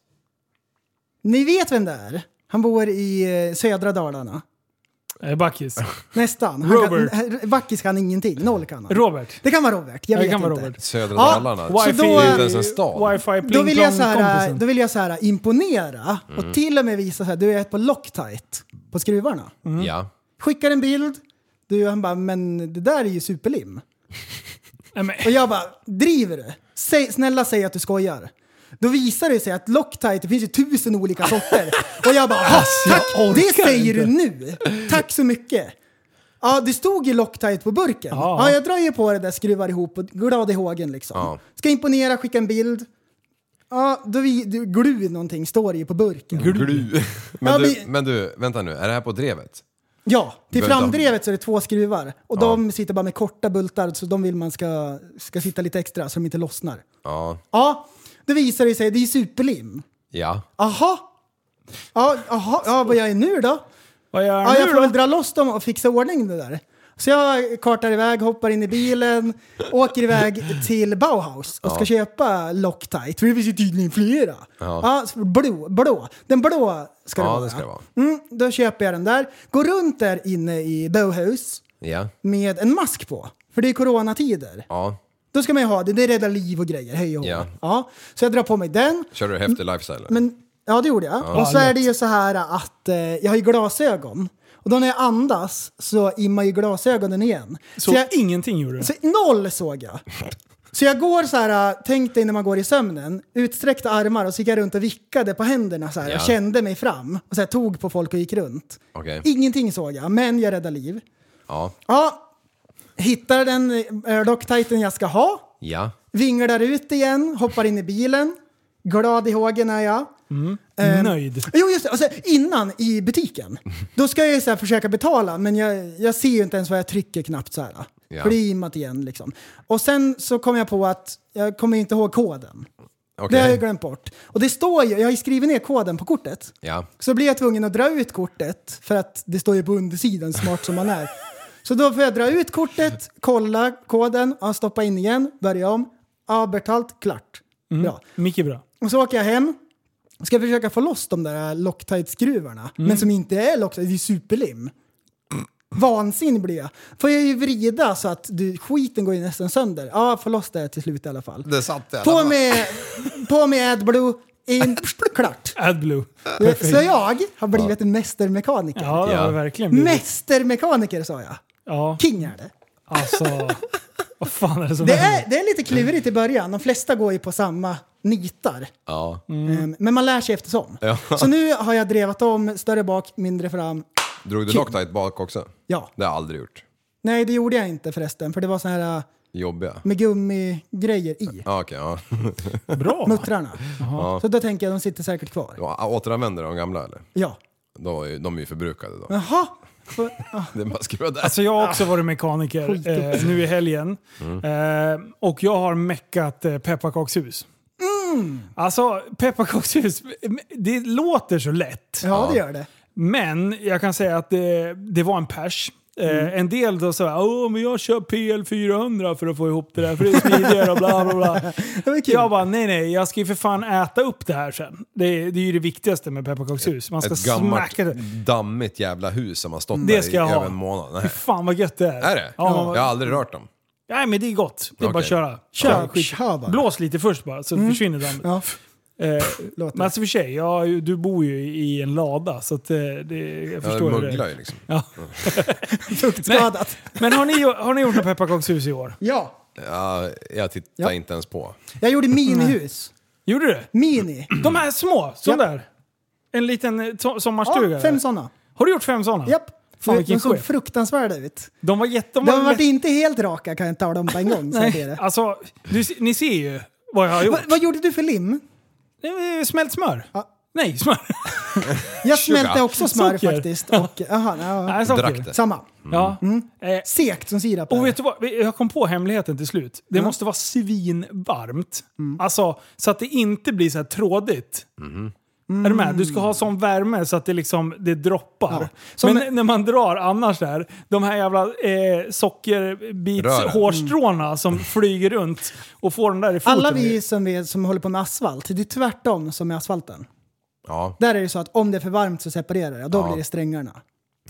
Speaker 5: Ni vet vem det är? Han bor i eh, södra Dalarna.
Speaker 6: Eh, Backis.
Speaker 5: Nästan. Han
Speaker 6: Robert.
Speaker 5: Kan, eh, Backis kan ingenting, noll kan han.
Speaker 6: Robert.
Speaker 5: Det kan vara Robert, jag
Speaker 6: Det
Speaker 5: vet
Speaker 6: kan
Speaker 5: inte.
Speaker 6: vara Robert.
Speaker 7: Södra
Speaker 5: Ja,
Speaker 7: Dalarna.
Speaker 5: så
Speaker 7: det
Speaker 5: då-
Speaker 7: är ju inte ens en stad.
Speaker 6: Wifi
Speaker 5: Då vill, jag så här,
Speaker 6: kompisen.
Speaker 5: då vill jag så här imponera
Speaker 6: Mm.
Speaker 5: och till och med visa så här, du är ett på Loctite på skruvarna.
Speaker 7: Ja.
Speaker 5: Skickar en bild, du han bara, men det där är ju superlim.
Speaker 6: Nej, men,
Speaker 5: Och jag bara, driver du? Säg, snälla säg att du skojar. Då visar det sig att Loctite, det finns ju tusen olika sorter. Och jag bara, "Ha, tack! Det säger du nu! Tack så mycket! Ja, det stod ju Loctite på burken.
Speaker 6: Ja.
Speaker 5: Ja, jag drar ju på det där, skruvar ihop och glad i hågen liksom.
Speaker 7: Ja.
Speaker 5: Ska imponera, skicka en bild. Ja, då vi, du, glu någonting står ju på burken.
Speaker 7: Glu. Men,
Speaker 5: Ja,
Speaker 7: du,
Speaker 5: vi-
Speaker 7: men du, vänta nu. Är det här på drevet?
Speaker 5: Ja, till
Speaker 7: Vänta.
Speaker 5: framdrevet så är det två skruvar. Och de sitter bara med korta bultar, så de vill man ska, ska sitta lite extra så de inte lossnar.
Speaker 7: Ja.
Speaker 5: Ja, det visar det sig, det är superlim.
Speaker 7: Ja.
Speaker 5: Aha. Ja, aha. ja vad gör jag nu då?
Speaker 6: vad gör
Speaker 5: Ja,
Speaker 6: han
Speaker 5: jag
Speaker 6: nu
Speaker 5: får väl
Speaker 6: då?
Speaker 5: dra loss dem och fixa ordning det där. Så jag kartar iväg, hoppar in i bilen, åker iväg till Bauhaus och ska köpa Loctite. För det finns ju tydligen flera. Ja. så blå, blå. Den blå ska det
Speaker 7: Ja,
Speaker 5: vara.
Speaker 7: det ska det vara.
Speaker 5: Mm, då köper jag den där. Går runt där inne i Bauhaus
Speaker 7: Ja.
Speaker 5: med en mask på. För det är coronatider.
Speaker 7: Ja.
Speaker 5: Då ska man ju ha det. Det räddar liv och grejer. Hej och hå.
Speaker 7: Ja.
Speaker 5: ja. Så jag drar på mig den.
Speaker 7: Kör du häftig lifestyle? eller?
Speaker 5: Men, ja, det gjorde jag. Och så är det ju så här att eh, jag har ju glasögon. Och då när jag andas så immar ju glasögonen igen. Så,
Speaker 6: Så
Speaker 5: jag,
Speaker 6: ingenting gjorde du?
Speaker 5: så noll såg jag. Så jag går så här, eh, tänk dig när man går i sömnen, utsträckta armar och så gick jag runt och vickade på händerna så här.
Speaker 7: Ja.
Speaker 5: Jag kände mig fram och så här, tog på folk och gick runt.
Speaker 7: Okej.
Speaker 5: Ingenting såg jag, men jag räddade liv.
Speaker 7: Ja.
Speaker 5: Ja, hittar den Airdock-titan jag ska ha.
Speaker 7: Ja.
Speaker 5: Vinglar ut igen, hoppar in i bilen. Glad i hågen är jag. Ehm,
Speaker 6: Nöjd.
Speaker 5: Jo, just det. Alltså, innan i butiken, då ska jag ju så här försöka betala, men jag, jag ser ju inte ens vad jag trycker knappt så här.
Speaker 7: Ja.
Speaker 5: För det är immat igen liksom. Och sen så kom jag på att jag kommer ju inte ihåg koden. Det har
Speaker 7: Okej.
Speaker 5: jag glömt bort. Och det står ju, jag har ju skrivit ner koden på kortet.
Speaker 7: Ja.
Speaker 5: Så blir jag tvungen att dra ut kortet för att det står ju på undersidan smart som man är. Så då får jag dra ut kortet, kolla koden, ja, stoppa in igen, börja om. Ja, betalt, klart.
Speaker 7: Mm.
Speaker 5: Bra.
Speaker 6: Mycket bra.
Speaker 5: Och så åker jag hem. Ska försöka få loss de där Loctite-skruvarna. Men som inte är Loctite, det är superlim. Vansinnig blir jag. Får jag ju vrida så att du, skiten går ju nästan sönder. Ja, få loss det till slut i alla fall.
Speaker 7: Det satt det.
Speaker 5: På med, på med AdBlue, in, klart.
Speaker 6: AdBlue.
Speaker 5: Så jag har blivit en mästermekaniker.
Speaker 6: Ja, Mm. det
Speaker 7: Ja.
Speaker 6: har verkligen blivit.
Speaker 5: Mästermekaniker sa jag.
Speaker 6: Ja,
Speaker 5: King är det.
Speaker 6: alltså. Vad fan är det som
Speaker 5: Det
Speaker 6: händer?
Speaker 5: är, det är lite klurigt i början. De flesta går ju på samma nitar.
Speaker 7: Ja.
Speaker 6: Mm.
Speaker 5: Ehm, Men man lär sig eftersom.
Speaker 7: Ja.
Speaker 5: Så nu har jag drevat om, större bak, mindre fram.
Speaker 7: Drog du Loctite bak också?
Speaker 5: Ja.
Speaker 7: Det har jag aldrig gjort.
Speaker 5: Nej, det gjorde jag inte förresten, för det var så här äh,
Speaker 7: Jobbiga.
Speaker 5: med gummigrejer i.
Speaker 7: Ja, okej. Ja.
Speaker 6: Bra.
Speaker 5: Muttrarna. Så då tänker jag, de sitter säkert kvar.
Speaker 7: Ja, Återanvänder de gamla eller?
Speaker 5: Ja.
Speaker 7: De är ju, de är ju förbrukade då.
Speaker 5: Jaha. Så- ja.
Speaker 7: Det är bara att skruva där.
Speaker 6: Alltså jag har också varit mekaniker eh, nu i helgen.
Speaker 7: Mm.
Speaker 6: Eh, och jag har meckat eh, pepparkakshus. Alltså pepparkakshus, det låter så lätt.
Speaker 5: Ja, det gör det.
Speaker 6: Men jag kan säga att det, det var en pers. Eh, En del då sa Åh, men jag kör PL400 för att få ihop det där, för det är smidigare och bla bla bla.
Speaker 5: var kul.
Speaker 6: Jag bara, nej nej, jag ska ju för fan äta upp det här sen. Det, är- det är ju det viktigaste med pepparkakshus. Man ska
Speaker 7: Ett gammalt
Speaker 6: smacka det.
Speaker 7: dammigt jävla hus som har stått
Speaker 6: Det
Speaker 7: där
Speaker 6: ska
Speaker 7: i
Speaker 6: jag ha.
Speaker 7: över en månad.
Speaker 6: Fy
Speaker 7: Nej.
Speaker 6: fan vad gött det är.
Speaker 7: Är det?
Speaker 6: Ja,
Speaker 7: Jag har aldrig rört dem.
Speaker 6: Nej men det är gott. Det är bara
Speaker 7: Okej.
Speaker 6: att köra.
Speaker 5: Kör,
Speaker 6: Skit.
Speaker 5: kör bara. Mm.
Speaker 6: Blås lite först bara så försvinner dammet.
Speaker 5: Ja,
Speaker 6: Eh,
Speaker 5: låt
Speaker 6: men
Speaker 5: det.
Speaker 6: alltså för sig, ja, du bor ju i en lada så att, eh, det, jag
Speaker 7: Jag
Speaker 6: förstår ju
Speaker 7: mugglar
Speaker 6: det.
Speaker 7: ju liksom.
Speaker 6: Ja.
Speaker 5: Skadat.
Speaker 6: Men har ni, har ni gjort något pepparkakshus i år?
Speaker 5: Ja,
Speaker 7: Ja, jag tittar
Speaker 5: Ja.
Speaker 7: inte ens på.
Speaker 5: jag gjorde minihus.
Speaker 6: Gjorde du?
Speaker 5: Mini.
Speaker 6: De här små, sån
Speaker 5: Japp.
Speaker 6: där. En liten eh, to- sommarstuga.
Speaker 5: Ja,
Speaker 6: där.
Speaker 5: fem sådana.
Speaker 6: Har du gjort fem sådana?
Speaker 5: Japp.
Speaker 6: Fan, vilken
Speaker 5: de såg
Speaker 6: chef.
Speaker 5: fruktansvärda ut.
Speaker 6: De var jätte...
Speaker 5: De har varit
Speaker 6: lätt-
Speaker 5: inte helt raka kan jag tala om på en gång. så här är
Speaker 6: Nej,
Speaker 5: det.
Speaker 6: alltså, du, se- ni ser ju vad jag har gjort.
Speaker 5: Va, vad gjorde du för lim?
Speaker 6: Eh, Smält smör.
Speaker 5: Ja.
Speaker 6: Nej, smör.
Speaker 5: Jag smälte också smör
Speaker 6: Socker.
Speaker 5: faktiskt. Och, aha, ja.
Speaker 6: Nej, socker.
Speaker 7: Drack det. Mm.
Speaker 5: Samma.
Speaker 6: Ja. Eh,
Speaker 5: Sekt som sirap. är
Speaker 6: Och
Speaker 5: det.
Speaker 6: vet du vad? Jag kom på hemligheten till slut. Det måste vara svinvarmt.
Speaker 5: Mm.
Speaker 6: Alltså, så att det inte blir så här trådigt.
Speaker 7: Mhm.
Speaker 6: Är du med? Du ska ha sån värme så att det liksom det droppar.
Speaker 5: Ja. Som-
Speaker 6: Men när man drar annars där, de här jävla eh,
Speaker 7: Rören. Mm.
Speaker 6: sockerbitshårstråna som flyger runt och får den där i foten.
Speaker 5: Alla vi som, är, som håller på med asfalt, det är tvärtom som med asfalten.
Speaker 7: Ja.
Speaker 5: Där är det så att om det är för varmt så separerar det, då blir det strängarna.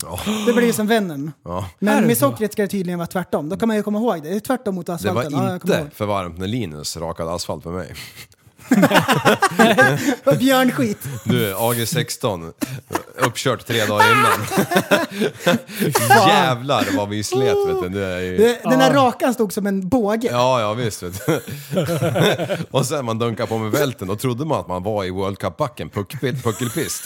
Speaker 7: Ja.
Speaker 5: Det blir ju som Venom.
Speaker 7: Ja.
Speaker 6: Är
Speaker 5: Men
Speaker 6: det
Speaker 5: med
Speaker 6: så?
Speaker 5: sockret ska det tydligen vara tvärtom. Då kan man ju komma ihåg det. Det är tvärtom mot
Speaker 7: Det
Speaker 5: asfalten. Ja,
Speaker 7: var
Speaker 5: jag kommer
Speaker 7: inte för varmt när Linus rakade asfalt med mig.
Speaker 5: ihåg. Björnskit.
Speaker 7: Du, AG16, uppkört tre dagar innan. Jävlar vad vi slet vet du. Det är ju...
Speaker 5: Det- Den där rakan stod som en båge.
Speaker 7: Ja, ja visst vet du. Och sen man dunkade på med välten, då trodde man att man var i World Cup-backen, puck- puckelpist.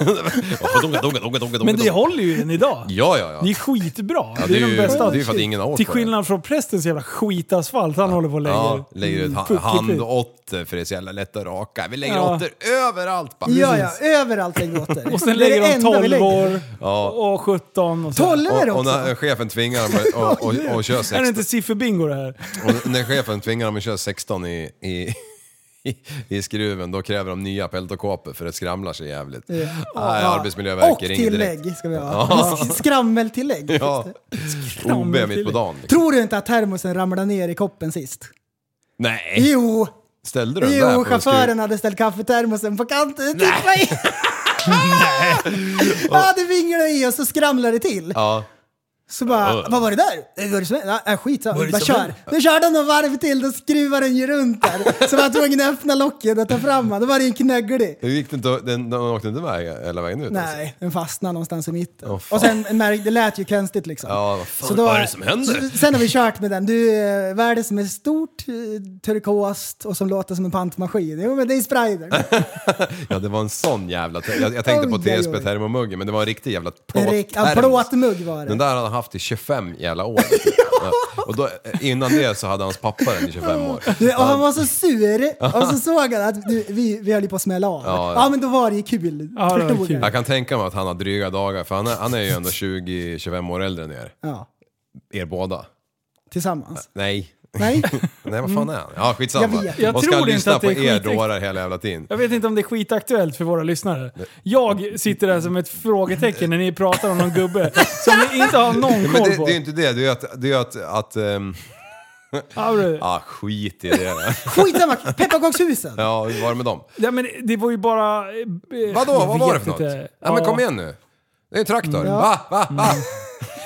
Speaker 7: Dunka, dunka, dunka, dunka,
Speaker 6: Men det
Speaker 7: dunka.
Speaker 6: håller ju än idag.
Speaker 7: Ja, ja,
Speaker 6: Det är
Speaker 7: ja.
Speaker 6: skitbra.
Speaker 7: Ja, det är
Speaker 6: de
Speaker 7: ju-
Speaker 6: bästa.
Speaker 7: det är ju för att ingen har åkt
Speaker 6: Till
Speaker 7: på det.
Speaker 6: skillnad från prästens jävla skitasfalt han håller på och lägger.
Speaker 7: Ja, lägger ut ha-
Speaker 6: Puck-
Speaker 7: handåtter för det är så jävla lätt att raka. Vi lägger
Speaker 6: Ja.
Speaker 7: åttor överallt bara.
Speaker 5: Ja, ja, överallt den gråter.
Speaker 6: Och sen lägger de 12 år
Speaker 7: Ja.
Speaker 6: och 17 och så.
Speaker 5: 12 är det
Speaker 7: Och, och
Speaker 5: också.
Speaker 7: när chefen tvingar dem att- och, och, och, och köra
Speaker 6: Är det
Speaker 7: 16.
Speaker 6: inte sifferbingo det här?
Speaker 7: Och när chefen tvingar dem att köra 16 i, i, i, i skruven, då kräver de nya peltokåpor för det skramlar sig jävligt. Nej,
Speaker 5: Och
Speaker 7: Arbetsmiljöverket ringer direkt.
Speaker 5: tillägg ska vi ha. Skrammeltillägg.
Speaker 7: Ja, OB mitt på dagen. Liksom.
Speaker 5: Tror du inte att termosen ramlade ner i koppen sist?
Speaker 7: Nej,
Speaker 5: Jo,
Speaker 7: ställde du den där?
Speaker 5: jo
Speaker 7: på en
Speaker 5: chauffören
Speaker 7: skruv?
Speaker 5: hade ställt kaffetermosen på kanten. Titta in! ja, det vinglade i och så skramlade det till.
Speaker 7: Ja,
Speaker 5: Så bara, vad var det där? Eh, Var det som, ja, äh, skit, så, bara kör. Då körde han några varv till, då skruvade den ju runt där. Så var jag tvungen att öppna locket och ta fram den. Då var det en knögglig.
Speaker 7: det gick inte, den, den åkte inte iväg hela vägen ut? alltså.
Speaker 5: Nej, den fastnade någonstans i mitten.
Speaker 7: Åh, fan.
Speaker 5: och sen märkte, det lät ju konstigt liksom.
Speaker 7: Ja, vad fan,
Speaker 5: Så då-
Speaker 7: vad är det som händer?
Speaker 5: s- Sen har vi kört med den. Du, eh, vad är det som är stort, eh, turkost och som låter som en pantmaskin? Jo, men det är Sprider.
Speaker 7: Ja, det var en sån jävla... te- Jag, jag tänkte på
Speaker 5: Oj, oj, oj.
Speaker 7: TSB-termomuggen, men det var en riktig jävla
Speaker 5: En rik- ja,
Speaker 7: plåttermos.
Speaker 5: plåtmugg var det.
Speaker 7: Den där hade han haft i 25 jävla år. ja. Och då, eh, innan det så hade hans pappa den i 25 år.
Speaker 5: Du, Och han var så sur och så såg han att du, vi, vi höll ju på att smälla av.
Speaker 7: Ja,
Speaker 5: Ja,
Speaker 7: ja.
Speaker 5: men då var det ju kul.
Speaker 6: Ja, det var
Speaker 5: Förstod
Speaker 6: kul.
Speaker 5: jag.
Speaker 7: Jag kan tänka mig att han har dryga dagar, för han är, han är ju ändå 20-25 år äldre än er.
Speaker 5: Ja,
Speaker 7: Er båda.
Speaker 5: tillsammans.
Speaker 7: Nej.
Speaker 5: Nej,
Speaker 7: Nej, vad fan är han? Ja, skitsamma.
Speaker 5: Jag vet.
Speaker 6: Jag
Speaker 7: och ska
Speaker 6: tror inte
Speaker 7: lyssna
Speaker 6: att det
Speaker 7: på
Speaker 6: är
Speaker 7: er
Speaker 6: skitäkt.
Speaker 7: dårar hela jävla tiden.
Speaker 6: Jag vet inte om det är skitaktuellt för våra lyssnare. Jag sitter där som ett frågetecken när ni pratar om någon gubbe som ni inte har någon
Speaker 7: Men det,
Speaker 6: koll
Speaker 7: det är
Speaker 6: på.
Speaker 7: ju inte det, det är ju att... Det är ju att, att ehm,
Speaker 6: Ja, men-
Speaker 7: ah, skit i det.
Speaker 5: skitsamma. Pepparkakshusen.
Speaker 7: Ja, hur var det med dem?
Speaker 6: Ja, men det var ju bara... eh, eh,
Speaker 7: Vadå,
Speaker 6: jag
Speaker 7: vad var det
Speaker 6: vet
Speaker 7: för något?
Speaker 6: inte.
Speaker 7: Ja, men kom igen nu. Det är en traktor. Va? Va? Va?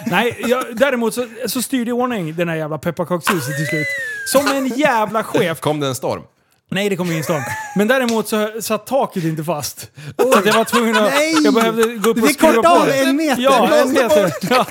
Speaker 6: Nej, jag, däremot så, så styrde i ordning den här jävla pepparkakshuset till slut. Som en jävla chef.
Speaker 7: Kom det en storm?
Speaker 6: Nej, det kom ingen storm. Men däremot så satt taket inte fast. Så att jag var tvungen att...
Speaker 5: Nej!
Speaker 6: Jag behövde gå upp
Speaker 5: Du
Speaker 6: och
Speaker 5: fick
Speaker 6: skruva
Speaker 5: korta
Speaker 6: på
Speaker 5: av
Speaker 6: det.
Speaker 5: en meter.
Speaker 6: Ja, en
Speaker 5: Blåste
Speaker 6: meter. Ja.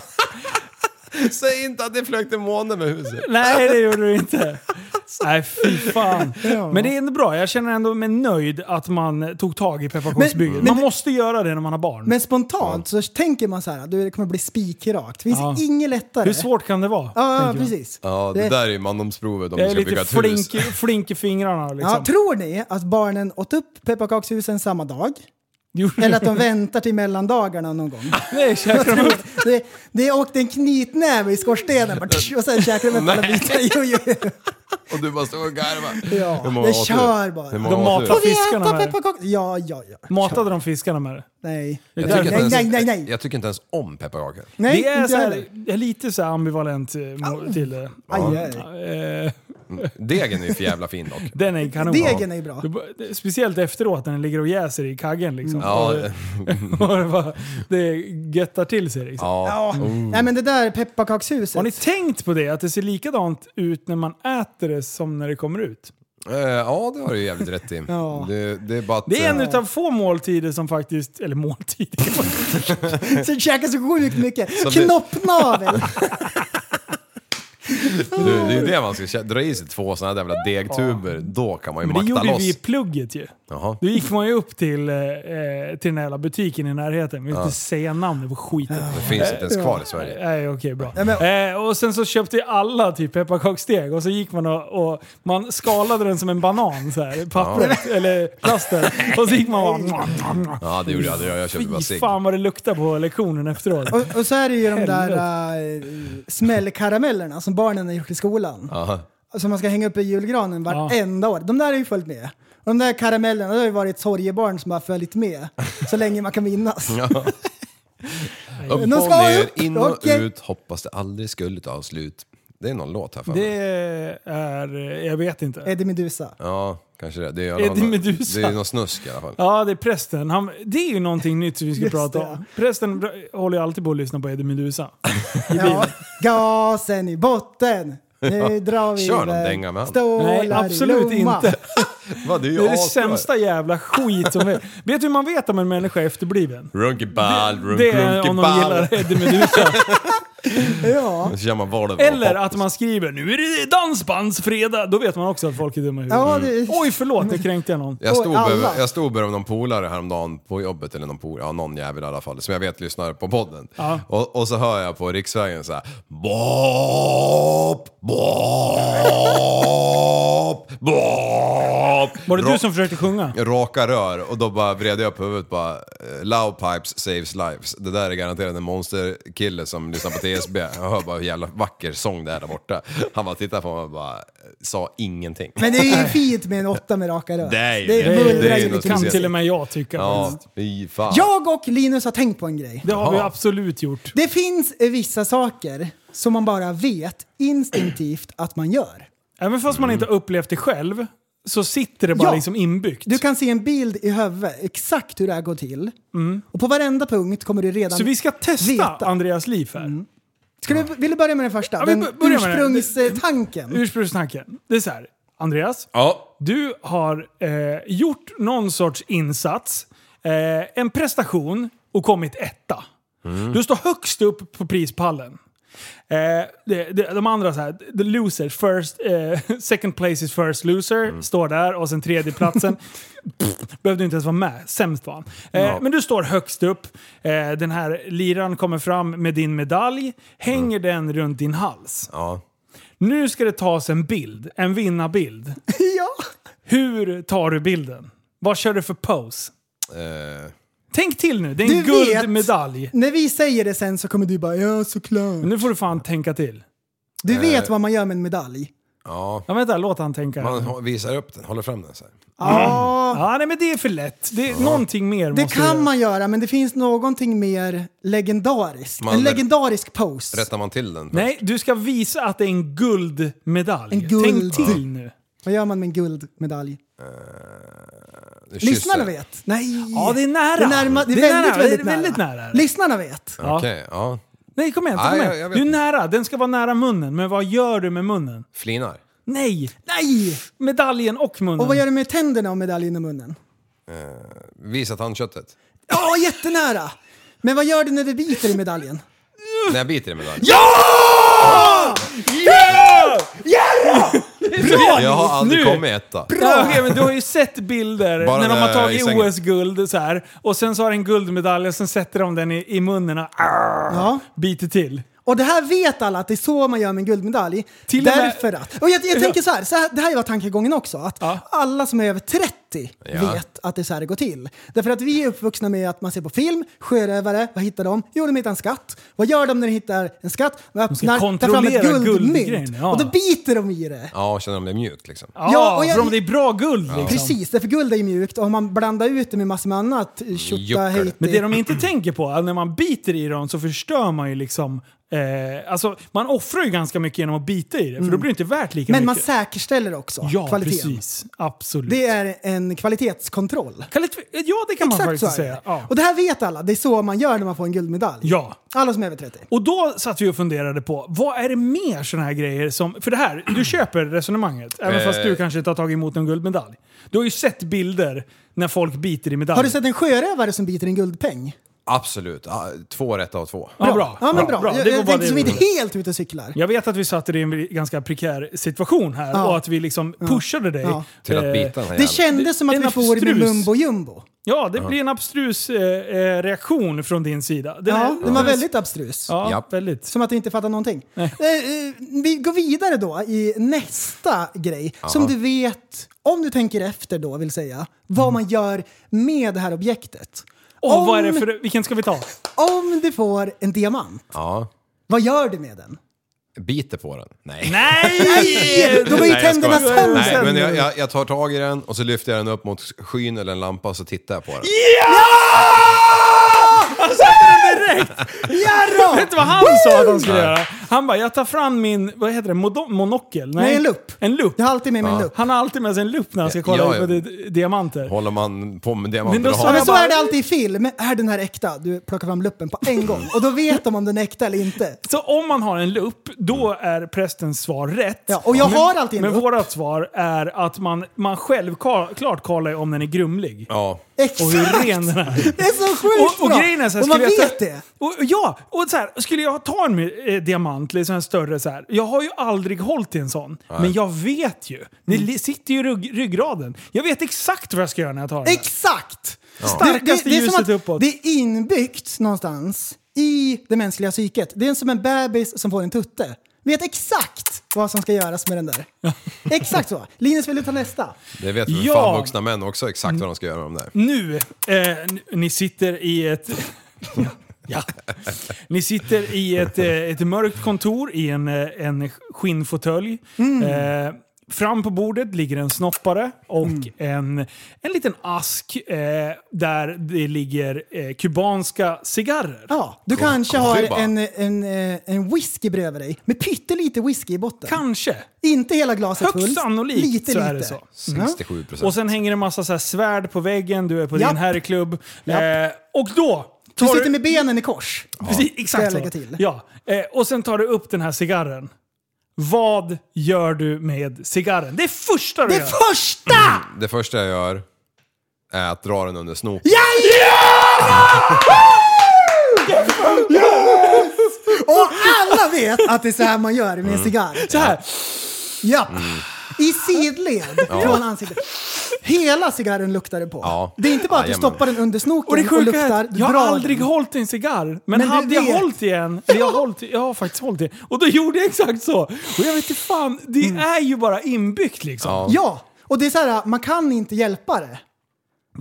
Speaker 7: Säg inte att det flög till månen med huset.
Speaker 6: Nej, det gjorde du inte.
Speaker 5: Alltså.
Speaker 6: Nej, fy fan. Men det är ändå bra. Jag känner ändå mig nöjd att man tog tag i pepparkaksbygget.
Speaker 5: Men- men-
Speaker 6: Man måste göra det när man har barn.
Speaker 5: Men spontant så tänker man så här, du, det kommer bli spikrakt. Det finns
Speaker 6: Ja.
Speaker 5: inget lättare.
Speaker 6: Hur svårt kan det vara?
Speaker 5: Ja, ja
Speaker 6: tänker jag.
Speaker 5: precis.
Speaker 7: Ja, det
Speaker 5: Det-
Speaker 7: där är ju mandomsprovet om
Speaker 6: Jag
Speaker 7: du
Speaker 6: är
Speaker 7: ska bygga
Speaker 6: lite
Speaker 7: ett hus.
Speaker 6: flink, flink i fingrarna liksom.
Speaker 5: Ja, tror ni att barnen åt upp pepparkakshusen samma dag?
Speaker 6: Gjorde du?
Speaker 5: Eller att de väntar till mellandagarna någon gång?
Speaker 6: Nej, käkar de upp.
Speaker 5: Det, det åkte en knytnäve i skorstenen bara, tsch, och sen käkade de upp alla bitar. Jo, jo, jo.
Speaker 7: Och du bara står och garvar.
Speaker 5: Ja,
Speaker 7: Hur många
Speaker 5: det
Speaker 7: åt du?
Speaker 5: kör bara.
Speaker 7: Hur många
Speaker 6: De
Speaker 7: åt
Speaker 6: matar
Speaker 7: du?
Speaker 5: Får vi
Speaker 6: fiskarna
Speaker 5: äta
Speaker 6: med det?
Speaker 5: pepparkaks? Ja, ja, ja.
Speaker 6: Matade de fiskarna med det?
Speaker 5: Nej.
Speaker 6: Jag
Speaker 7: Jag tycker,
Speaker 5: nej,
Speaker 7: inte
Speaker 5: nej,
Speaker 7: ens,
Speaker 5: nej, nej.
Speaker 7: jag tycker inte ens om pepparkakor.
Speaker 5: nej
Speaker 6: det är
Speaker 5: inte
Speaker 6: så här,
Speaker 5: heller.
Speaker 6: jag är lite så här ambivalent eh, mo- till det.
Speaker 5: Aj, aj.
Speaker 6: Eh,
Speaker 7: Degen är ju för jävla fin dock.
Speaker 6: Den är kanon.
Speaker 5: Degen är ju bra.
Speaker 6: Du bara- Speciellt efteråt när den ligger och jäser i kaggen liksom.
Speaker 7: Ja,
Speaker 6: Och
Speaker 7: eh,
Speaker 6: det- och det, bara, det göttar till sig liksom.
Speaker 7: ja.
Speaker 5: Ja. Nej men det där pepparkakshuset.
Speaker 6: Har ni tänkt på det? Att det ser likadant ut när man äter det som när det kommer ut?
Speaker 7: Eh, ja, det har du jävligt rätt i.
Speaker 5: Ja.
Speaker 7: Det, det är bara att...
Speaker 6: Det är en
Speaker 7: eh,
Speaker 6: utav få måltider som faktiskt... Eller måltider?
Speaker 5: Så käkar så sjukt mycket.
Speaker 7: Som det-
Speaker 5: Knoppnavel.
Speaker 7: du, det är ju det man ska kä- dra i sig två såna här jävla degtuber. Då kan man ju
Speaker 6: Men det
Speaker 7: makta
Speaker 6: gjorde
Speaker 7: loss.
Speaker 6: vi i plugget ju.
Speaker 7: Jaha.
Speaker 6: Då gick man ju upp till, eh, eh, till den här jävla butiken i närheten. Vi vill inte säga namnet på skiten.
Speaker 7: Det finns inte ens kvar i Sverige.
Speaker 6: Nej, okej, bra.
Speaker 5: Nej,
Speaker 6: eh, och sen så köpte ju alla typ pepparkaksdeg och så gick man och, och man skalade den som en banan så här, pappret eller plasten. Och så gick man bara...
Speaker 7: Ja, det gjorde jag aldrig. Jag köpte bara
Speaker 6: Fy
Speaker 7: cigg.
Speaker 6: fan vad det luktade på lektionen efteråt.
Speaker 5: Och, och så är det ju de där äh, smällkaramellerna som barnen har gjort i skolan.
Speaker 7: Jaha.
Speaker 5: Som man ska hänga upp i julgranen vartenda år. De där är ju följt med. Och de där karamellerna, det har ju varit sorgebarn som har följt med så länge man kan minnas.
Speaker 7: Mm. Upp och
Speaker 5: Nu ska jag
Speaker 7: ner,
Speaker 5: upp.
Speaker 7: in och
Speaker 5: Okej.
Speaker 7: ut. Hoppas det aldrig skulle ta slut. Det är någon låt här för mig.
Speaker 6: Det är... Jag vet inte.
Speaker 5: Eddie Meduza.
Speaker 7: Ja, kanske det. Det är,
Speaker 6: Eddie
Speaker 7: någon,
Speaker 6: Meduza.
Speaker 7: det är någon snusk i alla fall.
Speaker 6: Ja, det är prästen. Han, det är ju någonting nytt som vi ska
Speaker 5: Just
Speaker 6: prata
Speaker 5: det,
Speaker 6: om.
Speaker 5: ja.
Speaker 6: Prästen bra- håller ju alltid på att lyssna på Eddie Meduza.
Speaker 5: Ja. Gasen i botten. Nu drar vi
Speaker 7: Kör någon
Speaker 5: iväg.
Speaker 7: dänga med han.
Speaker 5: Stålar
Speaker 6: Nej,
Speaker 5: i
Speaker 6: absolut
Speaker 5: lomma.
Speaker 6: inte.
Speaker 7: Vad, det är ju
Speaker 6: Det är det
Speaker 7: asbra.
Speaker 6: sämsta jävla skit som är. Vet du hur man vet om en människa är efterbliven?
Speaker 7: Runkeball, runk,
Speaker 6: Det är om de
Speaker 7: runkeball.
Speaker 6: gillar Eddie Meduza.
Speaker 5: Ja.
Speaker 7: Så känner man vad det var.
Speaker 6: Eller att man skriver nu är det dansbandsfredag. Då vet man också att folk är dumma i huvudet.
Speaker 5: Ja, det,
Speaker 6: Oj, förlåt, det kränkte jag någon.
Speaker 7: Jag stod,
Speaker 5: Oj, alla.
Speaker 7: bredvid, jag stod bredvid någon polare häromdagen på jobbet, eller någon polare, ja någon jävel i alla fall, som jag vet lyssnar på podden. Och, och så hör jag på riksvägen så här. Bop, bop, bop.
Speaker 6: Var det
Speaker 7: Ra-
Speaker 6: du som försökte sjunga?
Speaker 7: Raka rör och då bara vred jag upp huvudet bara eh, Loud pipes saves lives. Det där är garanterat en monsterkille som lyssnar på TSB. Jag hör bara hur jävla vacker sång det är där borta. Han bara tittade på mig och bara eh, sa ingenting.
Speaker 5: Men det är ju fint med en åtta med raka rör.
Speaker 7: Det är ju
Speaker 5: det
Speaker 7: det.
Speaker 5: bullrar
Speaker 7: Det är ju
Speaker 5: ju
Speaker 7: något
Speaker 5: lite
Speaker 6: Kan
Speaker 7: speciellt.
Speaker 6: till och med jag tycka.
Speaker 7: Ja,
Speaker 6: faktiskt.
Speaker 7: fy fan.
Speaker 5: Jag och Linus har tänkt på en grej.
Speaker 6: Det har vi
Speaker 7: Jaha.
Speaker 6: absolut gjort.
Speaker 5: Det finns eh, vissa saker som man bara vet instinktivt att man gör.
Speaker 6: Även fast
Speaker 7: Mm.
Speaker 6: man inte har upplevt det själv så sitter det bara
Speaker 5: Ja.
Speaker 6: liksom inbyggt.
Speaker 5: Du kan se en bild i huvudet exakt hur det här går till. Och på varenda punkt kommer du redan...
Speaker 6: Mm. Så vi ska testa
Speaker 5: Veta.
Speaker 6: Andreas liv här.
Speaker 7: Mm.
Speaker 5: Ska du, vill du börja med den första?
Speaker 6: Ja, vi
Speaker 5: den
Speaker 6: bör- börjar med den.
Speaker 5: ursprungstanken.
Speaker 6: Ursprungstanken. Det är så här. Andreas,
Speaker 7: Ja.
Speaker 6: Du har eh, gjort någon sorts insats, eh, en prestation och kommit etta. Du står högst upp på prispallen. Eh, det- det- de andra så här, the losers, first, eh, second place is first loser, står där och sen tredje platsen Pff, behövde inte ens vara med, sämst var han. Eh, Men du står högst upp, eh, den här liran kommer fram med din medalj, hänger den runt din hals.
Speaker 7: Ja.
Speaker 6: Nu ska det tas en bild, en vinnarbild.
Speaker 5: ja.
Speaker 6: Hur tar du bilden? Vad kör du för pose?
Speaker 7: Eh,
Speaker 6: Tänk till nu, det är en
Speaker 5: Du vet-
Speaker 6: guldmedalj.
Speaker 5: När vi säger det sen så kommer du bara ja såklart.
Speaker 6: Men nu Eh. får du fan tänka till.
Speaker 5: Du vet vad man gör med en medalj.
Speaker 7: ja.
Speaker 6: Ja, vänta, låt han tänka.
Speaker 7: Man hå- visar upp den, håller fram den så här.
Speaker 5: Ja,
Speaker 6: Ja, nej men det är för lätt. Det är någonting mer
Speaker 5: det
Speaker 6: måste
Speaker 5: kan
Speaker 6: du-
Speaker 5: man göra men det finns någonting mer legendariskt.
Speaker 7: Man-
Speaker 5: en legendarisk pose.
Speaker 7: Rättar man till den?
Speaker 6: Nej, du ska visa att det är en guldmedalj.
Speaker 5: En guld-
Speaker 6: Tänk till nu.
Speaker 5: Vad gör man med en guldmedalj?
Speaker 7: Kyss
Speaker 5: Lyssnarna
Speaker 7: den.
Speaker 5: vet. Nej.
Speaker 6: Ja, det är nära.
Speaker 5: Det är, närma, det är, väldigt,
Speaker 6: nära.
Speaker 5: väldigt,
Speaker 6: det är väldigt
Speaker 5: nära.
Speaker 6: nära.
Speaker 5: Lyssnarna vet.
Speaker 6: Ja.
Speaker 7: Okej, ja.
Speaker 6: Nej, kom igen. Kom
Speaker 7: Nej,
Speaker 6: igen.
Speaker 7: jag- jag vet
Speaker 6: du är
Speaker 7: inte.
Speaker 6: nära. Den ska vara nära munnen. Men vad gör du med munnen?
Speaker 7: Flinar.
Speaker 6: Nej! Nej! Medaljen och munnen.
Speaker 5: Och vad gör du med tänderna och medaljen i munnen?
Speaker 7: Visa tandköttet.
Speaker 5: Ja, jättenära! Men vad gör du när du biter i medaljen?
Speaker 7: När jag biter i medaljen.
Speaker 6: Bra!
Speaker 7: Jag har aldrig
Speaker 6: Nu!
Speaker 7: kommit etta.
Speaker 6: Ja, okej, men du har ju sett bilder
Speaker 7: Bara
Speaker 6: när de
Speaker 7: när
Speaker 6: har
Speaker 7: jag är i
Speaker 6: tagit
Speaker 7: sängen.
Speaker 6: OS-guld så här, och sen så har en guldmedalj och sen sätter de den i, i munnen och arr,
Speaker 5: Ja.
Speaker 6: biter till.
Speaker 5: Och det här vet alla att det är så man gör med en guldmedalj.
Speaker 6: Till och med-
Speaker 5: därför att... Och jag, jag tänker så här, så här, det här var tankegången också. Att
Speaker 6: Ja.
Speaker 5: alla som är över 30
Speaker 7: Ja.
Speaker 5: vet att det är så här det går till. Därför att vi är uppvuxna med att man ser på film, sjörövare, vad hittar de? Jo, de hittar en skatt. Vad gör de när de hittar en skatt? De öppnar, tar fram ett
Speaker 6: kontrollera
Speaker 5: guldmynt.
Speaker 6: guldgrejen, ja.
Speaker 5: Och då biter de i det.
Speaker 7: Ja, känner om det är mjukt liksom.
Speaker 6: Ja,
Speaker 5: Ja, och jag-
Speaker 6: för om det är bra guld liksom.
Speaker 5: Precis, därför guld är ju mjukt och om man blandar ut det med massor med annat, eh,
Speaker 7: Juckar
Speaker 5: tjotta
Speaker 7: det.
Speaker 5: hejti.
Speaker 6: Men det de inte tänker på, är när man biter i dem så förstör man ju liksom Eh, alltså, man offrar ju ganska mycket genom att bita i det, för då blir det inte värt lika
Speaker 5: Mm. Men man
Speaker 6: mycket.
Speaker 5: säkerställer också
Speaker 6: ja,
Speaker 5: kvaliteten.
Speaker 6: precis. Absolut.
Speaker 5: Det är en kvalitetskontroll.
Speaker 6: Kvalit- ja, det kan man
Speaker 5: Exakt så
Speaker 6: faktiskt
Speaker 5: är det.
Speaker 6: säga. Ja.
Speaker 5: Och det här vet alla. Det är så man gör när man får en guldmedalj.
Speaker 6: ja.
Speaker 5: Alla som är över 30.
Speaker 6: Och då satt vi och funderade på, vad är det mer sådana här grejer som... För det här, du köper resonemanget, även
Speaker 7: Eh.
Speaker 6: fast du kanske inte har tagit emot någon guldmedalj. Du har ju sett bilder när folk biter i medaljer.
Speaker 5: Har du sett en sjörövare som biter en guldpeng?
Speaker 7: Absolut. Ah, Två rätt av två.
Speaker 6: Ja, bra.
Speaker 5: Ja, men bra. Jag,
Speaker 6: Det var bara
Speaker 5: jag tänkte
Speaker 6: det
Speaker 5: som
Speaker 6: vi
Speaker 5: inte
Speaker 6: gjorde.
Speaker 5: helt ute och cyklar.
Speaker 6: Jag vet att vi satte dig i en ganska prekär situation här
Speaker 5: Ja.
Speaker 6: och att vi liksom pushade dig.
Speaker 5: Ja.
Speaker 7: Till att
Speaker 6: eh,
Speaker 7: bita den här
Speaker 5: Det
Speaker 7: jäveln.
Speaker 5: kändes som
Speaker 6: det
Speaker 5: att
Speaker 6: är en
Speaker 5: vi får det med
Speaker 6: abstrus.
Speaker 5: mumbo jumbo.
Speaker 6: Ja, det blir en abstrus eh, eh, reaktion från din sida. Den
Speaker 5: Ja,
Speaker 6: är-
Speaker 5: den var
Speaker 6: är-
Speaker 5: väldigt abstrus.
Speaker 6: Ja,
Speaker 7: Japp.
Speaker 6: väldigt.
Speaker 5: Som att du inte fattar någonting. Eh, eh, vi går vidare då i nästa grej. Som du vet, om du tänker efter då vill säga, vad man gör med det här objektet.
Speaker 6: Och
Speaker 5: om,
Speaker 6: vad är det för... Vilken ska vi ta?
Speaker 5: om du får en diamant,
Speaker 7: Ja.
Speaker 5: vad gör du med den?
Speaker 7: Biter på den. Nej.
Speaker 6: Nej!
Speaker 5: Då är ju
Speaker 7: Nej, jag
Speaker 5: tänderna
Speaker 7: skojar.
Speaker 5: sämst.
Speaker 7: Nej, men jag, jag, jag tar tag i den och så lyfter jag den upp mot skyn eller en lampa och så tittar jag på den.
Speaker 5: Jarro!
Speaker 6: Vet du vad han sa att han skulle göra? Han bara, jag tar fram min, vad heter det, Modo- monokel?
Speaker 5: Nej, en lupp.
Speaker 6: En lupp.
Speaker 5: Jag har alltid med mig en lupp.
Speaker 6: Han har alltid med sig en lupp när han ska kolla
Speaker 7: Ja, ja.
Speaker 6: på di- diamanter.
Speaker 7: Håller man på med
Speaker 6: Men då
Speaker 7: diamanter och
Speaker 6: sa
Speaker 5: Ja,
Speaker 7: har...
Speaker 5: men
Speaker 6: jag
Speaker 5: så
Speaker 6: bara-
Speaker 5: är det alltid i film. Är den här äkta? Du plockar fram luppen på en gång. Och då vet de om den är äkta eller inte.
Speaker 6: Så om man har en lupp, då
Speaker 7: Mm.
Speaker 6: är prästens svar rätt.
Speaker 5: Ja, och jag har alltid en
Speaker 6: Men
Speaker 5: lupp.
Speaker 6: vårat svar är att man, man själv ka- klart kollar om den är grumlig.
Speaker 7: Ja.
Speaker 5: Exakt!
Speaker 6: Och hur ren den är.
Speaker 5: Det är så sjukt
Speaker 6: Och, och
Speaker 5: bra!
Speaker 6: grejen är så här,
Speaker 5: och man
Speaker 6: skulle jag
Speaker 5: vet
Speaker 6: ta-
Speaker 5: det!
Speaker 6: Och, ja, och så här, skulle jag ta en eh, diamant, liksom en större så här. Jag har ju aldrig hållit i en sån. Men jag vet ju. Det li- sitter ju i rygg, ryggraden. Jag vet exakt vad jag ska göra när jag tar den. där.
Speaker 5: Exakt!
Speaker 6: Starkaste
Speaker 5: är som
Speaker 6: ljuset
Speaker 5: att
Speaker 6: uppåt.
Speaker 5: Det är inbyggt någonstans i det mänskliga psyket. Det är som en bebis som får en tutte. Vet exakt vad som ska göras med den där. exakt så. Linus, vill du ta nästa?
Speaker 7: Det vet väl
Speaker 6: Ja.
Speaker 7: fan vuxna män också exakt vad de ska göra med dem där.
Speaker 6: Nu, eh, n- ni sitter i ett... Ja. Ni sitter i ett, eh, ett mörkt kontor i en, eh, en skinnfåtölj.
Speaker 5: Mm.
Speaker 6: Eh, fram på bordet ligger en snoppare och
Speaker 5: Mm.
Speaker 6: en, en liten ask eh, där det ligger eh, kubanska cigarrer.
Speaker 5: Ja, du kanske har
Speaker 7: Cuba.
Speaker 5: en, en, eh, en whisky bredvid dig med pyttelite whisky i botten.
Speaker 6: Kanske.
Speaker 5: Inte hela glaset
Speaker 6: Högst
Speaker 5: fullt.
Speaker 6: sannolikt
Speaker 5: lite,
Speaker 6: så
Speaker 5: lite.
Speaker 6: är det så.
Speaker 7: 67 procent.
Speaker 6: Och sen hänger det en massa så här svärd på väggen, du är på
Speaker 5: Japp.
Speaker 6: din herrklubb.
Speaker 5: Japp.
Speaker 6: Eh, och då...
Speaker 5: Du
Speaker 6: tar
Speaker 5: sitter med benen i kors.
Speaker 6: Precis,
Speaker 5: Ska jag
Speaker 6: exakt
Speaker 5: lägga
Speaker 6: så.
Speaker 5: till?
Speaker 6: Ja. Eh, och sen tar du upp den här cigarren. Vad gör du med cigarren? Det är första du
Speaker 5: Det
Speaker 6: gör!
Speaker 5: första!
Speaker 7: Det första jag gör är att dra den under snopen.
Speaker 5: Och alla vet att det är så här man gör med en cigarr. Så här. Ja. I sidled från ansiktet. Hela cigarren luktar det på.
Speaker 7: Ja.
Speaker 5: Det är inte bara att du
Speaker 7: Jajamän.
Speaker 5: stoppar den under snoken
Speaker 6: Och
Speaker 5: och,
Speaker 6: det sjuka är
Speaker 5: luktar.
Speaker 6: att
Speaker 5: Du
Speaker 6: jag
Speaker 5: drar
Speaker 6: har aldrig
Speaker 5: den.
Speaker 6: hållit i en cigarr. Men,
Speaker 5: Men du
Speaker 6: hade jag
Speaker 5: vet.
Speaker 6: hållit i en, eller jag har, hållit, i- jag har faktiskt hållit i en. Och då gjorde jag exakt så. Och jag vet inte fan, det
Speaker 5: Mm.
Speaker 6: är ju bara inbyggt liksom.
Speaker 7: Ja.
Speaker 5: Ja, och det är så här, man kan inte hjälpa det.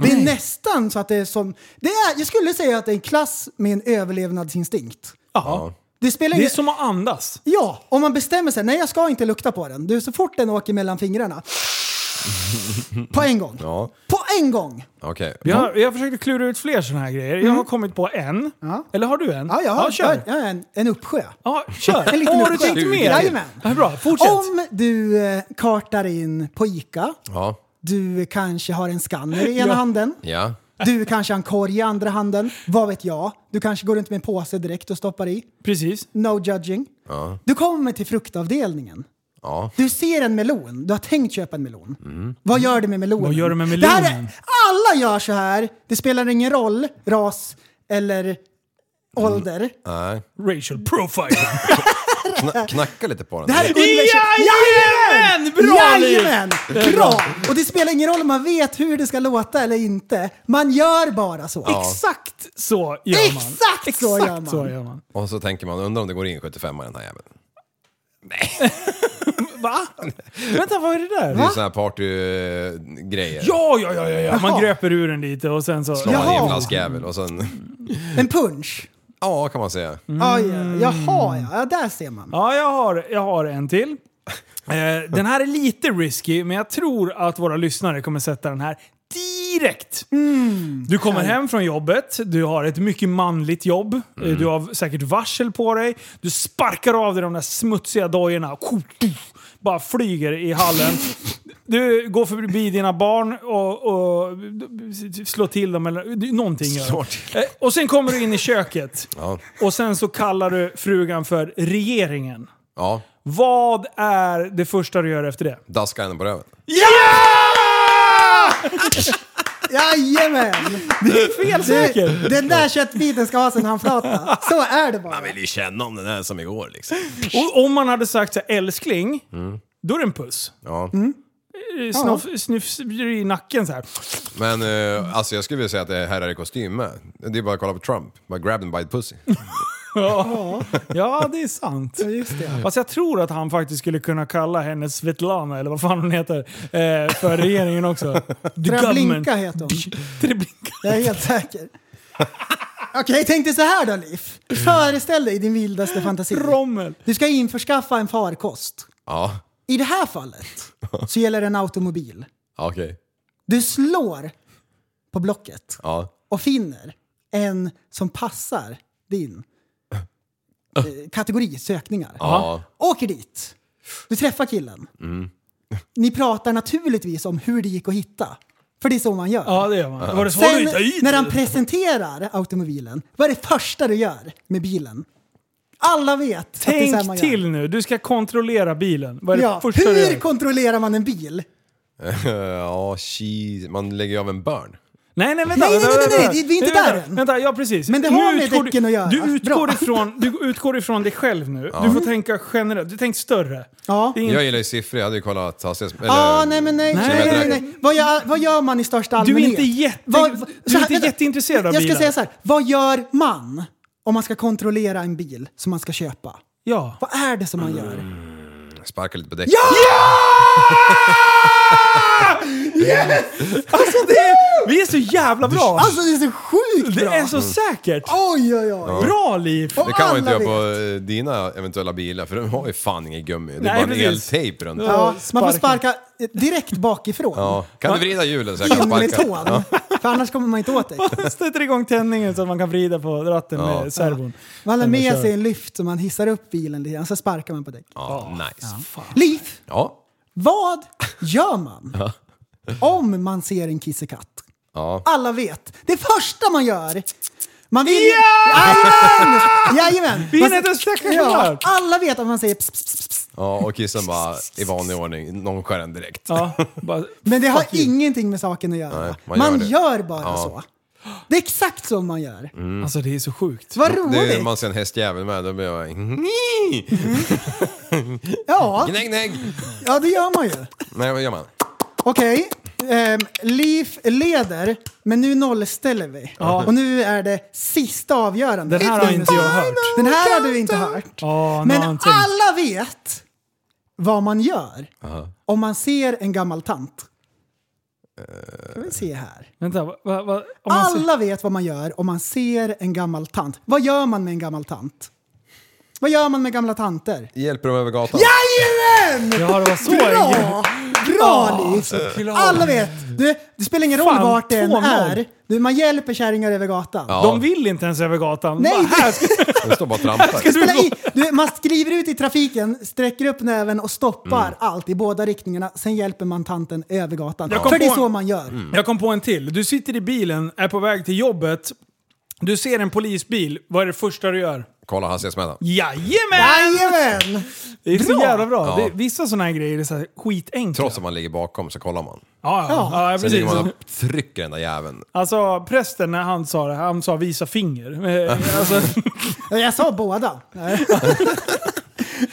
Speaker 5: Det är nästan så att det är som... Det är, jag skulle säga att det är en klass med en överlevnadsinstinkt.
Speaker 6: Ja.
Speaker 5: Det
Speaker 6: Det
Speaker 5: spelar
Speaker 6: är
Speaker 5: ingen...
Speaker 6: som att andas.
Speaker 5: Ja, om man bestämmer sig, nej jag ska inte lukta på den. Du, så fort den åker mellan fingrarna. På en gång.
Speaker 7: Ja,
Speaker 5: På en gång!
Speaker 7: okej.
Speaker 6: Jag, jag försökte klura ut fler sådana här grejer. Jag har kommit på en. Eller har du en?
Speaker 5: Mm. Ja, jag har,
Speaker 6: ja, kör.
Speaker 5: jag har en, en uppsjö.
Speaker 6: Ja, kör.
Speaker 5: En liten
Speaker 6: har du
Speaker 5: uppsjö.
Speaker 6: tänkt mer?
Speaker 5: Jajamän.
Speaker 6: Ja, bra, fortsätt.
Speaker 5: Om du eh, kartar in på Ica,
Speaker 7: Ja,
Speaker 5: du kanske har en scanner i ena
Speaker 6: Ja.
Speaker 5: handen,
Speaker 7: ja.
Speaker 5: du kanske har en korg i andra handen, vad vet jag? Du kanske går runt med en påse direkt och stoppar i.
Speaker 6: Precis.
Speaker 5: No judging. Du kommer till fruktavdelningen.
Speaker 7: Ja.
Speaker 5: Du ser en melon, du har tänkt köpa en melon. Vad gör du med melonen?
Speaker 6: Vad gör du med
Speaker 5: Det här
Speaker 6: melonen?
Speaker 5: är, alla gör så här, det spelar ingen roll ras eller ålder.
Speaker 7: Nej.
Speaker 6: Racial profiling.
Speaker 7: Kna- knacka lite på den.
Speaker 5: Det här är
Speaker 6: Jajamän! Bra, Liv!
Speaker 5: Jajamän! Bra! Och det spelar ingen roll om man vet hur det ska låta eller inte. Man gör bara så.
Speaker 6: Exakt så gör man.
Speaker 5: Exakt så gör man.
Speaker 6: så gör man.
Speaker 7: Och så tänker man, undrar om det går in 75 i den här jäveln.
Speaker 6: Va? Vänta, vad är det där?
Speaker 7: Det är ju såna här partygrejer.
Speaker 6: Ja, ja, ja, ja, ja. Man
Speaker 5: Jaha.
Speaker 6: gröper ur den lite och sen så...
Speaker 7: Slår man i
Speaker 5: Jaha.
Speaker 7: en flaskjävel och sen...
Speaker 5: En punch.
Speaker 7: Ja, kan man säga.
Speaker 5: Aj, jaha, ja. ja. Där ser man.
Speaker 6: Ja, jag har, jag har en till. Eh, Den här är lite risky, men jag tror att våra lyssnare kommer sätta den här direkt.
Speaker 7: Mm.
Speaker 6: Du kommer hem från jobbet, du har ett mycket manligt jobb, eh,
Speaker 7: Mm.
Speaker 6: du har säkert varsel på dig, du sparkar av dig de där smutsiga dojorna, bara flyger i hallen. Du går förbi dina barn och, och slår till dem eller någonting. gör du.
Speaker 7: Slår till.
Speaker 6: Eh, Och sen kommer du in i köket
Speaker 7: Ja.
Speaker 6: och sen så kallar du frugan för regeringen.
Speaker 7: Ja.
Speaker 6: Vad är det första du gör efter det?
Speaker 7: Daska henne på röven.
Speaker 5: Jajamän!
Speaker 6: Fel säker!
Speaker 5: Det, den där köttbiten ska ha sin handflata. Så är det bara.
Speaker 7: vill ju känna om den här som igår liksom.
Speaker 6: Och om man hade sagt så här, älskling, då är det en puss.
Speaker 7: Ja.
Speaker 6: Eh, Snuff, Snuff i nacken så här.
Speaker 7: Men eh, alltså jag skulle vilja säga att det här är i kostym med. Det är bara att kolla på Trump. Bara grab and by the pussy.
Speaker 6: Ja, ja det är sant.
Speaker 5: Ja, Just det.
Speaker 6: Alltså jag tror att han faktiskt skulle kunna kalla henne Svetlana, eller vad fan hon heter, eh, för regeringen också. The government.
Speaker 5: Treblinka heter hon.
Speaker 6: Treblinka.
Speaker 5: Jag är helt säker. Okej, jag tänkte så här då, Liv. Föreställ dig din vildaste fantasi.
Speaker 6: Rommel.
Speaker 5: Du ska införskaffa en farkost.
Speaker 7: Ja,
Speaker 5: I det här fallet så gäller det en automobil.
Speaker 7: ja, okej.
Speaker 5: Du slår på blocket
Speaker 7: Ja.
Speaker 5: och finner en som passar din eh, kategori sökningar.
Speaker 7: Ja.
Speaker 5: Åker dit. Du träffar killen. Ni pratar naturligtvis om hur det gick att hitta. För det är så man gör.
Speaker 6: Ja, det gör man. Var det så
Speaker 5: Sen
Speaker 6: du hittade hit?
Speaker 5: när han presenterar automobilen, vad är det första du gör med bilen? Alla vet att det är så här man
Speaker 6: Tänk
Speaker 5: gör.
Speaker 6: till nu, du ska kontrollera bilen. Vad är det
Speaker 5: Ja,
Speaker 6: första du
Speaker 5: hur
Speaker 6: gör?
Speaker 5: kontrollerar man en bil?
Speaker 7: Ja, cheese. Man lägger ju av en börn.
Speaker 6: Nej, nej, vänta.
Speaker 5: Nej, nej, nej,
Speaker 6: vänta,
Speaker 5: nej,
Speaker 6: vänta.
Speaker 5: det- vi är inte
Speaker 6: Vänta,
Speaker 5: där än.
Speaker 6: Vänta, ja precis.
Speaker 5: Men det
Speaker 6: Nu
Speaker 5: har med
Speaker 6: utgår du-
Speaker 5: däcken att göra.
Speaker 6: Du utgår,
Speaker 5: Bra.
Speaker 6: ifrån, du utgår ifrån dig själv nu. Du får tänka generellt. Du tänker större.
Speaker 5: Ja.
Speaker 6: Det är
Speaker 7: Jag
Speaker 6: inte-
Speaker 7: gillar ju siffror. Jag hade ju kollat hastighets... eller-
Speaker 5: Ah, nej men nej.
Speaker 6: Nej.
Speaker 5: nej, nej, nej. Vad, gör, vad gör man i största allmänhet?
Speaker 6: inte jätte- du är
Speaker 5: så här,
Speaker 6: inte
Speaker 5: vänta.
Speaker 6: jätteintresserad av
Speaker 5: Jag ska
Speaker 6: bilar.
Speaker 5: säga så här. Vad gör man om man ska kontrollera en bil som man ska köpa?
Speaker 6: ja.
Speaker 5: Vad är det som man
Speaker 6: Mm.
Speaker 5: gör?
Speaker 7: Sparka lite på däcken. Ja!
Speaker 6: Vi är så jävla bra!
Speaker 5: Alltså det är så sjukt
Speaker 6: det
Speaker 5: bra!
Speaker 6: är så säkert!
Speaker 5: Oj, oj, oj.
Speaker 6: Bra liv!
Speaker 7: Det kan man ju inte
Speaker 5: alla
Speaker 7: göra på eh, dina eventuella bilar för de har ju fan ingen gummi. Det är
Speaker 6: Nej,
Speaker 7: bara en
Speaker 6: precis.
Speaker 7: eltejp runt.
Speaker 6: Ja.
Speaker 7: Ja.
Speaker 5: Ja, man får sparka eh, direkt bakifrån.
Speaker 7: Kan du vrida hjulen så jag kan
Speaker 5: In med
Speaker 7: sparka?
Speaker 5: tån. För annars kommer man inte åt dig.
Speaker 6: Sätter igång tändningen så att man kan vrida på ratten med servon.
Speaker 5: Man har
Speaker 6: Eller
Speaker 5: med
Speaker 6: kör.
Speaker 5: sig en lyft så man hissar upp bilen lite grann, så sparkar man på däck.
Speaker 7: Ja, nice.
Speaker 5: Liv,
Speaker 7: Ja.
Speaker 5: vad gör man om man ser en kissekatt?
Speaker 7: Ja.
Speaker 5: Alla vet. Det första man gör. Man vill... Jajamän! Jajamän!
Speaker 6: Vi
Speaker 5: Man
Speaker 6: hinner inte ens
Speaker 5: säger-
Speaker 6: snacka
Speaker 5: ja,
Speaker 6: klart.
Speaker 5: Alla vet att man säger pss, pss, pss, pss.
Speaker 7: Ja, och kissen bara i vanlig ordning, någon skär en direkt.
Speaker 6: Ja, bara,
Speaker 5: Men det har ingenting med saken att göra.
Speaker 7: Nej,
Speaker 5: man
Speaker 7: man
Speaker 5: gör,
Speaker 7: gör det.
Speaker 5: bara
Speaker 7: Ja. Mm.
Speaker 5: så. Det är exakt så man gör.
Speaker 6: alltså det är så sjukt.
Speaker 5: Vad
Speaker 7: Det är,
Speaker 5: roligt!
Speaker 7: man ser en hästjävel med, då blir jag... "Mhm."
Speaker 5: Ja,
Speaker 7: Gnägg, gnägg!
Speaker 5: ja, det gör man ju.
Speaker 7: Nej, vad gör man?
Speaker 5: Okej, ehm, Leaf leder, men nu nollställer vi. Och nu är det sista avgörande.
Speaker 6: Den här har inte jag hört.
Speaker 5: Den här har du inte hört.
Speaker 6: Ja,
Speaker 5: Men
Speaker 6: någonting.
Speaker 5: alla vet vad man gör om man ser en gammal tant. Ska vi se här.
Speaker 6: Vänta, va, va, va, om man ser-
Speaker 5: Alla vet vad man gör om man ser en gammal tant. Vad gör man med en gammal tant? Vad gör man med gamla tanter?
Speaker 7: Hjälper dem över gatan?
Speaker 5: Jajamän!
Speaker 6: Ja, det var så
Speaker 5: Bra! Bra
Speaker 6: Ja,
Speaker 5: Liv!
Speaker 6: såklart.
Speaker 5: Alla vet! Du, det spelar ingen roll
Speaker 6: Fan,
Speaker 5: vart det än
Speaker 6: 2-0.
Speaker 5: är. Du, man hjälper kärringar över gatan.
Speaker 6: De vill inte ens över gatan.
Speaker 5: Nej,
Speaker 6: Bara, här ska
Speaker 7: De står bara och trampar.
Speaker 5: Det spelar i, du, man skriver ut i trafiken, sträcker upp näven och stoppar
Speaker 6: Mm.
Speaker 5: allt i båda riktningarna. Sen hjälper man tanten över gatan.
Speaker 6: Jag kom
Speaker 5: För det är
Speaker 6: på- Mm.
Speaker 5: så man gör.
Speaker 7: Mm.
Speaker 6: Jag kom på en till. Du sitter i bilen, är på väg till jobbet. Du ser en polisbil. Vad är det första du gör?
Speaker 7: Kolla hastighetsmätaren.
Speaker 6: Jajamän!
Speaker 5: Jajamän!
Speaker 6: Det är så
Speaker 5: Bra!
Speaker 6: jävla bra.
Speaker 7: Ja.
Speaker 6: Det, vissa sådana här grejer är så här skitenkla.
Speaker 7: Trots att man ligger bakom så kollar man.
Speaker 6: Ja, ja. ja
Speaker 7: Sen
Speaker 6: precis.
Speaker 7: ligger man och trycker den där jäveln.
Speaker 6: Alltså prästen när han sa det, han sa visa finger. Eh, Alltså,
Speaker 5: Jag sa båda. Nej.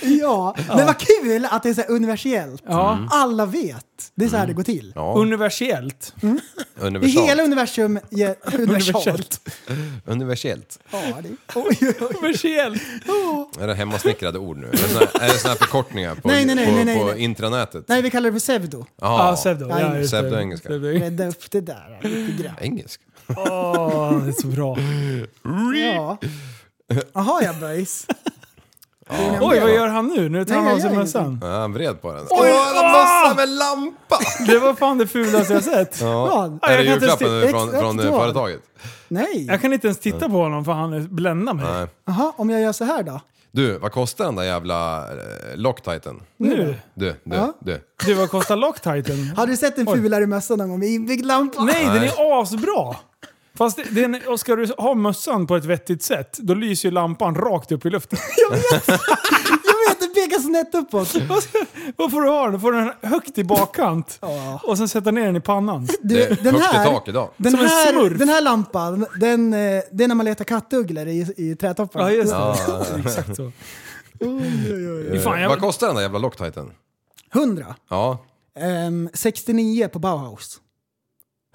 Speaker 5: ja, men vad kul att det är så här universellt. Alla vet. Det är så här det går till.
Speaker 7: Mm. Ja,
Speaker 6: universellt.
Speaker 5: I
Speaker 7: universal.
Speaker 5: hela universum, ja, universalt.
Speaker 6: Universellt.
Speaker 7: Universellt.
Speaker 5: Ja, det, oj, oj, oj.
Speaker 6: Universellt.
Speaker 7: Är det hemmasnickrade ord nu? Är det såna- Är det såna här förkortningar på,
Speaker 5: Nej, nej, nej,
Speaker 7: på,
Speaker 5: nej, nej,
Speaker 7: på
Speaker 5: nej.
Speaker 7: intranätet?
Speaker 5: Nej, vi kallar det för pseudo.
Speaker 7: Jaha. Mm,
Speaker 6: Ja, pseudo. Ja, just det.
Speaker 7: Pseudoengelska.
Speaker 6: Pseudo.
Speaker 5: Rädda upp det där lite grann.
Speaker 7: Engelsk?
Speaker 6: Åh, det är så bra.
Speaker 5: Ja. Jaha ja, böjs.
Speaker 6: Oj, vad gör han nu? Nu tar han
Speaker 5: Nej,
Speaker 6: av sig
Speaker 5: jag gör
Speaker 6: mössan.
Speaker 7: Ja, han vred på den.
Speaker 6: Oj,
Speaker 7: Åh, en
Speaker 6: ah!
Speaker 7: mössa med lampa!
Speaker 6: Det var fan det fulaste jag sett.
Speaker 5: Ja.
Speaker 6: Ja,
Speaker 7: Är
Speaker 6: jag
Speaker 7: det
Speaker 6: kan inte ens
Speaker 7: julklappen
Speaker 5: sti-
Speaker 7: från,
Speaker 5: exakt
Speaker 7: från eh,
Speaker 5: då.
Speaker 7: företaget?
Speaker 5: Nej.
Speaker 6: Jag kan inte ens titta på honom för han bländar mig.
Speaker 7: Nej.
Speaker 5: Jaha, om jag gör så här då?
Speaker 7: Du, vad kostar den där jävla eh, Loctiten?
Speaker 6: Nu?
Speaker 7: Du, du,
Speaker 5: Ja.
Speaker 7: du.
Speaker 6: Du, vad kostar Loctiten?
Speaker 5: Har du sett en fulare mössa någon gång med inbyggd lampa?
Speaker 6: Nej, den är asbra! Fast det- den, och ska du ha mössan på ett vettigt sätt, då lyser ju lampan rakt upp i luften.
Speaker 5: Jag vet, den pekar snett uppåt.
Speaker 6: Och sen- Vad får du ha den? Då får du den högt i bakkant.
Speaker 5: Ja.
Speaker 6: Och sen sätta ner den i pannan.
Speaker 5: Du,
Speaker 7: Det är högt i tak idag.
Speaker 5: Den
Speaker 6: Som en
Speaker 5: här,
Speaker 6: smurf.
Speaker 5: den här lampan, den, eh, det är när man letar kattugglor i, i
Speaker 6: Ja,
Speaker 5: trädtopparna.
Speaker 6: just det.
Speaker 7: Ja.
Speaker 6: Exakt så.
Speaker 7: Eh,
Speaker 6: Fan, jag-
Speaker 7: Vad kostar den där jävla Loctiten?
Speaker 5: 100.
Speaker 7: Ja,
Speaker 5: Ehm, 69 på Bauhaus.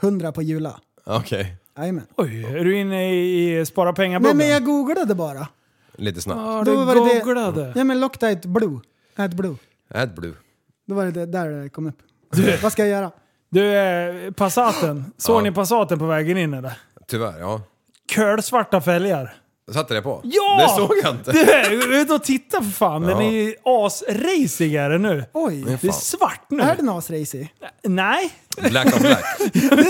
Speaker 5: 100 på Jula.
Speaker 7: okej.
Speaker 5: Jajamän.
Speaker 6: Oj, är du inne i spara pengar
Speaker 5: Nej men jag googlade bara.
Speaker 7: Lite snabbt.
Speaker 6: Ja,
Speaker 5: Då
Speaker 6: du
Speaker 5: var det det-
Speaker 6: googlade.
Speaker 5: Ja men Loctite Blue. Ad Blue.
Speaker 7: AdBlue.
Speaker 5: Då var det det där det kom upp. Vad ska jag göra?
Speaker 6: Du, eh, Passaten. Såg
Speaker 7: Ja.
Speaker 6: ni Passaten på vägen in eller?
Speaker 7: Tyvärr, ja.
Speaker 6: Kölsvarta fälgar.
Speaker 7: Satte det på?
Speaker 6: Ja!
Speaker 7: Det såg jag inte.
Speaker 6: Du, ut och titta för fan. Den
Speaker 7: Ja.
Speaker 6: är ju asracigare nu.
Speaker 5: Oj.
Speaker 6: Det är svart nu.
Speaker 5: Är den asracy?
Speaker 6: Nej.
Speaker 7: Black on black.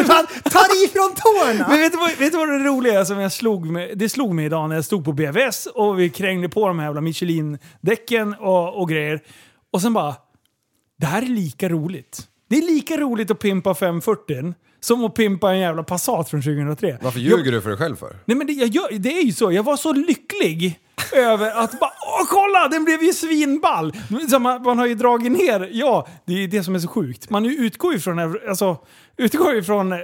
Speaker 5: Fan, ta dig ifrån tårna!
Speaker 6: Men vet du, vad, vet du vad det roliga är som jag slog mig, det slog mig idag när jag stod på BVS och vi krängde på de här jävla Michelin-däcken och, och grejer. Och sen bara, det här är lika roligt. Det är lika roligt att pimpa 540 som att pimpa en jävla Passat från 2003.
Speaker 7: Varför ljuger du för dig själv för?
Speaker 6: Nej men det, jag gör, det är ju så, jag var så lycklig över att bara åh kolla den blev ju svinball! Så man, man har ju dragit ner, ja det är ju det som är så sjukt. Man ju utgår ju från, alltså, utgår ju från eh,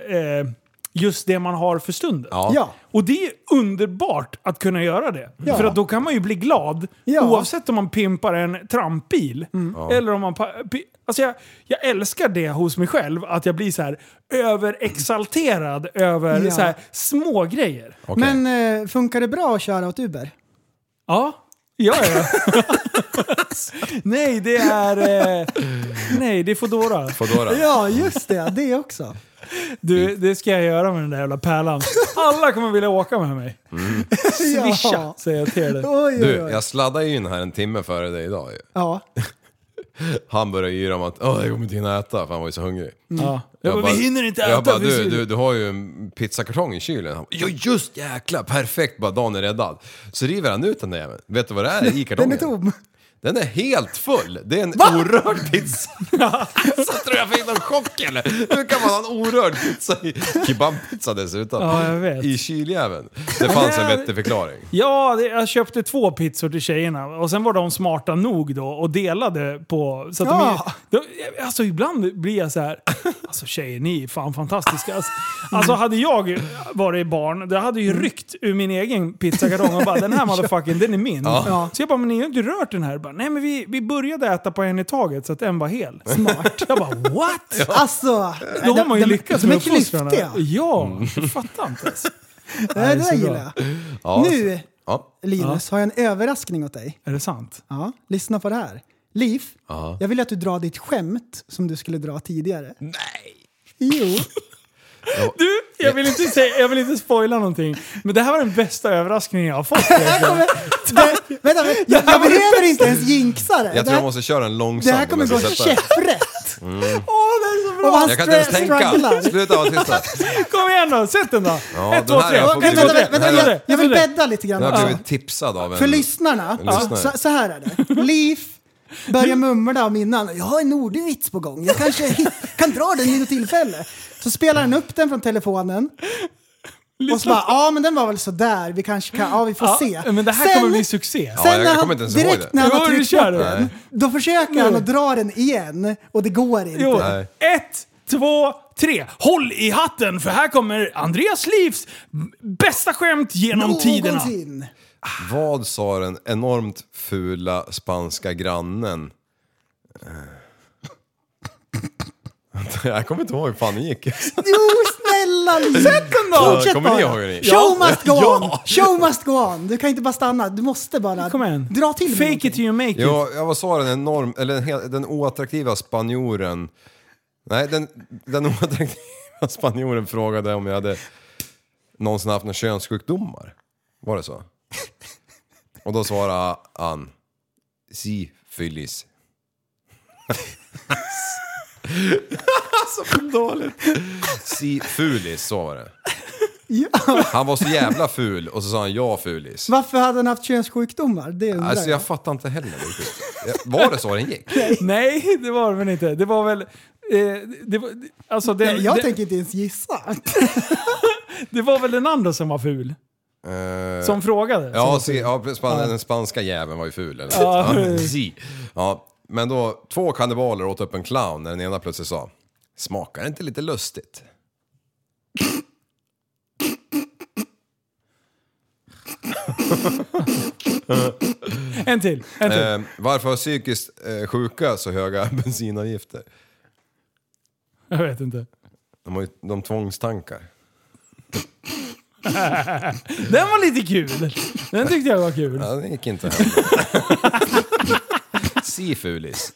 Speaker 6: just det man har för stunden.
Speaker 5: Ja.
Speaker 6: Och det är underbart att kunna göra det. För att då kan man ju bli glad
Speaker 5: Ja. Mm.
Speaker 6: oavsett om man pimpar en trampbil. Eller om man... pa- pi- Alltså jag, jag älskar det hos mig själv, att jag blir så här överexalterad över
Speaker 5: Ja.
Speaker 6: så här små grejer.
Speaker 7: Okej.
Speaker 5: Men eh, funkar det bra att köra åt Uber?
Speaker 6: Ja. Ja, ja. nej, det är... Eh, nej, det är Foodora.
Speaker 7: Foodora.
Speaker 5: Ja, just det. Det också.
Speaker 6: Du, det ska jag göra med den där jävla pärlan. Alla kommer vilja åka med mig. Swisha,
Speaker 5: Ja.
Speaker 6: säger jag till dig.
Speaker 5: Oj,
Speaker 7: Du,
Speaker 5: oj, oj.
Speaker 7: jag sladdade ju in här en timme före dig idag ju.
Speaker 5: Ja.
Speaker 7: Han började yra om att Åh, jag kommer inte hinna äta för han var ju så hungrig.
Speaker 6: Mm. Ja. Jag bara,
Speaker 7: bara-
Speaker 6: vi hinner inte äta.
Speaker 7: Jag bara,
Speaker 6: vi
Speaker 7: du,
Speaker 6: ska-
Speaker 7: du, du har ju en pizzakartong i kylen. Han bara, ja just jäklar, perfekt, bara dagen är räddad. Så river han ut den där jäveln. Vet du vad det är i kartongen?
Speaker 5: Den är tom.
Speaker 7: Den är helt full! Det är en orörd pizza! Så tror jag fick någon chock eller? Hur kan man ha en orörd pizza? i- Kebabpizza dessutom.
Speaker 6: Ja, jag vet.
Speaker 7: I kyljäveln. Det fanns en
Speaker 6: Nej.
Speaker 7: vettig förklaring.
Speaker 6: Ja, det, jag köpte två pizzor till tjejerna och sen var de smarta nog då och delade på... Så att
Speaker 5: Ja.
Speaker 6: de, de, alltså ibland blir jag så här. Alltså tjejer, ni är fan fantastiska. Alltså, alltså hade jag varit barn, det hade ju
Speaker 5: Mm.
Speaker 6: ryckt ur min egen pizzakartong och bara den här motherfucking, den är min.
Speaker 7: Ja.
Speaker 6: Så jag bara, men ni har ju inte rört den här. Jag Bara, Nej men vi, vi började äta på en i taget så att en var hel. Smart. Jag bara what?
Speaker 5: Alltså.
Speaker 6: Då har man ju
Speaker 5: de,
Speaker 6: lyckats
Speaker 5: de, de är
Speaker 6: med
Speaker 5: Mm.
Speaker 6: uppfostran.
Speaker 5: klyftiga.
Speaker 6: Ja, jag fattar inte ens.
Speaker 5: Nej, det
Speaker 6: så
Speaker 5: där
Speaker 6: bra.
Speaker 5: gillar jag.
Speaker 7: Ja,
Speaker 5: Nu,
Speaker 7: Ja.
Speaker 5: Linus, har jag en överraskning åt dig.
Speaker 6: Är det sant?
Speaker 5: Ja, lyssna på det här. Liv, jag vill att du drar ditt skämt som du skulle dra tidigare. Nej! Jo.
Speaker 6: Du, jag vill inte, säga, jag vill inte spoila någonting, men det här var den bästa överraskningen jag har fått. egentligen.
Speaker 5: Det, vänta, vänta. Jag, jag behöver inte ens jinxa det.
Speaker 7: Jag
Speaker 5: det,
Speaker 7: tror jag
Speaker 5: här,
Speaker 7: måste köra en långsam.
Speaker 5: det här kommer
Speaker 7: om
Speaker 5: gå
Speaker 7: jag ska sätta den.
Speaker 5: käpprätt. Åh, det är så bra! Och han
Speaker 7: Jag kan inte ens
Speaker 5: stra- strugglar.
Speaker 7: tänka. Sluta vara tysta.
Speaker 6: Kom igen då, sätt den då!
Speaker 7: Ja,
Speaker 6: Ett,
Speaker 7: den
Speaker 6: två,
Speaker 7: här
Speaker 6: tre!
Speaker 7: har jag
Speaker 6: Ett,
Speaker 7: fått-
Speaker 5: Vänta,
Speaker 6: två, tre!
Speaker 5: vänta, vänta, jag, jag vill
Speaker 6: Ett, två, tre!
Speaker 5: bädda lite grann.
Speaker 7: Jag har
Speaker 5: också.
Speaker 7: blivit tipsad av en...
Speaker 5: För lyssnarna,
Speaker 7: lyssnare.
Speaker 5: så, så här är det. Liv börjar mumla om innan. Jag har en ordvits på gång. Jag kanske hit, kan dra den vid något tillfälle. Så spelar han upp den från telefonen. Och så bara, ja men den var väl sådär. Vi kanske kan, ja vi får
Speaker 6: Ja,
Speaker 5: se.
Speaker 6: Men det här kommer bli succé.
Speaker 7: Ja, jag
Speaker 5: när han,
Speaker 7: kommer inte ens ihåg
Speaker 5: direkt
Speaker 7: det.
Speaker 5: när han
Speaker 6: Jo,
Speaker 5: har
Speaker 6: du
Speaker 5: tryckt
Speaker 6: kör
Speaker 5: upp
Speaker 6: det.
Speaker 5: den, då försöker han att dra den igen och det går inte.
Speaker 6: Jo.
Speaker 7: Nej.
Speaker 6: Ett, två, tre! Håll i hatten för här kommer Andreas Livs bästa skämt genom tiderna.
Speaker 5: Någonsin.
Speaker 7: Vad sa den enormt fula spanska grannen? Eh. Jag kommer inte ihåg hur fan det gick.
Speaker 5: Jo, snälla Liv! Sätt den
Speaker 7: då!
Speaker 5: Fortsätt
Speaker 7: Kommer
Speaker 5: bara.
Speaker 7: ni ihåg hur det gick?
Speaker 5: Show must go
Speaker 7: Ja.
Speaker 5: on! Show must go on! Du kan inte bara stanna, du måste bara
Speaker 6: Kom igen.
Speaker 5: dra till med
Speaker 6: Fake it
Speaker 5: någonting.
Speaker 6: till you make it.
Speaker 7: Jo, jag vad sa den enorm, eller den, hel- den oattraktiva spanjoren? Nej, den, den oattraktiva spanjoren frågade om jag hade någonsin haft några könssjukdomar. Var det så? Och då svarade han, Syfilis. alltså för dåligt. Syfilis, så var det.
Speaker 5: Ja.
Speaker 7: Han var så jävla ful och så sa han ja fulis.
Speaker 5: Varför hade han haft könssjukdomar? Det undrar
Speaker 7: Alltså
Speaker 5: jag.
Speaker 7: jag fattar inte heller riktigt. Var det så den gick?
Speaker 6: Nej, det var det väl inte. Det var väl... Eh, det, var, alltså det,
Speaker 5: Nej, jag
Speaker 6: det,
Speaker 5: tänker inte ens gissa.
Speaker 6: det var väl den andra som var ful?
Speaker 7: Eh,
Speaker 6: Som frågade? som
Speaker 7: Ja,
Speaker 6: var
Speaker 7: se,
Speaker 6: ful.
Speaker 7: ja span, den spanska jäveln var ju ful. Eller?
Speaker 6: Ja.
Speaker 7: Ja. si. ja, men då, två kannibaler åt upp en clown när den ena plötsligt sa Smakar det inte lite lustigt?
Speaker 6: En till. En till.
Speaker 7: Eh, varför har psykiskt eh, sjuka så höga bensinavgifter?
Speaker 6: Jag vet inte.
Speaker 7: De har ju de tvångstankar.
Speaker 6: Den var lite kul. Den tyckte jag var kul.
Speaker 7: Ja, det gick inte heller. si fulis.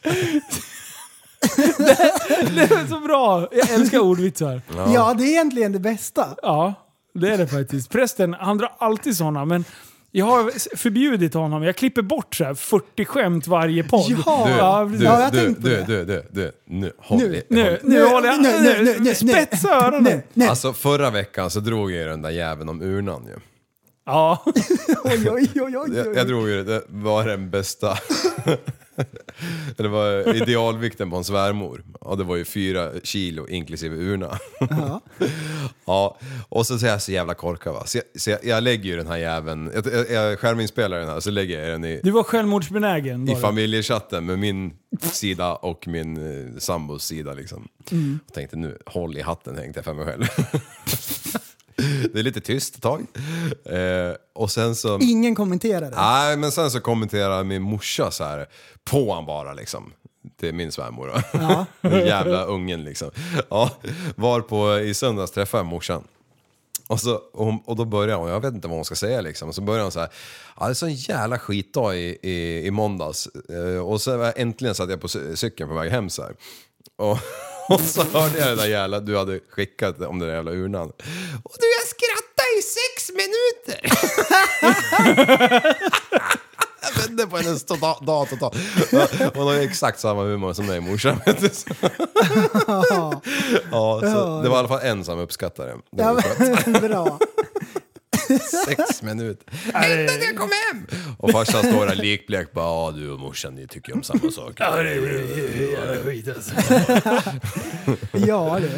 Speaker 6: Det är så bra. Jag älskar ordvitsar.
Speaker 5: Ja. det är egentligen det bästa.
Speaker 6: Ja, det är det faktiskt. Prästen, han drar alltid sådana, men jag har förbjudit honom. Jag klipper bort så här 40 skämt varje podd.
Speaker 5: Ja.
Speaker 7: Du,
Speaker 6: ja,
Speaker 7: du,
Speaker 6: precis.
Speaker 7: du,
Speaker 5: Ja, jag
Speaker 7: du,
Speaker 5: tänkte på
Speaker 7: du,
Speaker 5: det.
Speaker 7: du, du, nu håll
Speaker 5: Nu,
Speaker 7: i-
Speaker 6: Nu,
Speaker 7: håll i.
Speaker 6: nu, håller jag...
Speaker 5: nu, nu, nu, nu.
Speaker 6: spetsa öronen!
Speaker 5: Nej, nej.
Speaker 7: Alltså förra veckan så drog jag ju den där jäveln om urnan ju.
Speaker 6: Ja.
Speaker 5: Oj, oj, oj, oj,
Speaker 7: Jag,
Speaker 5: oj.
Speaker 7: jag drog ju det, det var den bästa. Eller var idealvikten på en svärmor. Ja, det var ju fyra kilo inklusive urna. ja, och så är jag så jävla korkad va. Så jag, så jag, jag lägger ju den här jäveln, jag, jag, jag skärminspelar den här så lägger jag den i,
Speaker 6: Du var självmordsbenägen.
Speaker 7: i
Speaker 6: var du.
Speaker 7: familjechatten med min sida och min eh, sambos sida liksom. Och tänkte nu, håll i hatten tänkte jag för mig själv. det är lite tyst ett tag. Eh, och sen så...
Speaker 5: Ingen kommenterade.
Speaker 7: Nej, men sen så kommenterar min morsa så här på han bara liksom. Till min svärmor då. Den jävla ungen liksom. Ja, var på i söndags träffade jag morsan. Och, så, och, hon, och då börjar hon, jag vet inte vad hon ska säga liksom. Och så börjar hon så här, ja det är sån jävla skitdag i, i, i måndags. Eh, och så var jag, äntligen satt jag på cy- cykeln på väg hem så här. Och, och så hörde jag den där jävla, du hade skickat om den där jävla urnan. Och du, jag skrattade i sex minuter! vände på hennes tota- dag totalt. Ja, Hon har ju exakt samma humor som mig morsan. vet du. Så- ja, så det var i alla fall en som uppskattade det. det.
Speaker 5: Ja,
Speaker 7: var skönt.
Speaker 5: men, bra.
Speaker 7: Sex minuter. Vänta till jag kom hem! Och farsan står där likblek bara, ja du och morsan ni tycker ju om samma saker.
Speaker 5: Ja, det.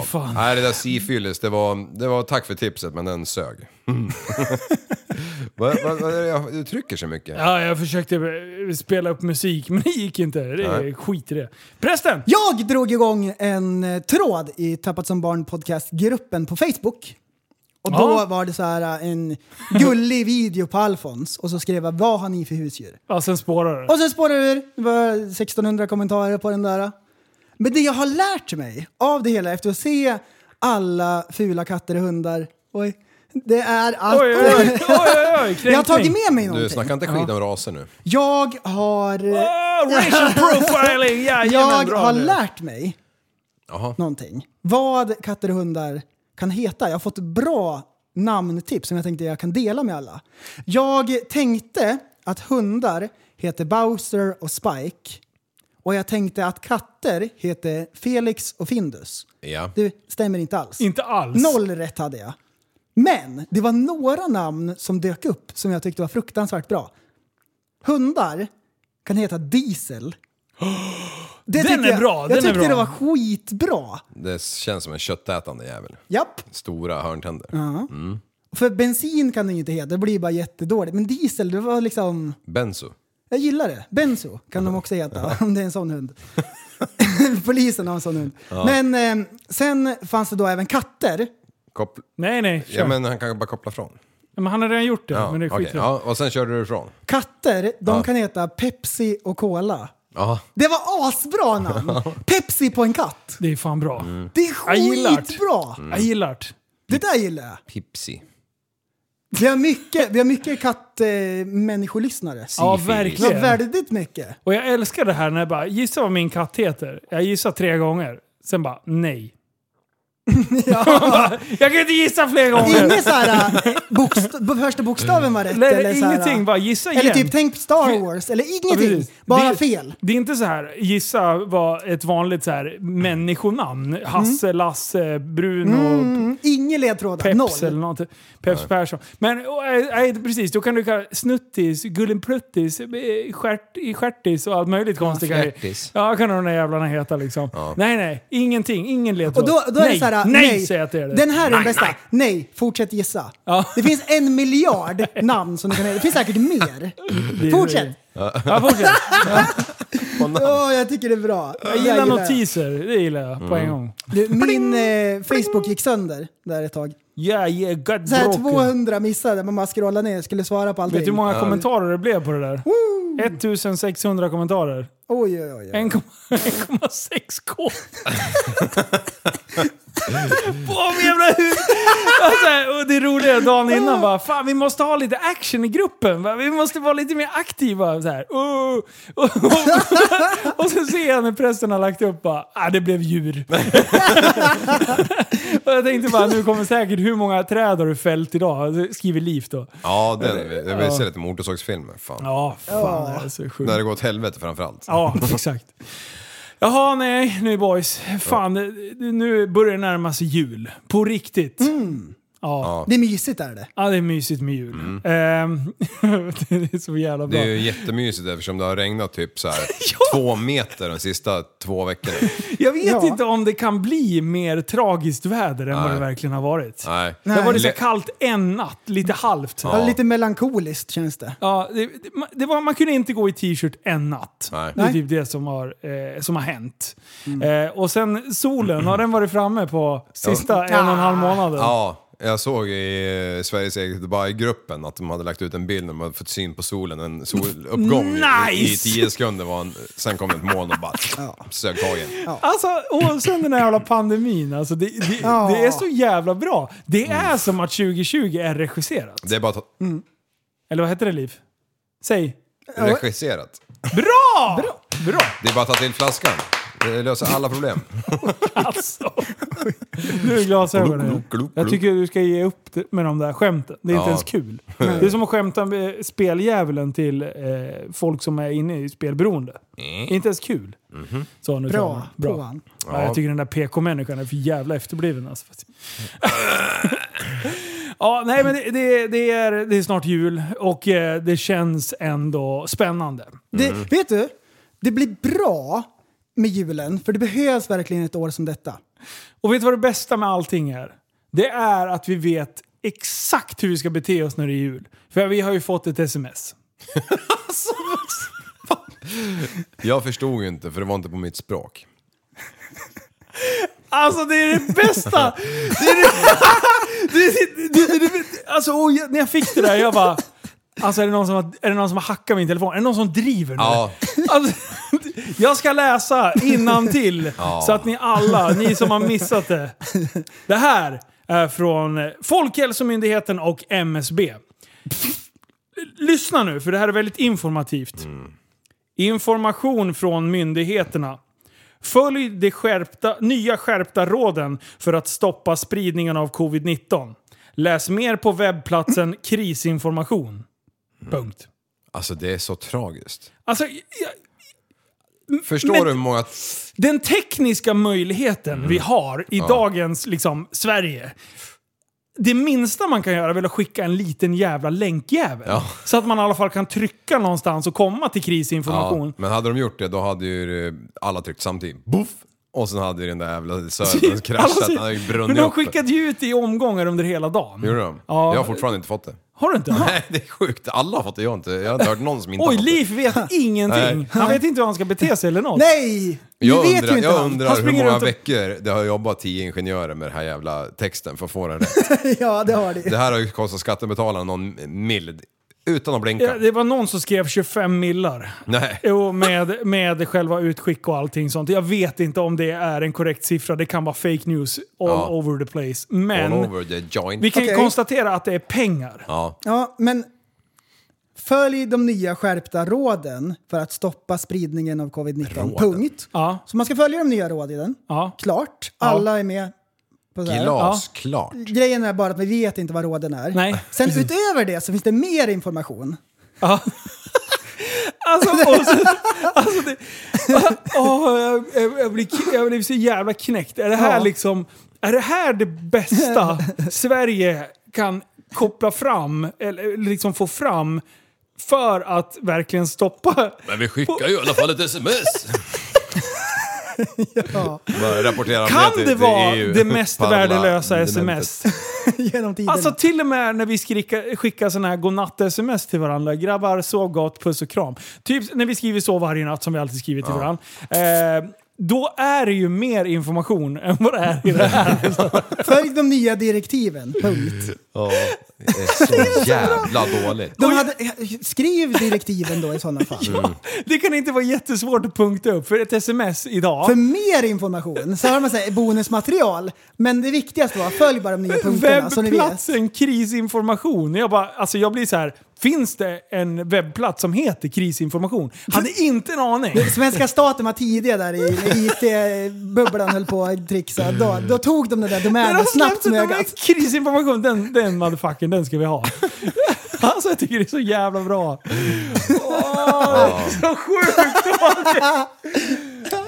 Speaker 6: Fy fan.
Speaker 7: Nej det där Sifylis, det var, det var tack för tipset men den sög.
Speaker 6: Mm.
Speaker 7: vad, vad, vad är det jag, du trycker så mycket?
Speaker 6: Ja, jag försökte eh, spela upp musik, men det gick inte. Det är skit i det. Prästen!
Speaker 5: Jag drog igång en eh, tråd i Tappat som barn podcastgruppen på Facebook. Och då
Speaker 6: Ja.
Speaker 5: var det så här eh, en gullig video på Alfons och så skrev jag vad har ni för husdjur?
Speaker 6: Ja, sen spårar det.
Speaker 5: Och sen spårade det ur. Det var 1600 kommentarer på den där. Men det jag har lärt mig av det hela efter att se alla fula katter och hundar. Oj. Det är allt.
Speaker 6: Oj, oj, oj, oj, oj, oj.
Speaker 5: jag har tagit
Speaker 6: kränkning.
Speaker 5: med mig
Speaker 7: Du
Speaker 5: någonting.
Speaker 7: snackar inte skit om raser nu.
Speaker 5: Jag har...
Speaker 6: Ah, racial profiling! Ja,
Speaker 5: Jag har lärt mig
Speaker 7: Jaha.
Speaker 5: någonting. Vad katter och hundar kan heta. Jag har fått bra namntips som jag tänkte jag kan dela med alla. Jag tänkte att hundar heter Bowser och Spike. Och jag tänkte att katter heter Felix och Findus.
Speaker 7: Ja.
Speaker 5: Det stämmer inte alls.
Speaker 6: Inte alls.
Speaker 5: Noll rätt hade jag. Men det var några namn som dök upp som jag tyckte var fruktansvärt bra. Hundar kan heta Diesel. Det
Speaker 6: Den
Speaker 5: tyckte
Speaker 6: är
Speaker 5: jag,
Speaker 6: bra,
Speaker 5: Jag
Speaker 6: den är
Speaker 5: tyckte
Speaker 6: bra.
Speaker 5: det var skitbra.
Speaker 7: Det känns som en köttätande jävel.
Speaker 5: Japp.
Speaker 7: Stora hörntänder.
Speaker 5: För bensin kan det ju inte heta, det blir bara jättedåligt. Men diesel, det var liksom...
Speaker 7: Benzo.
Speaker 5: Jag gillar det. Benzo kan de också heta, om det är en sån hund. Polisen har en sån hund. Men eh, sen fanns det då även katter.
Speaker 7: Koppl-
Speaker 6: Nej, nej. kör.
Speaker 7: ja, men han kan bara koppla från.
Speaker 6: Men han har redan gjort det,
Speaker 7: Ja,
Speaker 6: men det är
Speaker 7: okej.
Speaker 6: skit
Speaker 7: ja, och sen körde du ifrån.
Speaker 5: Katter, de
Speaker 7: Ja.
Speaker 5: kan heta Pepsi och Cola.
Speaker 7: Ja.
Speaker 5: Det var asbra namn! Pepsi på en katt.
Speaker 6: Det är fan bra.
Speaker 7: Mm,
Speaker 5: Det är
Speaker 6: Jag gillar det.
Speaker 5: skitbra!
Speaker 6: Jag gillar det.
Speaker 5: Det där gillar jag.
Speaker 7: Pipsi.
Speaker 5: Vi har mycket, vi har mycket kattmänniskolyssnare.
Speaker 6: Ja,
Speaker 7: Sifis.
Speaker 5: Det var
Speaker 6: verkligen.
Speaker 5: väldigt mycket.
Speaker 6: Och jag älskar det här när jag bara, gissa vad min katt heter. Jag gissar tre gånger. Sen bara, nej. Jag kan inte gissa fler gånger.
Speaker 5: Ingen så här, äh, bokst- b- första bokstaven var rätt. eller
Speaker 6: Nej,
Speaker 5: så här,
Speaker 6: ingenting.
Speaker 5: äh,
Speaker 6: Bara gissa igen.
Speaker 5: Eller typ tänk Star Wars, eller ingenting.
Speaker 6: precis.
Speaker 5: Bara
Speaker 6: Det-
Speaker 5: fel.
Speaker 6: Det är inte så här gissa vad ett vanligt så här människonamn. Hasse, Lasse, Bruno,
Speaker 5: Mm, inga ledtrådar,
Speaker 6: Peps eller
Speaker 5: noll.
Speaker 6: någonting. Peps Persson. Men och, äh, nej, precis, då kan du kalla Snuttis, Gullenpluttis, eh, stjärt- Stjärtis och allt möjligt konstigt. kan du-
Speaker 7: Flärtis.
Speaker 6: Ja, kan de där jävlarna heta liksom. Nej, nej, ingenting. Ingen ledtråd.
Speaker 5: Och då, då är
Speaker 6: nej,
Speaker 5: det så här, äh,
Speaker 6: nej, säger jag till er.
Speaker 5: Den här är den
Speaker 6: Nej,
Speaker 5: bästa.
Speaker 6: nej.
Speaker 5: Nej, fortsätt gissa.
Speaker 6: Ja.
Speaker 5: Det finns en miljard namn som du kan Det finns säkert mer.
Speaker 6: Det-
Speaker 5: Fortsätt.
Speaker 6: Ja, fortsätt.
Speaker 5: Åh, jag tycker det är bra.
Speaker 6: Jag gillar notiser, det gillar jag på en gång.
Speaker 5: Du, min eh, Facebook gick sönder där ett tag.
Speaker 6: Yeah, yeah, god
Speaker 5: Så här
Speaker 6: bråk.
Speaker 5: 200 missade, man bara scrollade ner skulle svara på allting.
Speaker 6: Vet du hur många kommentarer det blev på det där? 1600 kommentarer.
Speaker 5: Oj, oj, oj.
Speaker 6: 1,6k. på med jävla huvud! Alltså, och det roliga är dagen innan bara, fan vi måste ha lite action i gruppen. va? Vi måste vara lite mer aktiva. Så här. "Oh." Och, och, och, så ser jag när prästen har lagt upp bara, ah, det blev djur. och jag tänkte bara, nu kommer säkert hur många träd har du fällt idag? Så Skriver liv då.
Speaker 7: Ja, den, jag vill se lite motorsågsfilmer. Fan.
Speaker 6: Ja, fan det är så sjukt.
Speaker 7: När det går åt helvete framförallt.
Speaker 6: Ja, exakt. Jaha, nej, nu boys. Fan, det- det- nu börjar det närma sig jul. På riktigt.
Speaker 7: Mm.
Speaker 6: Ja.
Speaker 5: Det är mysigt är det.
Speaker 6: ja, det är mysigt med jul. Ehm, det är så jävla
Speaker 7: Mm. Det
Speaker 6: bra.
Speaker 7: är ju jättemysigt eftersom det har regnat typ så här två meter de sista två veckorna.
Speaker 6: Jag vet
Speaker 5: Ja.
Speaker 6: inte om det kan bli mer tragiskt väder än vad det
Speaker 7: Nej.
Speaker 6: verkligen har varit.
Speaker 7: Nej.
Speaker 6: Det har varit så
Speaker 7: Le-
Speaker 6: kallt en natt, lite halvt.
Speaker 5: Ja. Lite melankoliskt känns det.
Speaker 6: Ja, det, det, ma- det var, man kunde inte gå i t-shirt en natt.
Speaker 7: Nej. Mm.
Speaker 6: Det är typ det som har, eh, som har hänt. Eh, och sen solen, har den varit framme på sista en och en halv månaden?
Speaker 7: Ja, jag såg i eh, Sveriges eget Dubai-gruppen att de hade lagt ut en bild när de hade fått syn på solen, en soluppgång i- i
Speaker 6: Nice!
Speaker 7: tio sekunder. Var en, sen kom ett moln och bara sög tag i en.
Speaker 6: Alltså, och sen den här jävla pandemin. Alltså, det, det,
Speaker 5: Ja. Mm.
Speaker 6: det är så jävla bra. Det är som att 2020 är regisserat.
Speaker 7: Det är bara
Speaker 6: Mm.
Speaker 7: att-
Speaker 6: Eller vad heter det, Liv? Säg.
Speaker 7: regisserat.
Speaker 6: Bra! Bra! Bra!
Speaker 7: Det är bara att ta till flaskan. Det löser alla problem.
Speaker 6: Alltså. Nu är glasögonen
Speaker 7: Glug, glug, glug,
Speaker 6: Jag
Speaker 7: glug.
Speaker 6: tycker du ska ge upp det- med de där skämten. Det är
Speaker 7: Ja.
Speaker 6: inte ens kul. Det är som att skämta med speldjävulen till eh, folk som är inne i spelberoende. Det är inte ens kul. Så nu tar
Speaker 5: Bra,
Speaker 6: man.
Speaker 5: Bra. på han.
Speaker 6: Ja. Jag tycker den där PK-människan är för jävla efterbliven alltså. ja, nej men det, det, det, är, det är snart jul och eh, det känns ändå spännande.
Speaker 5: Det,
Speaker 6: Mm.
Speaker 5: Vet du? Det blir bra med julen, för det behövs verkligen ett år som detta.
Speaker 6: Och vet du vad det bästa med allting är? Det är att vi vet exakt hur vi ska bete oss när det är jul. För vi har ju fått ett sms.
Speaker 7: Jag förstod ju inte, för det var inte på mitt språk.
Speaker 6: Alltså det är det bästa! Det är det, det, det, det, det, alltså och jag, när jag fick det där, jag bara... Alltså är det någon som har, är det någon som har hackat min telefon? Är det någon som driver nu?
Speaker 7: Ja,
Speaker 6: Alltså, jag ska läsa innan till så att ni alla, ni som har missat det. Det här är från Folkhälsomyndigheten och MSB. Lyssna nu, för det här är väldigt informativt. Information från myndigheterna. Följ de skärpta, nya skärpta råden för att stoppa spridningen av covid-19. Läs mer på webbplatsen krisinformation. Punkt.
Speaker 7: alltså det är så tragiskt.
Speaker 6: Alltså, jag,
Speaker 7: Förstår
Speaker 6: Mm, Men-
Speaker 7: du hur många...
Speaker 6: den tekniska möjligheten
Speaker 7: Mm.
Speaker 6: vi har i dagens liksom, Sverige. Det minsta man kan göra är väl att skicka en liten jävla länkjävel.
Speaker 7: Ja.
Speaker 6: Så att man i alla fall kan trycka någonstans och komma till
Speaker 7: Ja,
Speaker 6: krisinformation.
Speaker 7: men hade de gjort det, då hade ju eh, alla tryckt samtidigt. Boff! Och sen hade ju den där jävla servern kraschat. Den hade ju
Speaker 6: Alltså, men
Speaker 7: brunnit
Speaker 6: de
Speaker 7: upp.
Speaker 6: skickade ju ut i omgångar under hela dagen.
Speaker 7: Gjorde de?
Speaker 6: Ja.
Speaker 7: Jag har fortfarande inte fått det.
Speaker 6: Har du inte?
Speaker 7: Nej, det är sjukt. Alla har fått det. Jag har inte, jag har inte hört någon som inte
Speaker 6: Oj,
Speaker 7: har fått det.
Speaker 6: Liv vet ingenting.
Speaker 7: Nej.
Speaker 6: Han vet inte hur han ska bete sig eller något.
Speaker 5: Nej! Vi
Speaker 7: Jag
Speaker 5: vet
Speaker 7: undrar,
Speaker 5: ju inte
Speaker 7: jag
Speaker 5: allt.
Speaker 6: Han
Speaker 7: undrar hur
Speaker 6: springer
Speaker 7: många
Speaker 6: runt och-
Speaker 7: veckor det har jobbat tio ingenjörer med den här jävla texten för att få den rätt.
Speaker 5: Ja, det har
Speaker 7: Det
Speaker 5: det.
Speaker 7: här har ju kostat skattebetalarna någon mild. Utan att blinka.
Speaker 6: Ja, det var någon som skrev 25 millar.
Speaker 7: Nej.
Speaker 6: Jo, med, med själva utskick och allting sånt. Jag vet inte om det är en korrekt siffra. Det kan vara fake news all
Speaker 7: Ja.
Speaker 6: over the place.
Speaker 7: All
Speaker 6: Men
Speaker 7: over the joint.
Speaker 6: vi kan ju
Speaker 5: Okej.
Speaker 6: konstatera att det är pengar.
Speaker 7: Ja.
Speaker 5: Ja, men följ de nya skärpta råden för att stoppa spridningen av covid-19. Punkt.
Speaker 6: Ja.
Speaker 5: Så man ska följa de nya råden.
Speaker 6: Ja.
Speaker 5: Klart. Alla är med. På så här.
Speaker 7: Glasklart.
Speaker 5: Grejen är bara att vi vet inte vad råden är.
Speaker 6: Nej.
Speaker 5: Sen utöver det så finns det mer information.
Speaker 6: Ja. Alltså, och så, alltså det, åh, jag, jag- jag, blir, k- jag blir så jävla knäckt. Är det här
Speaker 5: Ja.
Speaker 6: liksom... Är det här det bästa Sverige kan koppla fram, eller liksom få fram, för att verkligen stoppa...
Speaker 7: Men vi skickar ju i alla fall ett sms. Bara rapportera
Speaker 6: Kan
Speaker 7: till-
Speaker 6: det
Speaker 7: till
Speaker 6: vara
Speaker 7: EU.
Speaker 6: det mest värdelösa sms?
Speaker 5: Genom tiderna.
Speaker 6: Alltså till och med när vi skrika, skickar sådana här godnatt-sms till varandra. Grabbar, sov gott, puss och kram. Typ när vi skriver så varje natt som vi alltid skriver till varandra. Eh, då är det ju mer information än vad det är i det här.
Speaker 5: Följ de nya direktiven, punkt.
Speaker 7: Ja, det är så jävla dåligt.
Speaker 5: De hade, skriv direktiven då i sådana fall.
Speaker 6: Det kan inte vara jättesvårt att punkta upp för ett sms idag.
Speaker 5: För mer information så har man så här, bonusmaterial. Men det viktigaste var följ bara de nya punkterna så ni vet.
Speaker 6: Webbplatsen krisinformation. Jag, bara, alltså jag blir så här, finns det en webbplats som heter krisinformation? Hade inte en aning.
Speaker 5: Svenska staten var tidiga där i när IT-bubblan höll på att trixa. Då, då tog de den där
Speaker 6: Men
Speaker 5: domänen
Speaker 6: alltså,
Speaker 5: snabbt som
Speaker 6: de här
Speaker 5: ögat.
Speaker 6: Krisinformation, den, den motherfuckern, den ska vi ha. Alltså jag tycker det är så jävla bra. Åh, så sjukt!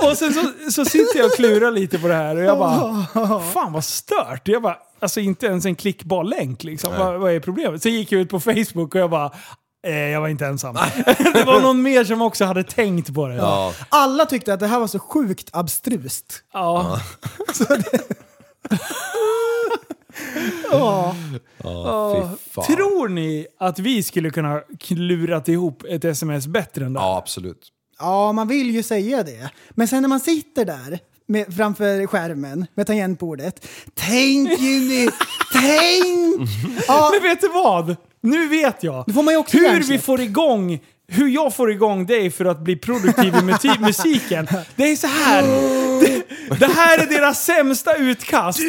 Speaker 6: Och sen så, så sitter jag och klurar lite på det här och jag bara, fan vad stört. Jag bara, alltså inte ens en klickbar länk liksom. Vad, vad är problemet? Sen gick jag ut på Facebook och jag bara, eh, jag var inte ensam. det var någon mer som också hade tänkt på det.
Speaker 7: Ja,
Speaker 5: Alla tyckte att det här var så sjukt abstrust.
Speaker 6: Ja.
Speaker 7: ja fy fan.
Speaker 6: Tror ni att vi skulle kunna klurat ihop ett sms bättre än det?
Speaker 7: Ja, absolut.
Speaker 5: Ja, man vill ju säga det. Men sen när man sitter där med, framför skärmen med tangentbordet. Tänk Jimmy! tänk! Ja,
Speaker 6: Men vet du vad? Nu vet jag.
Speaker 5: Då får man ju också
Speaker 6: hur vi
Speaker 5: hjärnsläpp.
Speaker 6: får igång hur jag får igång dig för att bli produktiv i muti- musiken. Det är så här. Det, det här är deras sämsta utkast.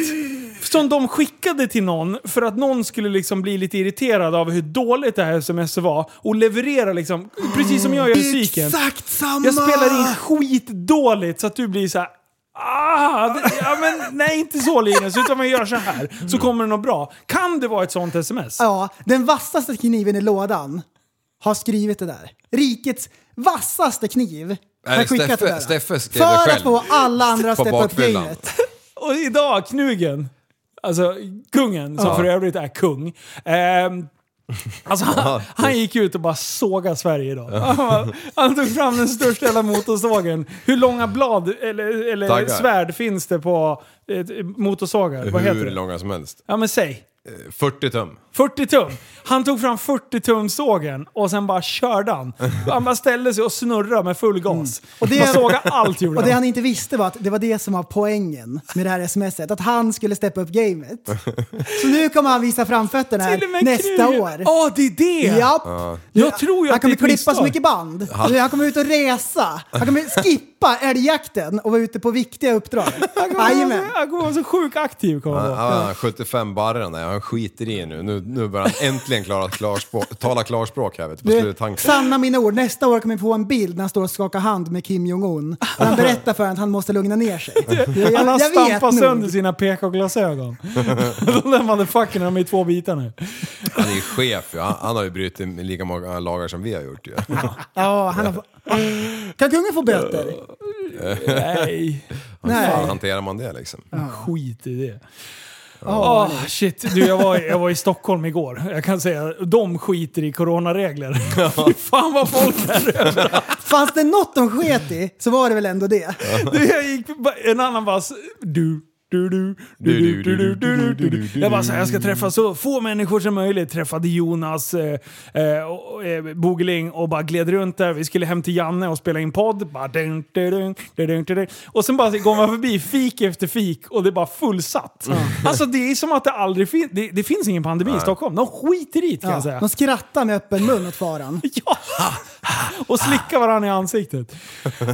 Speaker 6: Som de skickade till någon för att någon skulle liksom bli lite irriterad av hur dåligt det här sms var. Och leverera liksom, precis som jag gör i musiken.
Speaker 5: exakt samma!
Speaker 6: Jag spelar in skitdåligt så att du blir så här. Ah, det, ja, men, nej, inte så Linus, utan man gör så här.
Speaker 7: Mm.
Speaker 6: Så kommer det något bra. Kan det vara ett sånt sms?
Speaker 5: Ja, den vassaste kniven i lådan har skrivit det där. Rikets vassaste kniv
Speaker 7: Är
Speaker 5: har
Speaker 7: det
Speaker 5: skickat
Speaker 7: Steffe-
Speaker 5: det där.
Speaker 7: Steffe skrev det
Speaker 5: För
Speaker 7: själv?
Speaker 5: att få alla andra att
Speaker 7: På
Speaker 5: steppa upp
Speaker 7: bakfyllan.
Speaker 5: gamet.
Speaker 6: Och idag, knugen. Alltså kungen, som för övrigt är kung. Ehm, alltså han, han gick ut och bara såga Sverige idag. Han, bara- han tog fram den största jävla motorsågen. Hur långa blad, eller, eller
Speaker 7: Taggar.
Speaker 6: svärd finns det på eh, motorsågar? Vad heter
Speaker 7: Hur
Speaker 6: det?
Speaker 7: långa som helst.
Speaker 6: Ja men säg.
Speaker 7: 40 tum.
Speaker 6: 40 tum. Han tog fram 40 tum sågen och sen bara körde han. Han bara ställde sig och snurrade med full gas. Och
Speaker 5: det-
Speaker 6: det såga allt gjorde
Speaker 5: Mm. Och det
Speaker 6: han.
Speaker 5: han inte visste var att det var det som var poängen med det här smset. Att han skulle steppa upp gamet. Så nu kommer han visa framfötterna
Speaker 6: Till och med
Speaker 5: här nästa
Speaker 6: knugen.
Speaker 5: år.
Speaker 6: Ja, det är det!
Speaker 5: Japp.
Speaker 6: Jag tror ju att det
Speaker 5: Han
Speaker 6: är
Speaker 5: kommer
Speaker 6: ett
Speaker 5: klippa så
Speaker 6: misstag.
Speaker 5: mycket band. Alltså, Han kommer ut och resa. Han kommer skippa älgjakten och vara ute på viktiga uppdrag. Jajamän.
Speaker 6: Han kommer vara så sjukt aktiv. Kommer han
Speaker 7: Han,
Speaker 6: vara.
Speaker 7: han, han 75 barren där, han skiter i nu. Nu, nu börjar han äntligen klara klarspråk, tala klarspråk här vet du, på
Speaker 5: Du,
Speaker 7: sluttanken.
Speaker 5: sanna mina ord, nästa år kommer vi få en bild när han står och skakar hand med Kim Jong-Un. Och han berättar för honom att han måste lugna ner sig. Jag,
Speaker 6: Han har
Speaker 5: jag vet
Speaker 6: stampat
Speaker 5: nog.
Speaker 6: sönder sina PK-glasögon. De där motherfuckerna, de är i två bitar nu.
Speaker 7: Han är ju chef ju. Han, han har ju brutit lika många lagar som vi har gjort ju.
Speaker 5: Ja, han har... Ah. Kan kungen få böter?
Speaker 6: Nej,
Speaker 7: Hur
Speaker 5: Nej.
Speaker 7: fan hanterar man det liksom?
Speaker 6: skit i det. Åh shit, du jag var, i- jag var i Stockholm igår. Jag kan säga, de skiter i coronaregler. Fy fan vad folk är
Speaker 5: Fanns det något de sket i så var det väl ändå det.
Speaker 6: Du, jag gick, en annan bara... så- Du, du, du, du, du, du, du, du, du, du. Jag bara så här, jag ska träffa så få människor som möjligt. Träffade Jonas eh, eh, och, eh, Bogeling och bara gled runt där. Vi skulle hem till Janne och spela in podd. Bara, dun, dun, dun, dun, dun, dun, dun. Och sen bara så går man förbi fik efter fik och det är bara fullsatt. Alltså det är som att det aldrig finns... Det, det finns ingen pandemi i Stockholm. De skiter i det kan jag
Speaker 5: Ja,
Speaker 6: säga.
Speaker 5: de skrattar med öppen mun åt faran.
Speaker 6: Ja! Och slicka varandra i ansiktet.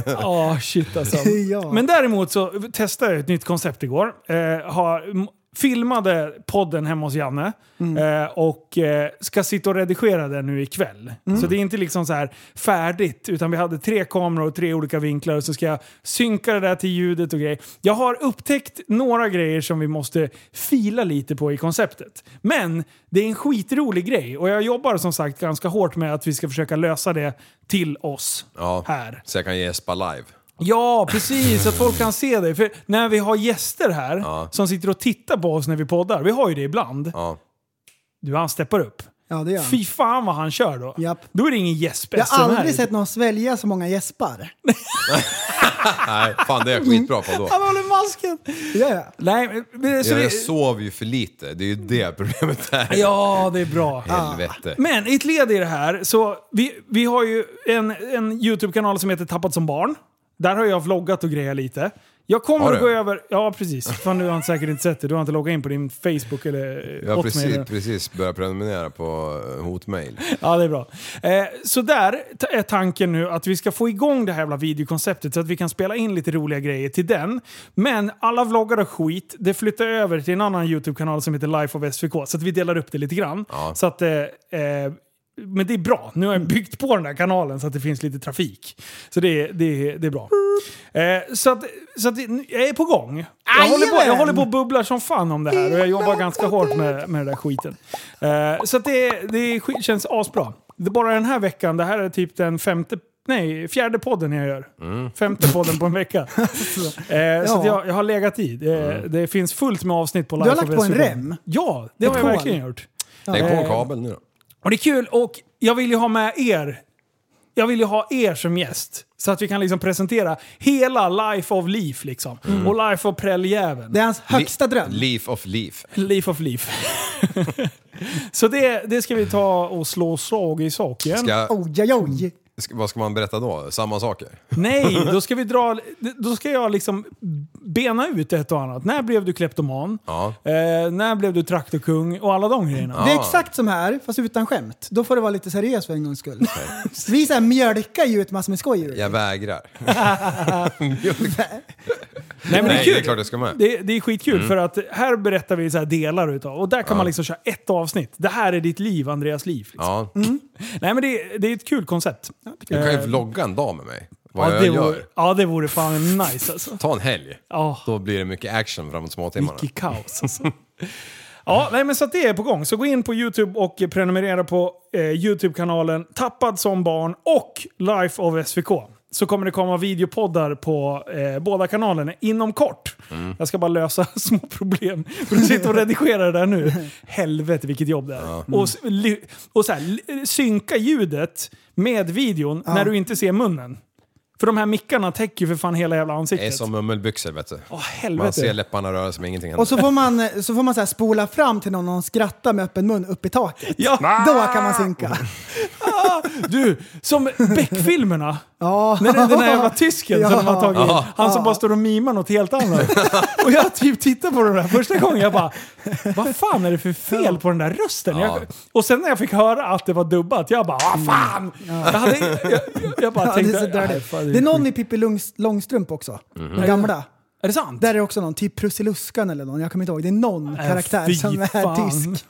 Speaker 6: Ja, shit alltså.
Speaker 5: Ja.
Speaker 6: Men däremot så testade jag ett nytt koncept igår. Eh, har, m- filmade podden hemma hos Janne eh, och eh, ska sitta och redigera den nu ikväll. Så det är inte liksom så här färdigt, utan vi hade tre kameror och tre olika vinklar och så ska jag synka det där till ljudet och grejer. Jag har upptäckt några grejer som vi måste fila lite på i konceptet. Men det är en skitrolig grej och jag jobbar som sagt ganska hårt med att vi ska försöka lösa det till oss
Speaker 7: Ja.
Speaker 6: här.
Speaker 7: Så jag kan gäspa live.
Speaker 6: Ja, precis. Att folk kan se dig. För när vi har gäster här som sitter och tittar på oss när vi poddar, vi har ju det ibland.
Speaker 7: Ja.
Speaker 6: Du, han steppar upp.
Speaker 5: Ja, det gör han.
Speaker 6: Fy fan vad han kör då.
Speaker 5: Japp.
Speaker 6: Då är det ingen gäsp
Speaker 5: Jag har aldrig sett någon svälja så många gäspar.
Speaker 7: Nej, fan det är jag skitbra på då.
Speaker 5: Han håller masken! Ja, ja.
Speaker 6: Nej, men- men- så
Speaker 7: Jag,
Speaker 6: vi,
Speaker 7: jag sov ju för lite, det är ju det problemet är.
Speaker 6: ja, det är bra.
Speaker 7: Helvete.
Speaker 6: Men i ett led i det här, så vi, vi har ju en, en YouTube-kanal som heter Tappat som barn. Där har jag vloggat och grejat lite. Jag
Speaker 7: Har
Speaker 6: kommer att
Speaker 7: du?
Speaker 6: gå över... Ja, precis. Fan, du har säkert inte sett det. Du har inte loggat in på din Facebook eller
Speaker 7: Jag har
Speaker 6: Hotmail
Speaker 7: precis,
Speaker 6: eller-
Speaker 7: precis börjat prenumerera på eh, hotmail.
Speaker 6: Ja, det är bra. Eh, så där t- är tanken nu att vi ska få igång det här jävla videokonceptet så att vi kan spela in lite roliga grejer till den. Men alla vloggar och skit, det flyttar över till en annan YouTube-kanal som heter Life of SVK. Så att vi delar upp det lite grann. Så att, eh, eh, men det är bra. Nu har jag byggt på den där kanalen så att det finns lite trafik. Så det, är- det, är- det är bra. Eh, så att, så att, jag är på gång. Jag håller på, jag
Speaker 5: Jajamän!
Speaker 6: håller på och bubblar som fan om det här och jag jobbar ganska hårt med, med den där skiten. Eh, så att det, det sk- känns asbra. Det är bara den här veckan, det här är typ den femte, nej, fjärde podden jag gör. Femte podden på en vecka. Eh, Så att jag, jag har legat i. Det, det finns fullt med avsnitt på Life
Speaker 5: har lagt
Speaker 6: of
Speaker 5: på en
Speaker 6: SVT.
Speaker 5: rem.
Speaker 6: Ja, det har jag
Speaker 5: hål.
Speaker 6: verkligen gjort.
Speaker 7: Lägg
Speaker 6: Eh.
Speaker 7: på en kabel nu då.
Speaker 6: Och det är kul och jag vill ju ha med er. Jag vill ju ha er som gäst. Så att vi kan liksom presentera hela Life of Leaf liksom.
Speaker 7: Mm.
Speaker 6: Och Life of Prälljäveln.
Speaker 5: Det är hans högsta
Speaker 7: Li-
Speaker 5: dröm.
Speaker 7: Leaf of leaf.
Speaker 6: Leaf of Leaf. så det, det ska vi ta och slå slag i sak igen.
Speaker 7: Ska,
Speaker 5: Oj, oj, oj.
Speaker 6: Mm.
Speaker 7: ska, vad ska man berätta då? Samma saker?
Speaker 6: Nej, då ska vi dra... Då ska jag liksom bena ut ett och annat. När blev du kleptoman?
Speaker 7: Ja.
Speaker 6: Eh, när blev du traktorkung? Och alla de grejerna.
Speaker 5: Det är exakt som här, fast utan skämt. Då får det vara lite seriöst för en gångs skull. Vi så här mjölkar ju ut massor med skoj ur det.
Speaker 7: Jag vägrar.
Speaker 6: Nej, men det är
Speaker 7: Nej,
Speaker 6: kul.
Speaker 7: det är klart jag ska med.
Speaker 6: Det, det är skitkul
Speaker 7: Mm.
Speaker 6: för att här berättar vi så här delar utav och där kan man liksom köra ett avsnitt. Det här är ditt liv, Andreas liv. Liksom.
Speaker 7: Ja.
Speaker 6: Nej men det, det är ett kul koncept.
Speaker 7: Du kan ju
Speaker 6: Eh,
Speaker 7: vlogga en dag med mig. Vad
Speaker 6: ja, det
Speaker 7: jag gör.
Speaker 6: vore, ja det vore fan nice alltså.
Speaker 7: Ta en helg.
Speaker 6: Ja.
Speaker 7: Då blir det mycket action framåt småtimmarna.
Speaker 6: Mycket kaos alltså. Ja, nej, men så att det är på gång. Så gå in på YouTube och prenumerera på eh, YouTube-kanalen Tappad som barn och Life of SVK. Så kommer det komma videopoddar på eh, båda kanalerna inom kort.
Speaker 7: Mm.
Speaker 6: Jag ska bara lösa små problem. För att sitta och redigera det där nu. Helvete vilket jobb det är. Och, s- ly- och så här, l- synka ljudet med videon när du inte ser munnen. För de här mickarna täcker ju för fan hela jävla
Speaker 7: Det
Speaker 6: ansiktet.
Speaker 7: är som mummelbyxor vet du.
Speaker 6: Åh,
Speaker 7: Man ser
Speaker 6: helvete.
Speaker 7: läpparna röra sig men ingenting händer.
Speaker 5: Och så får man, så får man så här spola fram till någon och skratta med öppen mun upp i taket.
Speaker 6: Ja.
Speaker 5: Då kan man synka.
Speaker 6: Du, som Beck-filmerna.
Speaker 5: Ja.
Speaker 6: När den, den där jävla tysken som de har tagit in.
Speaker 7: Ja.
Speaker 6: Han som bara står och mimar något helt annat. Och jag typ tittar på den där första gången. Jag bara, vad fan är det för fel på den där rösten?
Speaker 7: Ja.
Speaker 6: Jag, och sen när jag fick höra att det var dubbat, jag bara, vad fan! Jag, hade, jag, jag, jag bara
Speaker 5: Mm. Ja, det, är
Speaker 6: tänkte,
Speaker 5: så
Speaker 6: "Nej,
Speaker 5: dirty.
Speaker 6: fan,
Speaker 5: det är någon
Speaker 6: skit."
Speaker 5: i Pippi Långs- Långstrump också.
Speaker 6: Mhm.
Speaker 5: Den gamla.
Speaker 6: Är det sant?
Speaker 5: Där är det också någon, typ Prussiluskan eller någon, jag kommer inte ihåg. Det är någon
Speaker 6: Äh,
Speaker 5: karaktär
Speaker 6: fy
Speaker 5: som är
Speaker 6: fan.
Speaker 5: tysk.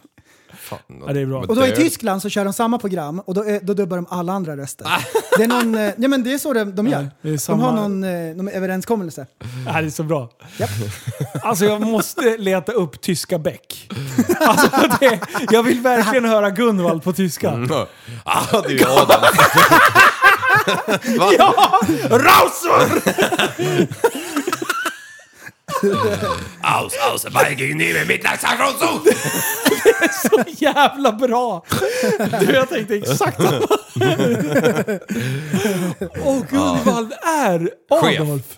Speaker 6: Ja, det är bra.
Speaker 7: Men
Speaker 5: Och då i
Speaker 7: dör.
Speaker 5: Tyskland så kör de samma program och då, är- då dubbar de alla andra röster. det är någon, eh, ja men det är så de, de gör.
Speaker 6: Ah. det är
Speaker 5: De har
Speaker 6: samma-
Speaker 5: någon, eh, någon överenskommelse.
Speaker 6: Det här är så bra. Alltså jag måste leta upp tyska Beck. Alltså, det, jag vill verkligen höra Gunvald på tyska.
Speaker 7: Ja, ah, det är ju Adam. Va?
Speaker 6: Ja! Rausor!
Speaker 3: Aus, aus, Viking, nehme Mittagsaktion zu!
Speaker 6: Så jävla bra! Du, jag tänkte exakt samma. Och Gunvald är Adolf.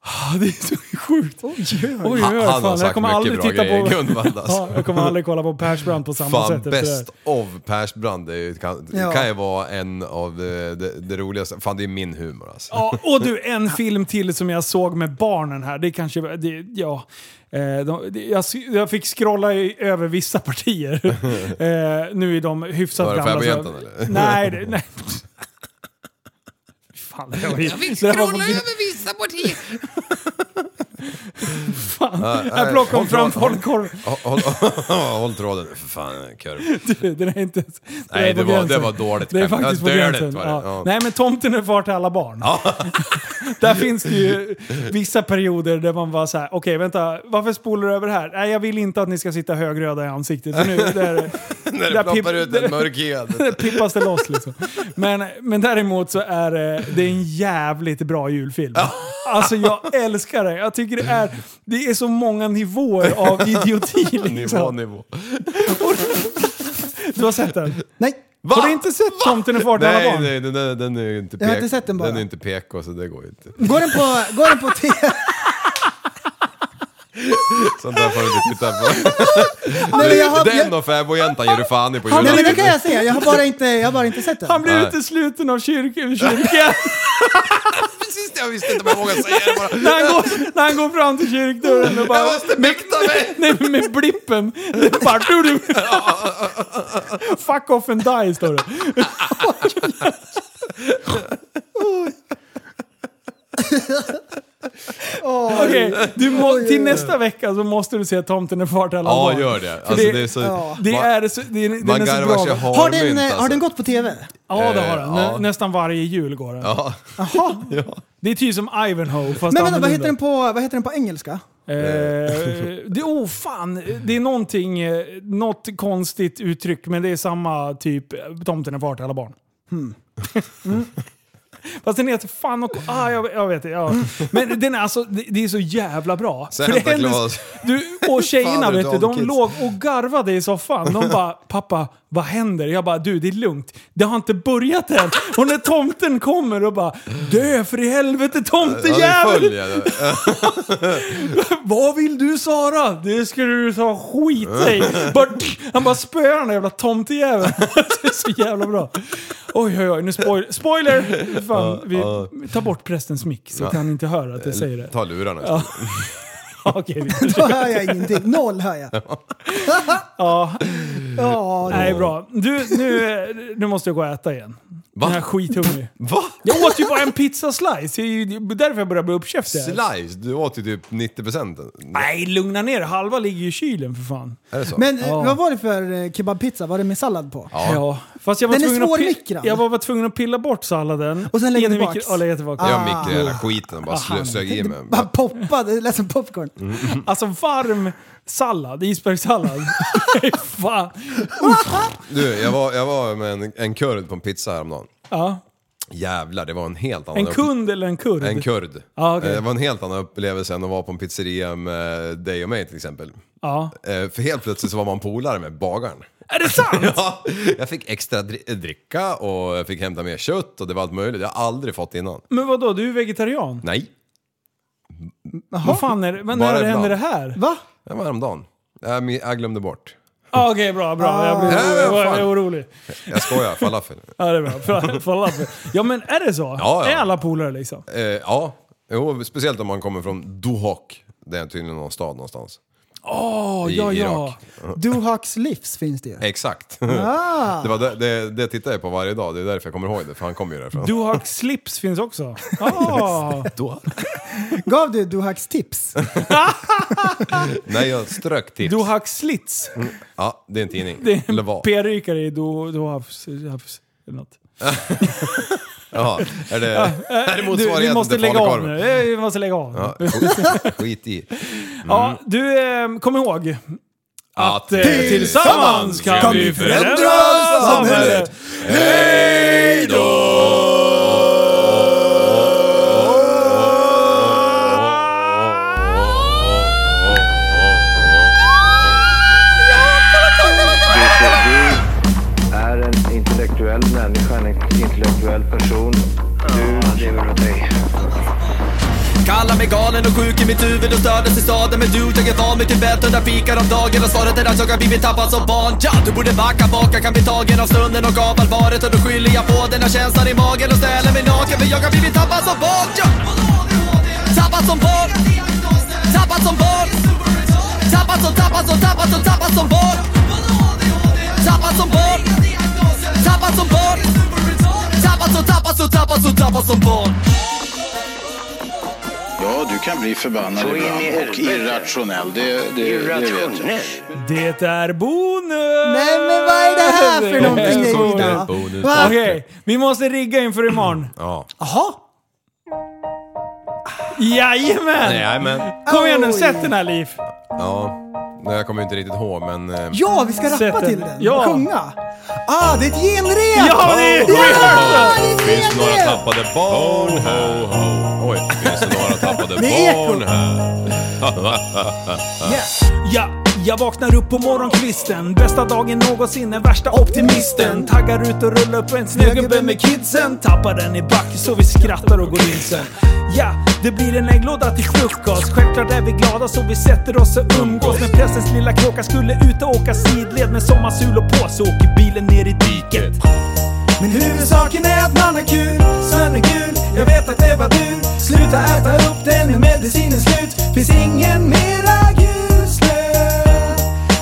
Speaker 6: Ah, Det är så sjukt. Oj, oj, oj.
Speaker 7: Han- han har
Speaker 6: Fan, jag
Speaker 7: sagt
Speaker 6: kommer
Speaker 7: mycket
Speaker 6: aldrig
Speaker 7: bra
Speaker 6: titta
Speaker 7: grejer,
Speaker 6: på...
Speaker 7: Gunvald, alltså.
Speaker 6: Ja, jag kommer aldrig kolla på Persbrandt på samma
Speaker 7: Fan,
Speaker 6: sätt. efter det här.
Speaker 7: best of Persbrandt det är ju- kan,
Speaker 5: Ja.
Speaker 7: kan ju vara en av det, det, det roligaste. Fan, det är min humor alltså.
Speaker 6: Ja, och du, en film till som jag såg med barnen här. Det kanske... Det, ja. Eh, de, det- jag, jag fick scrolla i, över vissa partier. Eh, nu är de hyfsat
Speaker 7: Var det
Speaker 6: gamla. så-
Speaker 7: Fäbodjäntan, eller?
Speaker 6: Nej, det, nej. Fan, det var, jag fick scrolla över vissa partier. Fan, här plockar hon fram falukorv.
Speaker 7: Håll, håll tråden. För fan, kurv.
Speaker 6: Den är inte ens- den
Speaker 7: Nej,
Speaker 6: är på
Speaker 7: det var-
Speaker 6: gränsen.
Speaker 7: det var dåligt
Speaker 6: Det är
Speaker 7: skämt.
Speaker 6: faktiskt på
Speaker 7: Det var dåligt
Speaker 6: gränsen.
Speaker 7: var det,
Speaker 6: Ja.
Speaker 7: ja.
Speaker 6: Nej men tomten är far till alla barn. där finns det ju vissa perioder där man bara så här: okej vänta, varför spolar du över här? Nej jag vill inte att ni ska sitta högröda i ansiktet. Så nu, där,
Speaker 7: När
Speaker 6: där
Speaker 7: det ploppar
Speaker 6: pip-
Speaker 7: ut en mörk hel.
Speaker 6: pippas det loss liksom. Men, men däremot så är det, det är en jävligt bra julfilm. Alltså jag älskar det. Jag tycker det är, det är så många nivåer av idioti.
Speaker 7: Nivå,
Speaker 6: Liksom.
Speaker 7: nivå.
Speaker 6: Du har sett den?
Speaker 5: Nej,
Speaker 6: Har du inte sett Tomten är far till alla
Speaker 7: Nej,
Speaker 6: barn?
Speaker 7: nej den, är- den är ju inte
Speaker 5: Jag har inte
Speaker 7: pek-
Speaker 5: sett den bara.
Speaker 7: Den är inte PK så det går ju inte.
Speaker 5: går den på, går den på tv?
Speaker 7: Sånt där får du inte titta på.
Speaker 5: Nej, men jag har,
Speaker 7: den
Speaker 5: jag,
Speaker 7: och fäbodjäntan ger du fan i på
Speaker 5: nej, men det kan
Speaker 7: julafton.
Speaker 5: jag säga. Jag har bara inte, jag har bara inte sett den.
Speaker 6: Han blir
Speaker 7: Nej.
Speaker 6: utesluten av kyrkan. Kyrka.
Speaker 7: Precis det, jag visste inte om jag vågade säga det bara.
Speaker 6: när, han går, när han går fram till kyrkdörren och bara...
Speaker 7: Jag måste mäkta mig!
Speaker 6: Nej, men med blippen. Det är bara... Du, du. Fuck off and die, står det. Okej, du må- till nästa vecka så måste du se Tomten är far till alla
Speaker 7: Ja,
Speaker 6: barn.
Speaker 7: gör det.
Speaker 6: För
Speaker 7: Alltså, det är så...
Speaker 6: Det
Speaker 7: Ma-
Speaker 6: är så, det, är- den
Speaker 7: Man
Speaker 6: är så
Speaker 7: garvar sig
Speaker 6: bra.
Speaker 5: har,
Speaker 7: harmynt
Speaker 5: den, eh,
Speaker 7: alltså.
Speaker 5: har den gått på tv?
Speaker 6: Ja, det har den.
Speaker 7: Eh, ja.
Speaker 6: Nä, nästan varje jul går den.
Speaker 7: Ja.
Speaker 6: Det är typ som Ivanhoe fast
Speaker 5: Men vänta, vad heter,
Speaker 6: annorlunda.
Speaker 5: den på, vad heter den på engelska?
Speaker 6: Eh, det, oh fan, det är någonting, eh, något konstigt uttryck men det är samma typ, eh, tomten är far till alla barn. Mm. Fast den heter fan och... Ah, jag, jag vet det. Ja. Men den är alltså, det, det är så jävla bra.
Speaker 7: Santa
Speaker 6: det händer-
Speaker 7: Claus.
Speaker 6: du, och tjejerna
Speaker 7: Fan,
Speaker 6: vet du,
Speaker 7: de
Speaker 6: de
Speaker 7: kids.
Speaker 6: låg och garvade i soffan. De bara “Pappa, vad händer?” Jag bara “Du, det är lugnt. Det har inte börjat än.” Och när tomten kommer och bara “Dö för i helvete
Speaker 7: Ja,
Speaker 6: tomtejävel!”
Speaker 7: det är full, ja.
Speaker 6: Vad vill du Sara? Det ska du ta skit i. Bara, han bara spöar den där jävla tomtejäveln. Det är så jävla bra. Oj oj oj, nu spoiler. Spoiler! Fan, vi vi tar bort prästens mick så att han inte hör att jag säger det.
Speaker 7: Ta lurarna.
Speaker 6: Okej, vi-
Speaker 5: Då hör jag ingenting. Noll hör jag.
Speaker 6: ja,
Speaker 5: Ja,
Speaker 6: nej bra. Du, nu, nu måste jag gå och äta igen.
Speaker 7: Va?
Speaker 6: Jag är skithungrig.
Speaker 7: Va?
Speaker 6: Jag åt ju bara en pizza slice. Det är ju därför jag börjar bli uppkäftig. här.
Speaker 7: Slice? Du åt ju typ 90%.
Speaker 6: Nej, lugna ner Halva ligger ju i kylen för fan.
Speaker 7: Är det så?
Speaker 5: Men eh,
Speaker 6: Ja.
Speaker 5: vad var det för eh, kebabpizza? Var det med sallad på?
Speaker 6: Ja. Fast jag var,
Speaker 5: Den är
Speaker 6: tvungen att pi-
Speaker 5: svårmikrad.
Speaker 6: jag var, var tvungen att pilla bort salladen.
Speaker 5: Och sen lägga
Speaker 6: In i
Speaker 5: tillbaks. Ah.
Speaker 6: mikro- Ja, lägga tillbaks.
Speaker 7: Jag mikrade
Speaker 6: Ah.
Speaker 7: hela skiten och bara slö, sög i mig.
Speaker 5: Bara poppade, det lät som popcorn.
Speaker 7: Mm.
Speaker 6: Alltså varm sallad, isbergssallad. Nej, fan.
Speaker 7: Du, jag var, jag var med en, en kurd på en pizza häromdagen.
Speaker 6: Ja.
Speaker 7: Jävlar, det var en helt annan
Speaker 6: En
Speaker 7: upp-
Speaker 6: kund eller en kurd?
Speaker 7: En kurd.
Speaker 6: Ja, okej.
Speaker 7: Eh, Det var en helt annan upplevelse än att vara på en pizzeria med dig och mig till exempel.
Speaker 6: Ja.
Speaker 7: Eh, För helt plötsligt så var man polare med bagaren.
Speaker 6: Är det sant?
Speaker 7: Ja, jag fick extra dri- dricka och jag fick hämta mer kött och det var allt möjligt. Jag har aldrig fått innan.
Speaker 6: Men vadå, du är vegetarian?
Speaker 7: Nej,
Speaker 6: Vad fan är det? Men
Speaker 7: Bara
Speaker 6: när
Speaker 7: ibland.
Speaker 6: händer det här? Va?
Speaker 7: det var häromdagen. Jag mi- jag glömde bort.
Speaker 6: Ah, Okej, bra, bra. Jag blir
Speaker 7: Ja,
Speaker 6: orolig.
Speaker 7: ja,
Speaker 6: Jag
Speaker 7: fan.
Speaker 6: är orolig.
Speaker 7: Jag skojar, falafel.
Speaker 6: Ja, det är bra. Fa- falafel. Ja, men är det så?
Speaker 7: Ja, ja.
Speaker 6: Är alla polare liksom?
Speaker 7: Eh, ja, jo, speciellt om man kommer från Duhok. Det är tydligen någon stad någonstans.
Speaker 6: Åh,
Speaker 7: I
Speaker 6: ja, ja.
Speaker 7: Irak.
Speaker 5: Duhaks livs finns det ju.
Speaker 7: Exakt.
Speaker 6: Ah.
Speaker 7: Det, var det, det, det tittar jag på varje dag, det är därför jag kommer ihåg det, för han kommer ju därifrån.
Speaker 6: Du har slips finns också. Ah.
Speaker 5: Gav du Duhaks tips?
Speaker 7: Nej, jag strök tips.
Speaker 6: Du har slits.
Speaker 7: Ja, det är en tidning.
Speaker 6: Det är
Speaker 7: Eller vad?
Speaker 6: en p-rykare i do, do havs, havs, eller något.
Speaker 7: Jaha, är det, är
Speaker 6: Du,
Speaker 7: det
Speaker 6: vi
Speaker 7: motsvarigheten
Speaker 6: måste
Speaker 7: till
Speaker 6: lägga av
Speaker 7: falukorven?
Speaker 6: nu. Eh, Vi måste lägga av. Ja,
Speaker 7: Ja, skit- skit i.
Speaker 6: du, eh, kom ihåg.
Speaker 7: Att
Speaker 6: eh, Tillsammans kan vi förändra samhället.
Speaker 7: Hej
Speaker 1: Du är en intellektuell människa, en intellektuell person. Du lever av dig.
Speaker 2: Kallar mig galen och sjuk i mitt huvud och stördes i staden Men du, jag är van vid Tibet och där fikar om dagen Och svaret är att jag har blivit tappad som barn ja, Du borde backa bak, jag kan bli tagen av stunden och av allvaret Och då skyller jag på den här känslan i magen och ställer mig naken För jag har blivit tappad som barn ja. Tappad som barn Tappad som barn Tappad som, tappad som, tappad som, tappad som barn Tappad som barn Tappad som barn Tappad som, tappad som, tappad som, tappad som barn
Speaker 9: Ja, du
Speaker 11: du kan bli förbannad
Speaker 6: Så in i
Speaker 11: ibland och
Speaker 6: helvete.
Speaker 11: irrationell. Det, det, det vet jag.
Speaker 6: Det är bonus!
Speaker 5: Nej, men vad är det här för någonting,
Speaker 6: Det är bonus.
Speaker 5: Ida?
Speaker 7: Bonus.
Speaker 5: Va?
Speaker 6: Okej, vi måste rigga inför imorgon.
Speaker 7: Ja.
Speaker 5: Jaha?
Speaker 6: Jajamän!
Speaker 7: Nej, men...
Speaker 6: Kom igen nu,
Speaker 5: Oj.
Speaker 6: sätt den här Liv!
Speaker 7: Ja. Nej, Jag kommer ju inte riktigt ihåg, men... eh,
Speaker 5: Ja, vi ska
Speaker 6: Sätt
Speaker 5: rappa
Speaker 6: den.
Speaker 5: till den.
Speaker 6: Ja.
Speaker 5: Sjunga. Ah, det är ett genrep!
Speaker 6: Ja, det är
Speaker 5: Ja,
Speaker 6: rehearsal!
Speaker 5: det är ett
Speaker 7: Finns några
Speaker 5: genrep!
Speaker 7: tappade barn här? Oj, finns det några tappade
Speaker 5: Med eko.
Speaker 7: barn här?
Speaker 6: Ja, jag vaknar upp på morgonkvisten Bästa dagen någonsin, den värsta optimisten Taggar ut och rullar upp en snögubbe med kidsen Tappar den i backen så vi skrattar och går in sen Ja, det blir en ägglåda till frukost Självklart är vi glada så vi sätter oss och umgås Men pressens lilla kråka skulle ut och åka sidled Med sommarsul och på så åker bilen ner i diket
Speaker 5: Men huvudsaken är att man har kul, snön är gul, jag vet att det var du. Sluta äta upp den, nu medicinen slut. Finns ingen mera julsnö.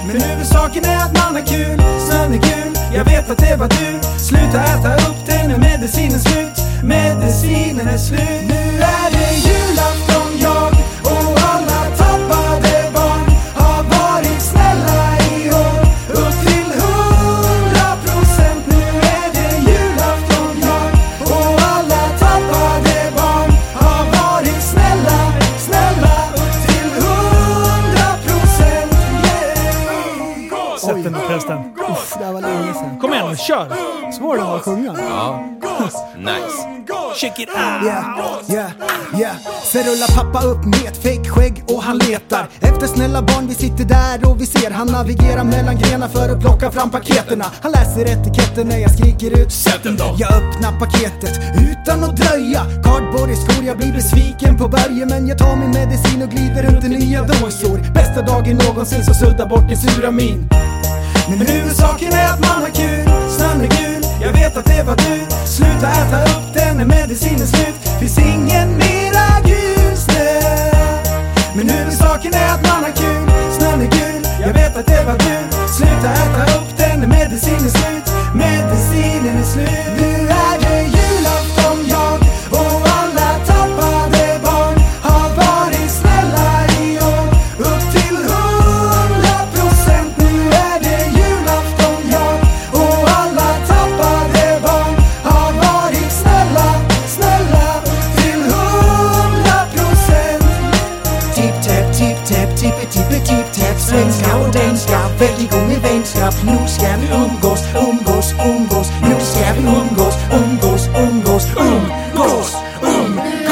Speaker 5: Men huvudsaken är att man har kul, snön är gul, jag vet att det var du. Sluta äta upp den, nu medicinen slut. Medicinen är slut. Nu är det julafton, jag och alla tappade barn har varit snälla i år. Upp till hundra procent, nu är det julafton, jag och alla tappade barn har varit snälla, snälla upp till hundra procent. Yeah!
Speaker 6: Sätt den i testen.
Speaker 5: Uff, det här var länge sedan.
Speaker 6: Kom igen nu, kör!
Speaker 5: Svår den var att sjunga.
Speaker 7: Nice.
Speaker 6: Check it out!
Speaker 5: Yeah, yeah, yeah. Sen rullar pappa upp med ett fejkskägg och han letar efter snälla barn. Vi sitter där och vi ser han navigerar mellan grenar för att plocka fram paketerna. Han läser etiketten när jag skriker ut Sätt den då! Jag öppnar paketet utan att dröja. Cardboard i skor, jag blir besviken på berget men jag tar min medicin och glider runt i nya dosor. Bästa dagen någonsin så sudda bort din sura min. Men huvudsaken är att man har kul, snön är gul, jag vet att det var du Sluta äta upp den när medicinen slut, finns ingen mera gul snö Men huvudsaken är att man har kul, snön är gul, jag vet att det var du Sluta äta upp den när medicinen är slut, medicinen är slut Nu är det julafton jag och alla tappade barn har varit snälla i år upp till hundra procent Nu är det julafton jag och alla tappade barn har varit snälla, snälla upp till hundra procent Tipp-täpp, tipp-täpp, tippe-tippe-tipp-täpp Svenska och danska, väldigt god med vänskap Nu ska vi umgås, umgås, umgås Nu ska vi umgås, umgås, umgås, umgås, umgås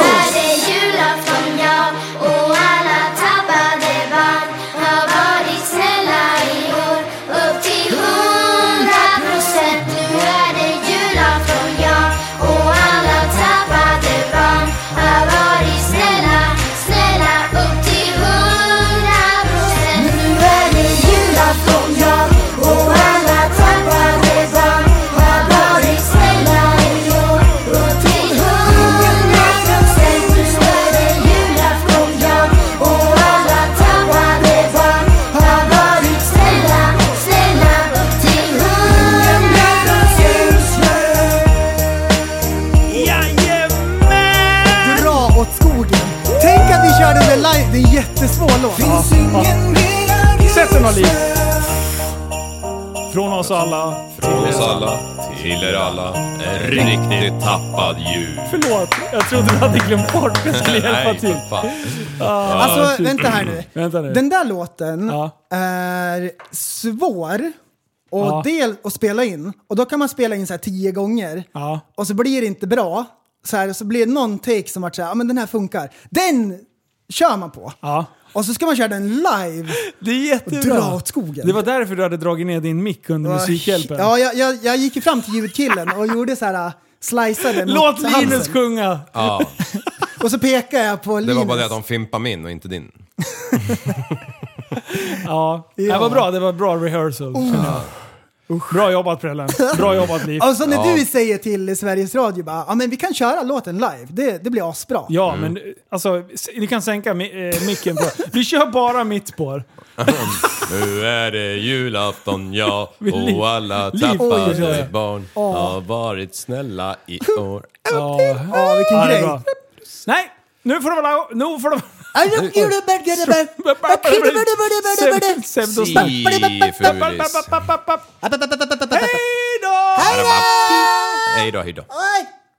Speaker 5: Nu är det julafton, ja Och alla tappade barn har varit snälla i år Upp till hundra procent Nu är det julafton, ja Och alla tappade barn har varit snälla, snälla Upp till hundra procent dra åt skogen. Tänk att vi kör den där live, det är en jättesvår låt. Finns ingen mer
Speaker 6: Sätt den, Alice. Från oss alla.
Speaker 7: Från oss alla till er alla. En riktigt tappad jul.
Speaker 6: Förlåt, jag trodde du hade glömt bort att jag skulle hjälpa
Speaker 7: Nej,
Speaker 6: till.
Speaker 7: för fan.
Speaker 5: Alltså vänta här nu.
Speaker 6: Vänta nu.
Speaker 5: Den där låten
Speaker 6: Ja.
Speaker 5: är svår och
Speaker 6: Ja.
Speaker 5: del att spela in. Och då kan man spela in så här tio gånger.
Speaker 6: Ja.
Speaker 5: Och så blir det inte bra. Så, här, så blir det någon take som vart så här, ja men den här funkar. Den kör man på.
Speaker 6: Ja.
Speaker 5: Och så ska man köra den live.
Speaker 6: Det är jättebra.
Speaker 5: jättebra. Dra åt skogen.
Speaker 6: Det var därför du hade dragit ner din mick under musikhjälpen.
Speaker 5: Ja, jag, jag, jag gick ju fram till ljudkillen och gjorde så här, äh, sliceade mot
Speaker 6: Låt
Speaker 5: halsen.
Speaker 6: Linus sjunga!
Speaker 7: Ja,
Speaker 5: Och så pekar jag på
Speaker 7: det
Speaker 5: Linus.
Speaker 7: var bara det att de fimpade min och inte din.
Speaker 6: Ja. Det var bra, det var bra rehearsal.
Speaker 5: Oh.
Speaker 6: känner jag. Bra jobbat Prellen. Bra jobbat Liv.
Speaker 5: Och så Alltså, när du säger till Sveriges Radio bara, ja men vi kan köra låten live, det, det blir asbra.
Speaker 6: Ja, men alltså, s- ni kan sänka mi- eh, micken på Vi kör bara mitt spår.
Speaker 7: Nu är det julafton, ja,
Speaker 6: Liv-
Speaker 7: och alla
Speaker 6: Liv-
Speaker 5: Oj, oj,
Speaker 7: tappade
Speaker 6: oj.
Speaker 7: barn har varit snälla i år.
Speaker 6: Ja,
Speaker 5: Ja, vilken
Speaker 6: ja, det är
Speaker 5: grej.
Speaker 6: bra. Nej, nu får det vara... Nu får det Sefulis.
Speaker 5: Hej då!
Speaker 6: Hej då, hej då.